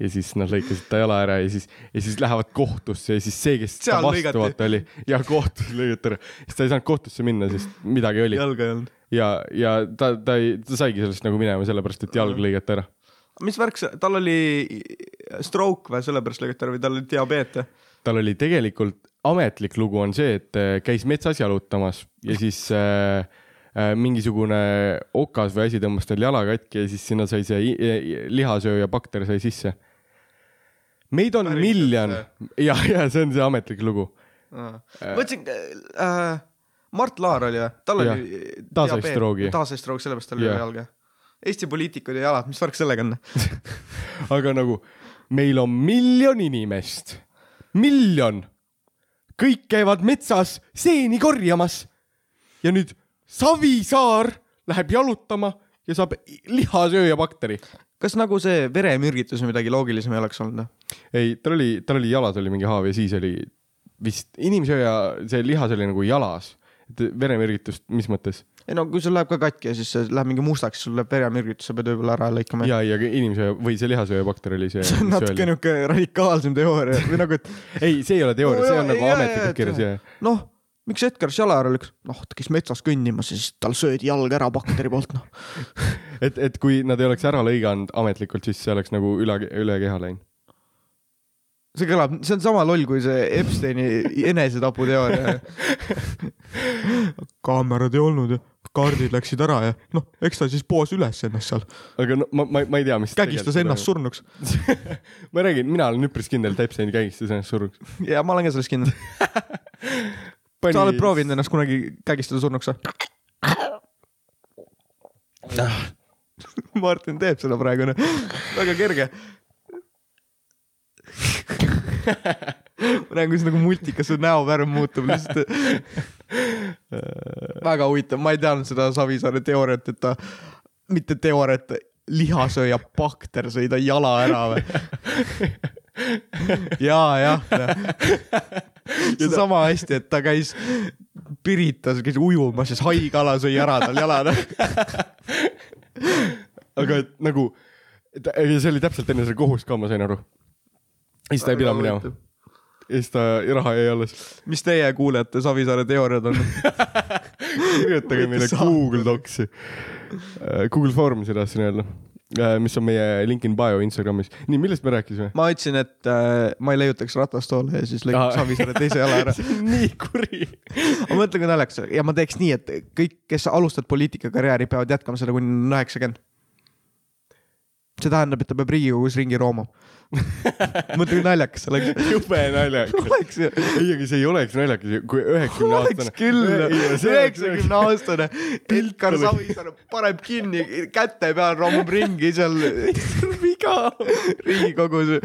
[SPEAKER 1] ja siis nad lõikasid ta jala ära ja siis , ja siis lähevad kohtusse ja siis see , kes ta
[SPEAKER 2] Seal
[SPEAKER 1] vastu
[SPEAKER 2] lõigati.
[SPEAKER 1] vaata oli ja kohtus lõigati ära , siis ta ei saanud kohtusse minna , sest midagi oli ja ,
[SPEAKER 2] jalga ei olnud .
[SPEAKER 1] ja ta , ta ei , ta saigi sellest nagu minema , sellepärast et jalg lõigati ära .
[SPEAKER 2] mis värk see , tal oli stroke või sellepärast lõigati ära või tal oli diabeet või ?
[SPEAKER 1] tal oli tegelikult ametlik lugu on see , et äh, käis metsas jalutamas ja siis äh, äh, mingisugune okas või asi tõmbas tal jala katki ja siis sinna sai see i- i- lihasööja bakter sai sisse . meid on
[SPEAKER 2] Päriselt
[SPEAKER 1] miljon ja , ja see on see ametlik lugu .
[SPEAKER 2] mõtlesin äh, , Mart Laar oli või ? tal
[SPEAKER 1] Jah.
[SPEAKER 2] oli .
[SPEAKER 1] Ta sai stroogi.
[SPEAKER 2] ta sai stroogi , sellepärast tal oli
[SPEAKER 1] Jah.
[SPEAKER 2] jalg jah . Eesti poliitikud ja jalad , mis värk sellega on ?
[SPEAKER 1] aga nagu meil on miljon inimest , miljon , kõik käivad metsas seeni korjamas ja nüüd Savisaar läheb jalutama ja saab i- lihasööja bakteri
[SPEAKER 2] kas nagu see veremürgitus või midagi loogilisem ei oleks olnud ? noh?
[SPEAKER 1] ei , tal oli , tal oli jalas oli mingi haav ja siis oli vist inimsööja , see lihas oli nagu jalas , et veremürgitust , mis mõttes
[SPEAKER 2] ei no kui sul läheb ka katki ja siis see läheb mingi mustaks , sul läheb veremürgitus , sa pead võib-olla ära lõikama .
[SPEAKER 1] ja , ja inimsööja või see lihasööja bakter oli see .
[SPEAKER 2] see on natuke niuke radikaalsem teooria või nagu , et
[SPEAKER 1] ei , see ei ole teooria , see
[SPEAKER 2] Jaa,
[SPEAKER 1] on nagu
[SPEAKER 2] jaa, jaa,
[SPEAKER 1] ametlikult kirjas
[SPEAKER 2] jaa.
[SPEAKER 1] ja
[SPEAKER 2] noh , miks Edgar Jala ära lükkas , noh ta käis metsas kõndimas ja siis tal söödi jalg ära bakteri poolt noh .
[SPEAKER 1] et , et kui nad ei oleks ära lõiganud ametlikult , siis see oleks nagu üle , üle keha läinud .
[SPEAKER 2] see kõlab , see on sama loll kui see Epsteini enesetaputeooria . kaamerad ei olnud ja kaardid läksid ära ja noh , eks ta siis poos üles ennast seal ,
[SPEAKER 1] aga no ma , ma , ma ei tea , mis .
[SPEAKER 2] kägistas ennast . surnuks
[SPEAKER 1] ma räägin , mina olen üpris kindel , et Epstein kägistas ennast suruks .
[SPEAKER 2] ja ma olen ka selles kindel . sa oled . proovinud ennast kunagi kägistada surnuks või ? Ah. Martin teeb seda praegu , noh , väga kerge . ma näen , kuidas nagu multikas su näovärv muutub lihtsalt . väga huvitav , ma ei teadnud seda Savisaare teooriat , et ta , mitte teooriat , lihasööja bakter sõi ta jala ära või ? ja , jah see on sama hästi , et ta käis Piritas , käis ujumas , siis haikala sõi ära tal jalad .
[SPEAKER 1] aga et nagu see oli täpselt enne seda kohust ka , ma sain aru . ja siis ta ei pidanud minema . ja siis ta , raha jäi alles .
[SPEAKER 2] mis teie kuulete Savisaare teooriad on ?
[SPEAKER 1] kirjutage meile
[SPEAKER 2] Võite
[SPEAKER 1] Google Docsi . Google Formsi tahtsin öelda , äh, mis on meie link in bio Instagramis . nii , millest me rääkisime ?
[SPEAKER 2] ma ütlesin , et äh, ma ei leiutaks ratastooli ja siis
[SPEAKER 1] Aa.
[SPEAKER 2] lõikaks Savisaare teise jala ära .
[SPEAKER 1] see on nii kuri .
[SPEAKER 2] ma mõtlen , kui naljakas ja ma teeks nii , et kõik , kes alustavad poliitikakarjääri , peavad jätkama seda kuni üheksakümmend . see tähendab , et ta peab Riigikogus ringi roomama . mõtle , kui naljakas see oleks .
[SPEAKER 1] jube naljakas .
[SPEAKER 2] oleks ju .
[SPEAKER 1] ei , aga see ei oleks naljakas , kui üheksakümne
[SPEAKER 2] oleks
[SPEAKER 1] aastane .
[SPEAKER 2] küll , üheksakümne aastane Edgar
[SPEAKER 1] oli-
[SPEAKER 2] Savisaar paneb kinni käte peal , roomub ringi seal
[SPEAKER 1] viga .
[SPEAKER 2] Riigikogus .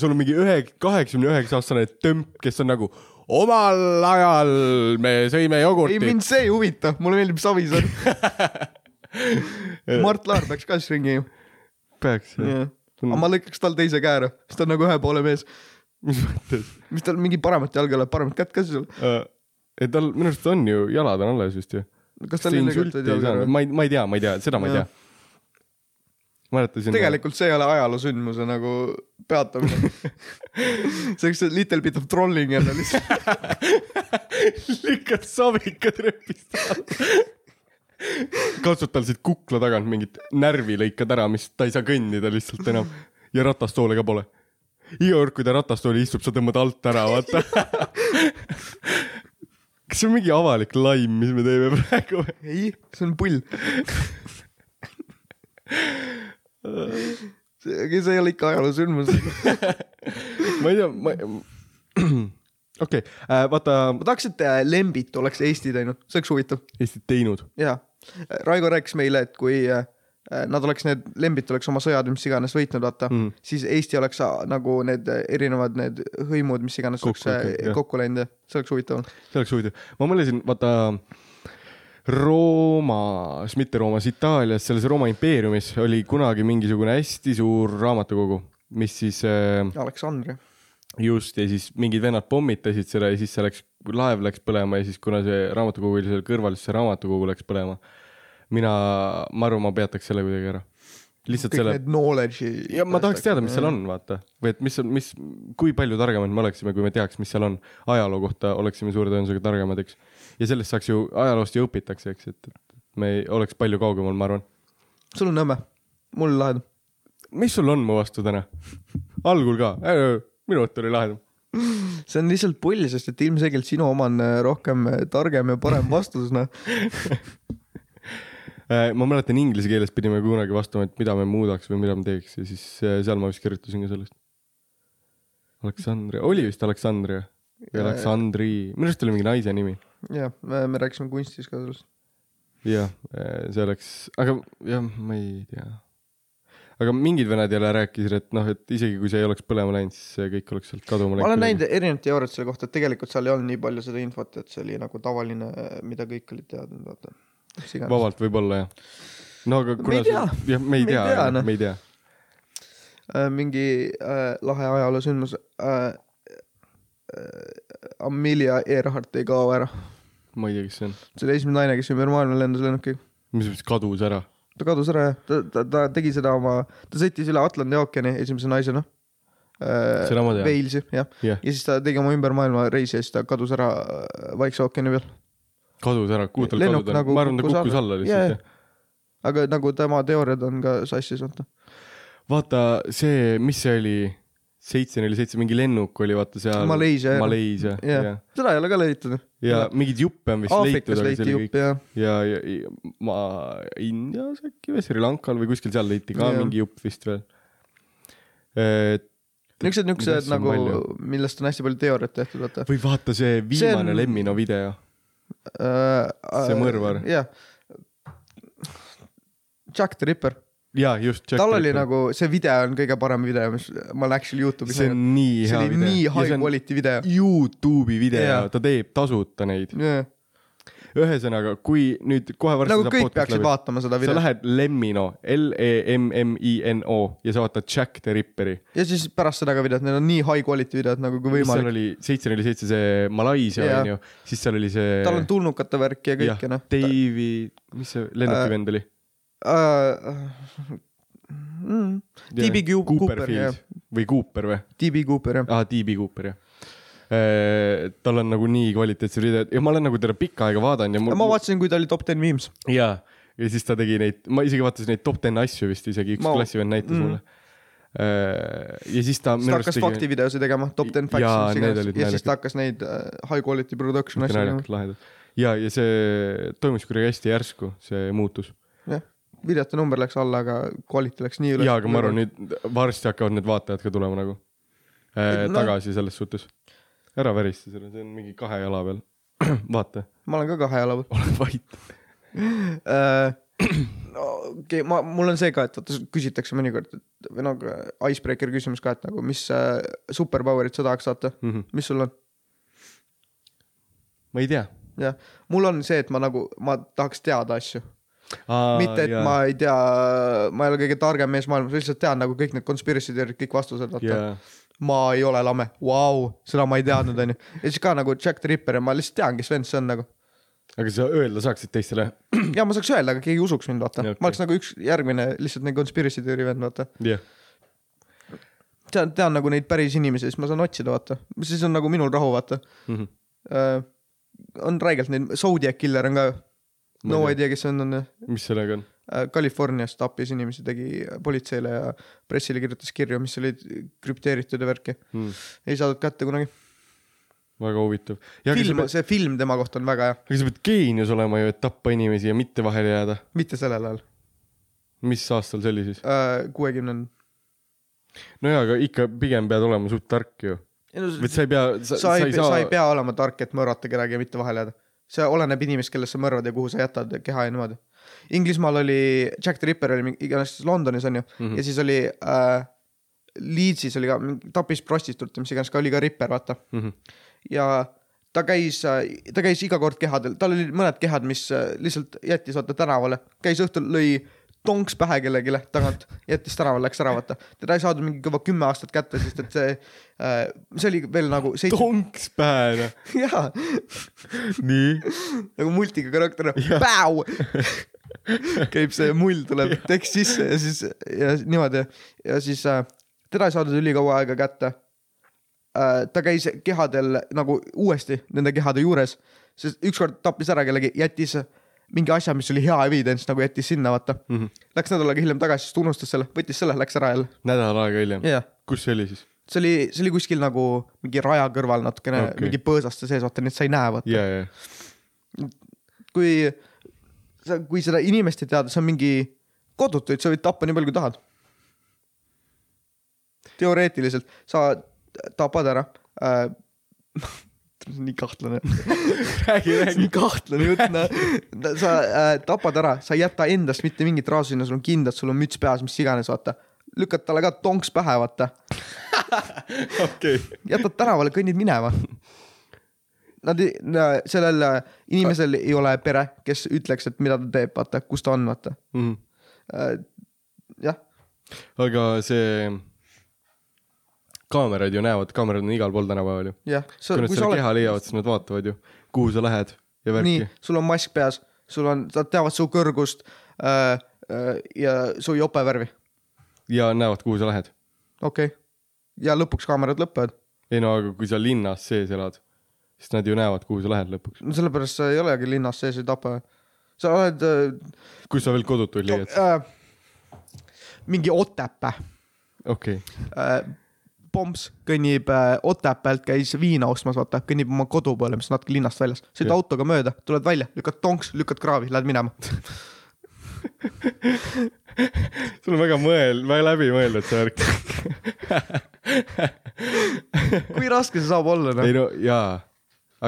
[SPEAKER 1] sul on mingi ühe , kaheksakümne üheksa aastane tömp , kes on nagu omal ajal me sõime
[SPEAKER 2] ei ,
[SPEAKER 1] jogurtit .
[SPEAKER 2] mind see ei huvita , mulle meeldib Savisaar . Mart Laar peaks ka siis ringi ju .
[SPEAKER 1] peaks .
[SPEAKER 2] aga ma lõikaks tal teise käe ära , sest ta on nagu ühe poole mees .
[SPEAKER 1] mis mõttes ?
[SPEAKER 2] mis tal mingi paremat jalga ei ole , paremat kätt ka siis ei ole .
[SPEAKER 1] ei , tal minu arust on ju , jalad on alles vist ju .
[SPEAKER 2] kas tal oli lõigatud jalg ära ?
[SPEAKER 1] ma ei , ma ei tea , ma ei tea , seda ma ei
[SPEAKER 2] Jah.
[SPEAKER 1] tea . mäletasin .
[SPEAKER 2] tegelikult see ei ole ajaloosündmuse nagu peatamine . see oleks see little bit of trolling jälle lihtsalt .
[SPEAKER 1] lükkad sabika trepist katsud tal siit kukla tagant mingit närvi lõikad ära , mis ta ei saa kõndida lihtsalt enam ja ratastoole ka pole . iga kord , kui ta ratastooli istub , sa tõmbad alt ära , vaata . kas see on mingi avalik laim , mis me teeme praegu või ?
[SPEAKER 2] ei , see on pull . aga see ei ole ikka ajaloosündmus .
[SPEAKER 1] ma ei tea , ma , okei , vaata ,
[SPEAKER 2] ma tahaks , et äh, Lembit oleks Eesti teinud , see oleks huvitav .
[SPEAKER 1] Eestit teinud .
[SPEAKER 2] jaa , Raigo rääkis meile , et kui äh, nad oleks need , Lembit oleks oma sõjad , mis iganes võitnud , vaata
[SPEAKER 1] Mhm.
[SPEAKER 2] mm. , siis Eesti oleks äh, nagu need äh, erinevad need hõimud , mis iganes
[SPEAKER 1] Kokku
[SPEAKER 2] kokku, oleks
[SPEAKER 1] ikkagi,
[SPEAKER 2] äh,
[SPEAKER 1] jah.
[SPEAKER 2] kokku läinud ja see oleks huvitav olnud .
[SPEAKER 1] see oleks huvitav , ma mõtlesin , vaata Roomas , mitte Roomas , Itaalias , selles Rooma impeeriumis oli kunagi mingisugune hästi suur raamatukogu , mis siis äh,
[SPEAKER 2] Aleksandria .
[SPEAKER 1] just ja siis mingid vennad pommitasid seda ja siis see läks , laev läks põlema ja siis kuna see raamatukogu oli seal kõrval , siis see raamatukogu läks põlema . mina , ma arvan , ma peataks selle kuidagi ära . lihtsalt
[SPEAKER 2] kõik selle...
[SPEAKER 1] selle ,
[SPEAKER 2] need knowledge'i .
[SPEAKER 1] ja ma tahaks teada , mis seal on , vaata , või et mis , mis , kui palju targemad me oleksime , kui me teaks , mis seal on . ajaloo kohta oleksime suure tõenäosusega targemad , eks . ja sellest saaks ju , ajaloost ju õpitakse , eks , et , et me ei, oleks palju kaugemal , ma arvan .
[SPEAKER 2] sul on Nõmme , mul lahedam .
[SPEAKER 1] mis sul on mu vastu täna ? algul ka , minu arvates oli lahe .
[SPEAKER 2] see on lihtsalt pull , sest et ilmselgelt sinu oma on äh, rohkem äh, targem ja parem vastus , noh .
[SPEAKER 1] Äh, ma mäletan , inglise keeles pidime kunagi vastama , et mida me muudaks või mida me teeks ja siis äh, seal ma vist kirjutasin ka sellest . Aleksandria , oli vist Aleksandria või
[SPEAKER 2] Jaa,
[SPEAKER 1] Aleksandri , minu arust oli mingi naise nimi .
[SPEAKER 2] jah , me me rääkisime kunstist ka sellest .
[SPEAKER 1] jah , Äh, see oleks , aga jah , ma ei tea . aga mingid venad jälle rääkisid , et noh , et isegi kui see ei oleks põlema läinud , siis see kõik oleks sealt kaduma
[SPEAKER 2] ma olen
[SPEAKER 1] läinud
[SPEAKER 2] näinud . erinevaid teooriaid selle kohta , et tegelikult seal ei olnud nii palju seda infot , et see oli nagu tavaline , mida kõik olid teadnud , vaata . mis iganes .
[SPEAKER 1] vabalt võib-olla jah . no aga
[SPEAKER 2] Me ei tea.
[SPEAKER 1] jah , me ei tea ,
[SPEAKER 2] noh.
[SPEAKER 1] me ei tea .
[SPEAKER 2] Äh, mingi äh, lahe ajaloosündmus äh, . Äh, Amelia Earhart ei kao ära .
[SPEAKER 1] ma ei tea , kes see on .
[SPEAKER 2] see oli esimene naine , kes ümber maailma lendas lennukiga .
[SPEAKER 1] mis mõttes kadus ära ?
[SPEAKER 2] ta kadus ära jah , ta , ta , ta tegi seda oma , ta sõitis üle Atlandi ookeani esimese naisena äh,
[SPEAKER 1] Seda ma tean.
[SPEAKER 2] Walesi jah ,
[SPEAKER 1] jah ,
[SPEAKER 2] ja siis ta tegi oma ümber maailma reisi ja siis ta kadus ära äh, Vaikse ookeani peal .
[SPEAKER 1] kadus ära , kuhu tal
[SPEAKER 2] Lennuk
[SPEAKER 1] kaduda on
[SPEAKER 2] nagu
[SPEAKER 1] nagu ma arvan , ta
[SPEAKER 2] kukkus
[SPEAKER 1] kukkus
[SPEAKER 2] alla.
[SPEAKER 1] alla
[SPEAKER 2] Jaa,
[SPEAKER 1] lihtsalt
[SPEAKER 2] jaa.
[SPEAKER 1] jah .
[SPEAKER 2] aga nagu tema teooriad on ka sassis , vaata .
[SPEAKER 1] vaata see , mis see oli , seitse neli seitse , mingi lennuk oli vaata seal .
[SPEAKER 2] Maleisia, jah.
[SPEAKER 1] Maleisia ,
[SPEAKER 2] jah
[SPEAKER 1] jah
[SPEAKER 2] ja. , seda ei ole ka leitud .
[SPEAKER 1] ja mingeid juppe on vist leitud ,
[SPEAKER 2] Aafrikas
[SPEAKER 1] aga see
[SPEAKER 2] leiti
[SPEAKER 1] oli kõik
[SPEAKER 2] jupp ja
[SPEAKER 1] ja , ja ja ma Indias äkki või Sri Lankal või kuskil seal leiti ka
[SPEAKER 2] Jah.
[SPEAKER 1] ja. mingi jupp vist veel . või
[SPEAKER 2] niisugused , niisugused
[SPEAKER 1] Asju on
[SPEAKER 2] nagu
[SPEAKER 1] palju. ,
[SPEAKER 2] millest on hästi palju teooriat tehtud , vaata .
[SPEAKER 1] vaata see viimane
[SPEAKER 2] on-
[SPEAKER 1] on... Lemmino video .
[SPEAKER 2] see
[SPEAKER 1] mõrvar.
[SPEAKER 2] jah . äh, Jack the Ripper ,
[SPEAKER 1] ja just .
[SPEAKER 2] tal oli nagu , see video on kõige parem video , mis ma olen actually Youtube'is
[SPEAKER 1] see on nii
[SPEAKER 2] see
[SPEAKER 1] hea
[SPEAKER 2] oli
[SPEAKER 1] video .
[SPEAKER 2] nii high . quality video .
[SPEAKER 1] Youtube'i video
[SPEAKER 2] Jaa.
[SPEAKER 1] yeah. , ta teeb tasuta neid .
[SPEAKER 2] nagu
[SPEAKER 1] ühesõnaga , kui nüüd kohe varsti
[SPEAKER 2] kõik peaksid vaatama seda
[SPEAKER 1] sa
[SPEAKER 2] videot
[SPEAKER 1] lähed Lemmino , E L-E-M-M-I-N-O ja sa vaatad Jack the Ripperi .
[SPEAKER 2] ja siis pärast seda ka videot , need on nii high quality videod nagu kui
[SPEAKER 1] mis seal
[SPEAKER 2] võimalik .
[SPEAKER 1] oli , seitse neli seitse , see Malaisia
[SPEAKER 2] Jaa.
[SPEAKER 1] onju , siis seal oli see .
[SPEAKER 2] tal on tulnukate värk ja kõik ja noh .
[SPEAKER 1] Dave'i , mis see lennuki
[SPEAKER 2] Äh,
[SPEAKER 1] vend oli ?
[SPEAKER 2] mm. . DB Gu- Cooper, jah.
[SPEAKER 1] või Cooper või ?
[SPEAKER 2] DB Cooper jah ,
[SPEAKER 1] aa , DB Cooper jah . tal on nagu nii kvaliteetsed videod ja ma olen nagu teda pikka aega vaadanud ja mul
[SPEAKER 2] ma vaatasin , kui ta oli top ten memes .
[SPEAKER 1] jaa , ja siis ta tegi neid , ma isegi vaatasin neid top ten asju vist isegi , üks
[SPEAKER 2] Ma-
[SPEAKER 1] klassivend näitas
[SPEAKER 2] Mm.
[SPEAKER 1] mulle . ja siis ta
[SPEAKER 2] siis ta hakkas fakti videosi tegema , top ten facts
[SPEAKER 1] Jaa,
[SPEAKER 2] mis
[SPEAKER 1] need
[SPEAKER 2] iganes.
[SPEAKER 1] olid
[SPEAKER 2] ja
[SPEAKER 1] naljakad.
[SPEAKER 2] siis ta hakkas neid äh, high quality production asju tegema .
[SPEAKER 1] naljakalt lahedat . ja , ja see toimus kuidagi hästi järsku , see muutus .
[SPEAKER 2] videote number läks alla , aga quality läks nii üles .
[SPEAKER 1] jaa , aga ma arvan , nüüd varsti hakkavad need vaatajad ka tulema nagu äh,
[SPEAKER 2] Et noh-
[SPEAKER 1] tagasi selles suhtes . ära värista selle , see on mingi kahe jala peal . vaata ,
[SPEAKER 2] ma olen ka kahe jala peal .
[SPEAKER 1] ole vait .
[SPEAKER 2] okei , ma , mul on see ka , et vaata küsitakse mõnikord , et või noh , icebreaker küsimus ka , et nagu mis äh, superpower'it sa tahaks saata , mis sul on ?
[SPEAKER 1] Mhm. ma ei tea .
[SPEAKER 2] jah , mul on see , et ma nagu , ma tahaks teada asju , mitte et jaa. ma ei tea , ma ei ole kõige targem mees maailmas , ma lihtsalt tean nagu kõik need conspiracy theory'd , kõik vastused , vaata
[SPEAKER 1] jaa ,
[SPEAKER 2] ma ei ole lame , vau , seda ma ei teadnud , onju . ja siis ka nagu Jack the Ripper ja ma lihtsalt tean , kes vend see on nagu .
[SPEAKER 1] aga sa öelda saaksid teistele .
[SPEAKER 2] ja ma saaks öelda , aga keegi ei usuks mind , vaata
[SPEAKER 1] Jaa, okei.
[SPEAKER 2] okay. . ma oleks nagu üks järgmine lihtsalt nagu conspiracy theory vend , vaata .
[SPEAKER 1] jah ,
[SPEAKER 2] tean , tean nagu neid päris inimesi , siis ma saan otsida , vaata . siis on nagu minul rahu , vaata
[SPEAKER 1] Mhm.
[SPEAKER 2] uh, . on raigelt neid , Zodiac Killer on ka ju . No
[SPEAKER 1] Ma ei
[SPEAKER 2] idea , kes see on , on ju
[SPEAKER 1] mis sellega on ?
[SPEAKER 2] Äh, Californias tappis inimesi , tegi politseile ja pressile kirjutas kirju , mis olid krüpteeritud ja värki .
[SPEAKER 1] Hmm.
[SPEAKER 2] ei saadud kätte kunagi .
[SPEAKER 1] väga huvitav . aga sa
[SPEAKER 2] film ,
[SPEAKER 1] pead-
[SPEAKER 2] see film tema kohta on väga hea ,
[SPEAKER 1] aga sa pead geenius olema ju , et tappa inimesi ja mitte vahele jääda .
[SPEAKER 2] mitte sellel ajal .
[SPEAKER 1] mis aastal see oli siis ?
[SPEAKER 2] kuuekümnendal .
[SPEAKER 1] nojaa , aga ikka pigem pead olema suht tark ju . või sa ei pea , sa ,
[SPEAKER 2] sa ei , sa ei . pea olema tark , et mõrvata kedagi ja mitte vahele jääda . see oleneb inimest , kellest sa mõrvad ja kuhu sa jätad keha ja niimoodi . Inglismaal oli Jack the Ripper oli mingi- iganes Londonis onju mm
[SPEAKER 1] Mhm.
[SPEAKER 2] -hmm. ja siis oli äh, Leedsis oli ka , tappis prostituut ja mis iganes , ka oli ka Ripper , vaata mm .
[SPEAKER 1] Mhm.
[SPEAKER 2] -hmm. ja ta käis , ta käis iga kord kehadel , tal olid mõned kehad , mis äh, lihtsalt jättis vaata tänavale , käis õhtul , lõi tonks pähe kellelegi tagant , jättis tänavale , läks ära , vaata . teda ei saadud mingi kõva kümme aastat kätte , sest et see äh, , see oli veel nagu seitse ,
[SPEAKER 1] tonks pähe , noh .
[SPEAKER 2] jaa ,
[SPEAKER 1] nii .
[SPEAKER 2] nagu multiga karakter , päu käib see mull tuleb tekst sisse ja siis ja niimoodi ja siis äh, teda ei saadud ülikaua aega kätte äh, . ta käis kehadel nagu uuesti nende kehade juures , sest ükskord tappis ära kellegi , jättis mingi asja , mis oli hea evidents , nagu jättis sinna , vaata mm . -hmm. Läks nädal aega hiljem tagasi , siis ta unustas selle , võttis selle , läks ära jälle .
[SPEAKER 1] nädal aega hiljem .
[SPEAKER 2] jah ,
[SPEAKER 1] kus see oli siis ?
[SPEAKER 2] see oli , see oli kuskil nagu mingi raja kõrval natukene
[SPEAKER 1] Okei.
[SPEAKER 2] okay. mingi põõsaste sees , vaata , nii et sa ei näe , vaata .
[SPEAKER 1] ja , ja ,
[SPEAKER 2] kui sa , kui seda inimest ei teada , see on mingi kodutuid , sa võid tappa nii palju , kui tahad . teoreetiliselt sa tapad ära äh, . see on nii kahtlane . räägi , räägi . nii kahtlane jutt , noh . sa äh, tapad ära , sa ei jäta endast mitte mingit raha sinna , sul on kindad , sul on müts peas , mis iganes , vaata . lükkad talle ka tonks pähe , vaata .
[SPEAKER 1] okei .
[SPEAKER 2] jätad tänavale , kõnnid minema . Nad , sellel äh, inimesel ei ole pere , kes ütleks , et mida ta teeb , vaata , kus ta on , vaata .
[SPEAKER 1] Mhm.
[SPEAKER 2] jah ,
[SPEAKER 1] aga see , kaamerad ju näevad , kaamerad on igal pool tänapäeval ju .
[SPEAKER 2] jah .
[SPEAKER 1] kui nad selle oled... keha leiavad , siis nad vaatavad ju , kuhu sa lähed ja
[SPEAKER 2] nii
[SPEAKER 1] värki .,
[SPEAKER 2] sul on mask peas , sul on , nad teavad su kõrgust äh, äh, ja su jope värvi ,
[SPEAKER 1] ja näevad , kuhu sa lähed .
[SPEAKER 2] okei okay. . ja lõpuks kaamerad lõpevad .
[SPEAKER 1] ei no aga kui sa linnas sees elad , siis nad ju näevad , kuhu sa lähed lõpuks .
[SPEAKER 2] no sellepärast sa ei olegi linnas sees , ei tapa . sa oled äh,
[SPEAKER 1] kui sa veel kodutuid leiad .
[SPEAKER 2] äh, mingi Otepää
[SPEAKER 1] okei okay. ,
[SPEAKER 2] äh, Pomps kõnnib äh, Otepäält , käis viina ostmas , vaata , kõnnib oma kodu poole , mis on natuke linnast väljas , sõid
[SPEAKER 1] Jah.
[SPEAKER 2] autoga mööda , tuled välja , lükkad tonks , lükkad kraavi , lähed minema .
[SPEAKER 1] sul on väga mõel- , väga läbimõeldud see värk .
[SPEAKER 2] kui raske see saab olla ,
[SPEAKER 1] ei
[SPEAKER 2] noh .
[SPEAKER 1] no jaa ,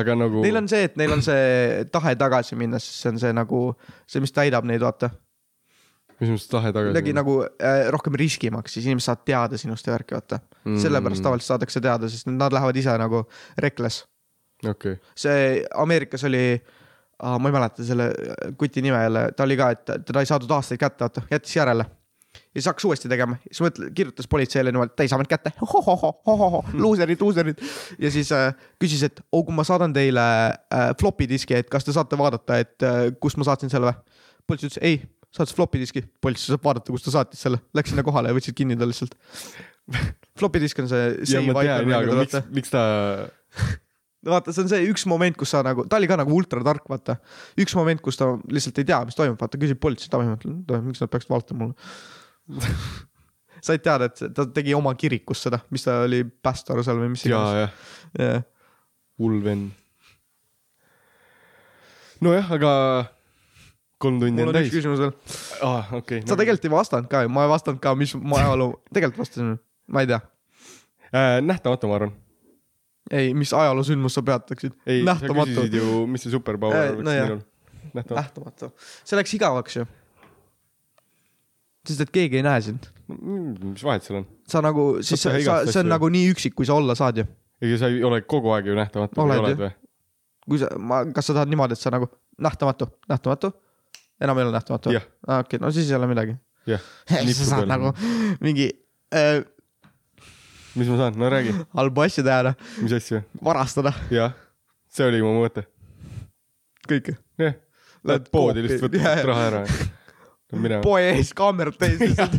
[SPEAKER 1] aga nagu .
[SPEAKER 2] Neil on see , et neil on see tahe tagasi minna , sest see on see nagu see , mis täidab neid , vaata .
[SPEAKER 1] mis mõttes tahe tagasi
[SPEAKER 2] kuidagi ? nagu äh, rohkem riskimaks , siis inimesed saavad teada sinust ja värki , vaata mm. . sellepärast tavaliselt saadakse teada , sest nad lähevad ise nagu rekles .
[SPEAKER 1] okei ,
[SPEAKER 2] see Ameerikas oli , ma ei mäleta selle kuti nime jälle , ta oli ka , et teda ei saadud aastaid kätte , vaata , jättis järele . ja siis hakkas uuesti tegema , siis mõtle , kirjutas politseile niimoodi , et ta ei saanud kätte ,
[SPEAKER 1] Hmm.
[SPEAKER 2] luuserid , luuserid . ja siis äh, küsis , et oo , kui ma saadan teile äh, floppy diski , et kas te saate vaadata , et äh, kust ma saatsin selle või ? politsei ütles ei , saatis floppy diski , Poltsis saab vaadata , kus ta saatis selle , läks sinna kohale ja võtsid kinni ta lihtsalt . floppy disk on see .
[SPEAKER 1] ja ma tean jaa , aga miks
[SPEAKER 2] vaata ,,
[SPEAKER 1] miks ta ,
[SPEAKER 2] vaata , see on see üks moment , kus sa nagu , ta oli ka nagu ultratark , vaata . üks moment , kus ta lihtsalt ei tea , mis toimub , vaata küsib Poltsist , miks nad peaksid vaatama mulle . said teada , et ta tegi oma kirikus seda , mis ta oli pastor seal või mis
[SPEAKER 1] jaa , jah .
[SPEAKER 2] Yeah.
[SPEAKER 1] hull vend . nojah , aga kolm tundi
[SPEAKER 2] mul
[SPEAKER 1] on
[SPEAKER 2] on üks
[SPEAKER 1] täis .
[SPEAKER 2] küsimus veel .
[SPEAKER 1] aa , okei .
[SPEAKER 2] sa tegelikult ei vastanud ka ju , ma ei vastanud ka , mis mu ajaloo , tegelikult vastasin , ma ei tea .
[SPEAKER 1] äh, . nähtamatu , ma arvan .
[SPEAKER 2] ei , mis ajaloosündmus sa peataksid
[SPEAKER 1] ei ,? sa
[SPEAKER 2] nähtamatu .
[SPEAKER 1] küsisid ju , mis see superpower
[SPEAKER 2] Äh, Ah.
[SPEAKER 1] oleks
[SPEAKER 2] no jah.
[SPEAKER 1] minul . nähtamatu .
[SPEAKER 2] nähtamatu . see läks igavaks ju . sest et keegi ei näe sind .
[SPEAKER 1] mis vahet seal on ?
[SPEAKER 2] sa nagu , siis
[SPEAKER 1] Saab
[SPEAKER 2] sa,
[SPEAKER 1] teha
[SPEAKER 2] sa ,
[SPEAKER 1] igast
[SPEAKER 2] see on
[SPEAKER 1] asju.
[SPEAKER 2] nagu nii üksik , kui sa olla saad ju .
[SPEAKER 1] ega sa ei ole kogu aeg ju nähtamatu .
[SPEAKER 2] Oled ju.
[SPEAKER 1] või ?
[SPEAKER 2] kui sa , ma , kas sa tahad niimoodi , et sa nagu nähtamatu , nähtamatu , enam ei ole nähtamatu ?
[SPEAKER 1] Jah.
[SPEAKER 2] aa , okei , no siis ei ole midagi .
[SPEAKER 1] jah .
[SPEAKER 2] sa saad nagu mingi äh,
[SPEAKER 1] mis ma saan , no räägi ,
[SPEAKER 2] halbu asju teha , noh ,
[SPEAKER 1] mis asju ?
[SPEAKER 2] varastada
[SPEAKER 1] jah , see oli mu mõte .
[SPEAKER 2] kõike .
[SPEAKER 1] jah , lähed
[SPEAKER 2] Lähed
[SPEAKER 1] poodi
[SPEAKER 2] koopi-
[SPEAKER 1] lihtsalt
[SPEAKER 2] jah, jah.
[SPEAKER 1] võtad raha ära . mine .
[SPEAKER 2] poe ees kaamerad täis lihtsalt .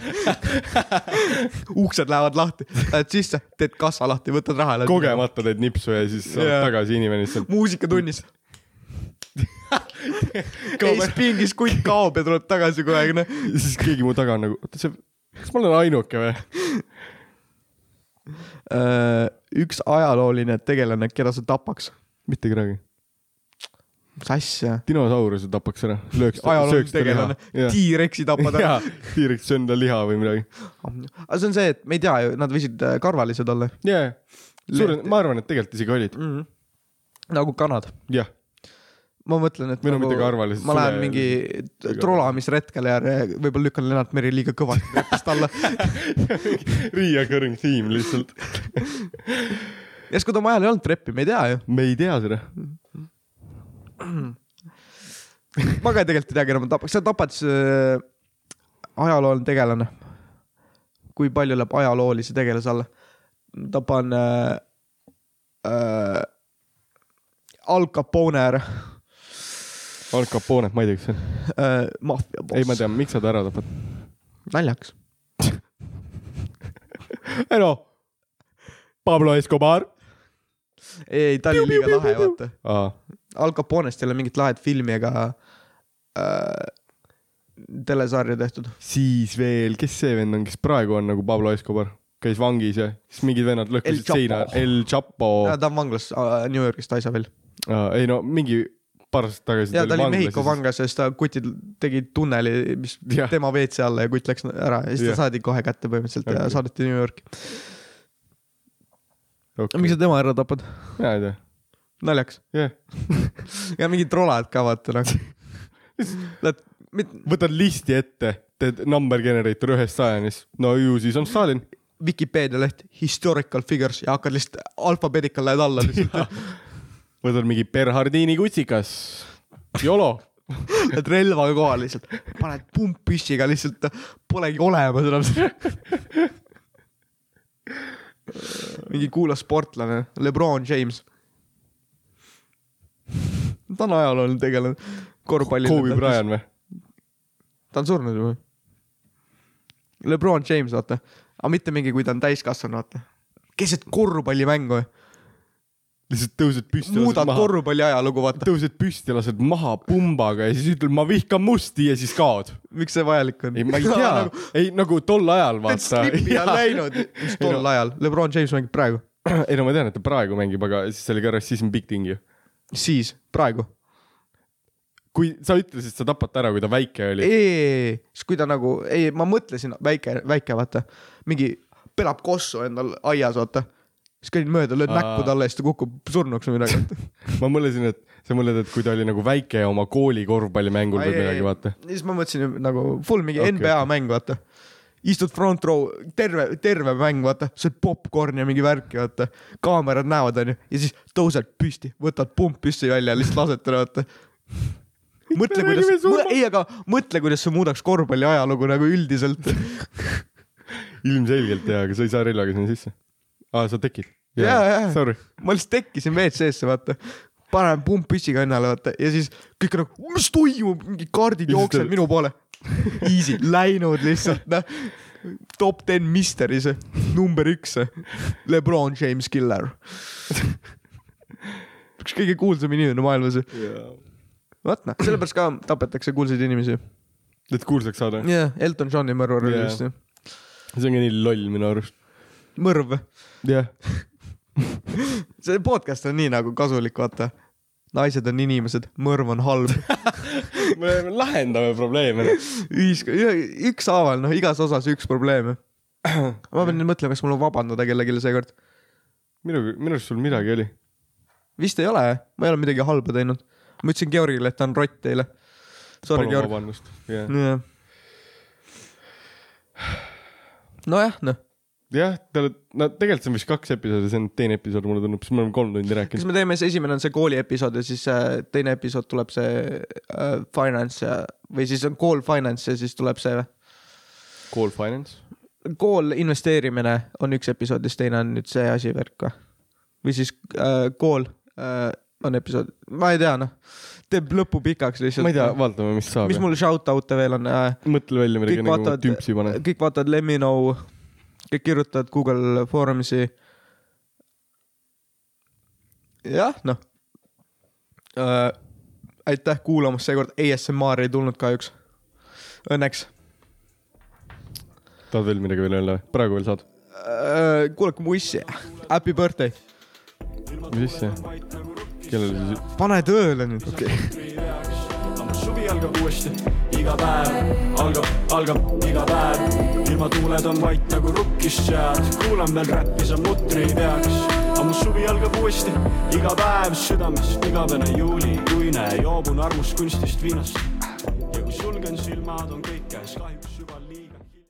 [SPEAKER 2] uksed lähevad lahti , lähed sisse , teed kassa lahti , võtad raha .
[SPEAKER 1] kogemata teed nipsu ja siis saad
[SPEAKER 2] Jah.
[SPEAKER 1] tagasi inimene lihtsalt .
[SPEAKER 2] muusikatunnis . Eespingis kutt kaob ja tuleb tagasi kogu aeg , noh .
[SPEAKER 1] ja siis keegi mu taga on nagu , oota see , kas ma olen ainuke või ?
[SPEAKER 2] Äh, üks ajalooline tegelane , keda sa tapaks .
[SPEAKER 1] mitte kedagi .
[SPEAKER 2] mis asja ?
[SPEAKER 1] dinosauruse tapaks ära , lööks ta ,
[SPEAKER 2] ajalooline
[SPEAKER 1] sööks ta liha
[SPEAKER 2] tegelane ., T-Rexi tapad ära .
[SPEAKER 1] jaa , tiiriks söön ta liha või midagi .
[SPEAKER 2] aga see on see , et me ei tea ju , nad võisid äh, karvalised olla
[SPEAKER 1] jaa , suure ,
[SPEAKER 2] Leht-
[SPEAKER 1] ma arvan , et tegelikult isegi olid ,
[SPEAKER 2] mm. . nagu kanad .
[SPEAKER 1] jah .
[SPEAKER 2] ma mõtlen , et nagu
[SPEAKER 1] Või no mitte karvalised,
[SPEAKER 2] ma lähen
[SPEAKER 1] sule-
[SPEAKER 2] mingi t- trolamisretkele ja re- võib-olla lükkan Lennart Meri liiga kõvasti repist alla .
[SPEAKER 1] Reoccurring theme lihtsalt .
[SPEAKER 2] järsku ta oma ajal ei olnud treppi , me ei tea ju .
[SPEAKER 1] me ei tea seda .
[SPEAKER 2] ma ka tegelikult ei tea , keda ma tapaks , sa tapad see äh, ajalooline tegelane . kui palju läheb ajaloolise tegelase alla ? tapan äh, äh, Al Capone ära
[SPEAKER 1] Al Capone , ma ei tea , kes see on .
[SPEAKER 2] äh, , maffia boss .
[SPEAKER 1] ei , ma tean , miks sa ta ära tapad .
[SPEAKER 2] naljakas .
[SPEAKER 1] ei noh , Pablo Escobar .
[SPEAKER 2] ei , ei ta oli liiga lahe , vaata .
[SPEAKER 1] aa ,
[SPEAKER 2] Al Caponest ei ole mingit lahet filmi ega äh, telesarja tehtud .
[SPEAKER 1] siis veel , kes see vend on , kes praegu on nagu Pablo Escobar , käis vangis ja siis mingid vennad
[SPEAKER 2] El
[SPEAKER 1] lõhkusid
[SPEAKER 2] Chapo.
[SPEAKER 1] seina , El Chapo .
[SPEAKER 2] ta on vanglas äh, New Yorgis Taisa veel .
[SPEAKER 1] ei no mingi paar aastat tagasi .
[SPEAKER 2] ja ta oli Mehhiko . vanglas ja siis ta kutid tegid tunneli , mis ja.
[SPEAKER 1] Jah.
[SPEAKER 2] tema WC alla ja kutt läks ära ja siis
[SPEAKER 1] Jah.
[SPEAKER 2] ta saadi kohe kätte põhimõtteliselt ja
[SPEAKER 1] Okei.
[SPEAKER 2] saadeti New Yorki . miks
[SPEAKER 1] okei ,
[SPEAKER 2] sa tema ära tapad ?
[SPEAKER 1] mina ei tea ,
[SPEAKER 2] naljakas .
[SPEAKER 1] jah .
[SPEAKER 2] ja mingid trolad ka vaata nagu Lähed , mit- ,
[SPEAKER 1] võtad listi ette , teed number generator ühest sajani , siis no ju siis on Stalin .
[SPEAKER 2] Vikipeedia leht historical figures ja hakkad lihtsalt alfabetical lähed alla lihtsalt .
[SPEAKER 1] võtad mingi Bernhardini kutsikas , YOLO .
[SPEAKER 2] Lähed relvaga kohale lihtsalt , paned pumppüssiga lihtsalt , polegi olemas enam . mingi kuulas sportlane , Lebron James . ta on ajalooline tegelane ,
[SPEAKER 1] Kobe
[SPEAKER 2] korvpalli .
[SPEAKER 1] Bryant või ?
[SPEAKER 2] ta on surnud juba . Lebron James , vaata , aga mitte mingi , kui ta on täiskasvanu , vaata . keset korvpallimängu ,
[SPEAKER 1] lihtsalt tõused püsti .
[SPEAKER 2] muudad korvpalli ajalugu , vaata ,
[SPEAKER 1] tõused püsti , lased maha pumbaga ja siis ütled , ma vihkan musti ja siis kaod .
[SPEAKER 2] miks see vajalik on
[SPEAKER 1] ei , ma ei tea , ei nagu tol ajal
[SPEAKER 2] et
[SPEAKER 1] vaata .
[SPEAKER 2] slippi on läinud . mis tol ajal , Lebron James mängib praegu ,
[SPEAKER 1] ei no ma tean , et ta praegu mängib , aga siis oli ka rassism big thing ju .
[SPEAKER 2] siis , praegu .
[SPEAKER 1] kui sa ütlesid , sa tapad ta ära , kui ta väike oli .
[SPEAKER 2] ei , siis kui ta nagu , ei , ma mõtlesin väike , väike , vaata , mingi pelab kossu endal aias , vaata . siis käin mööda , löön
[SPEAKER 1] Aa.
[SPEAKER 2] näppu talle ja siis ta kukub surnuks või midagi .
[SPEAKER 1] ma mõtlesin , et sa mõtled , et kui ta oli nagu väike oma kooli korvpallimängul või midagi , vaata .
[SPEAKER 2] siis ma mõtlesin nagu full mingi
[SPEAKER 1] Okei,
[SPEAKER 2] okay, NBA okay. mäng , vaata istud front row , terve , terve mäng , vaata , sööd popkorni ja mingi värki , vaata . kaamerad näevad , onju , ja siis tõused püsti , võtad pump püsti välja , lihtsalt lased talle , vaata . mõtle ,
[SPEAKER 1] me
[SPEAKER 2] kuidas
[SPEAKER 1] räägime , surmast?
[SPEAKER 2] ei , aga mõtle , kuidas see muudaks korvpalli ajalugu nagu üldiselt .
[SPEAKER 1] ilmselgelt jaa , aga sa ei saa relvaga sinna sisse . aa , sa tekid ?
[SPEAKER 2] Jaa, jaa.
[SPEAKER 1] Sorry .
[SPEAKER 2] ma lihtsalt tekkisin WC-sse , vaata . panen pump püsti kannale , vaata , ja siis kõik on nagu , mis toimub , mingi kaardid
[SPEAKER 1] Ja siis
[SPEAKER 2] jooksevad
[SPEAKER 1] ta-
[SPEAKER 2] minu poole . Easy , läinud lihtsalt , noh . Top ten mystery see , number üks see , Lebron James Killer . üks kõige kuulsam inimene maailmas . vot noh , sellepärast ka tapetakse kuulsaid inimesi .
[SPEAKER 1] et kuulsaks saada .
[SPEAKER 2] jah , Elton Johni mõrvar oli
[SPEAKER 1] Jaa.
[SPEAKER 2] vist jah .
[SPEAKER 1] see on ka nii loll minu arust .
[SPEAKER 2] mõrv ,
[SPEAKER 1] jah .
[SPEAKER 2] see podcast on nii nagu kasulik , vaata . naised on inimesed , mõrv on halb .
[SPEAKER 1] me lahendame probleeme .
[SPEAKER 2] ühiskond , ükshaaval , noh , igas osas üks probleem . ma pean nüüd mõtlema , kas mul on vabandada kellelegi seekord .
[SPEAKER 1] minu , minu arust sul midagi oli .
[SPEAKER 2] vist ei ole , ma ei ole midagi halba teinud . ma ütlesin Georgile , et ta on rott teile . Sorry ,
[SPEAKER 1] palun
[SPEAKER 2] Georg .
[SPEAKER 1] vabandust . jah ,
[SPEAKER 2] nojah , noh .
[SPEAKER 1] jah , te olete , no tegelikult see on vist kaks episoodi , see on teine episood , mulle tundub , siis me oleme kolm tundi
[SPEAKER 2] kas
[SPEAKER 1] rääkinud .
[SPEAKER 2] me teeme , see esimene on see kooli episood ja siis äh, teine episood tuleb see äh, finance ja , või siis on kool finance ja siis tuleb see või ?
[SPEAKER 1] Call Finance .
[SPEAKER 2] kool investeerimine on üks episood ja siis teine on nüüd see asi värk või ? või siis äh, kool äh, on episood , ma ei tea noh , teeb lõpu pikaks lihtsalt .
[SPEAKER 1] ma ei tea , vaatame , mis saab .
[SPEAKER 2] mis mul shout out'e veel on äh, ,
[SPEAKER 1] mõtle välja midagi
[SPEAKER 2] Kõik
[SPEAKER 1] nagu
[SPEAKER 2] vaatavad-
[SPEAKER 1] tümpsi pane .
[SPEAKER 2] kõik vaatavad Let me know , kõik kirjutavad Google Forumsi . jah , noh äh, . aitäh kuulamast , seekord ASMR ei tulnud kahjuks . Õnneks
[SPEAKER 1] tahad veel midagi veel öelda ? praegu veel saad .
[SPEAKER 2] äh, , kuulake mu issi , happy birthday ,
[SPEAKER 1] mis asja ? kellele siis ?
[SPEAKER 2] pane tööle nüüd okay. .
[SPEAKER 5] aga suvi algab uuesti , iga päev algab , algab iga päev . ilmatuuled on vait nagu rukkissääd , kuulan veel räppi , sa mutri ei peaks . aga mu suvi algab uuesti , iga päev südames , igavene juulikuine , joobun armust kunstist viinast . ja kui sulgen silmad , on kõik käes kahjuks .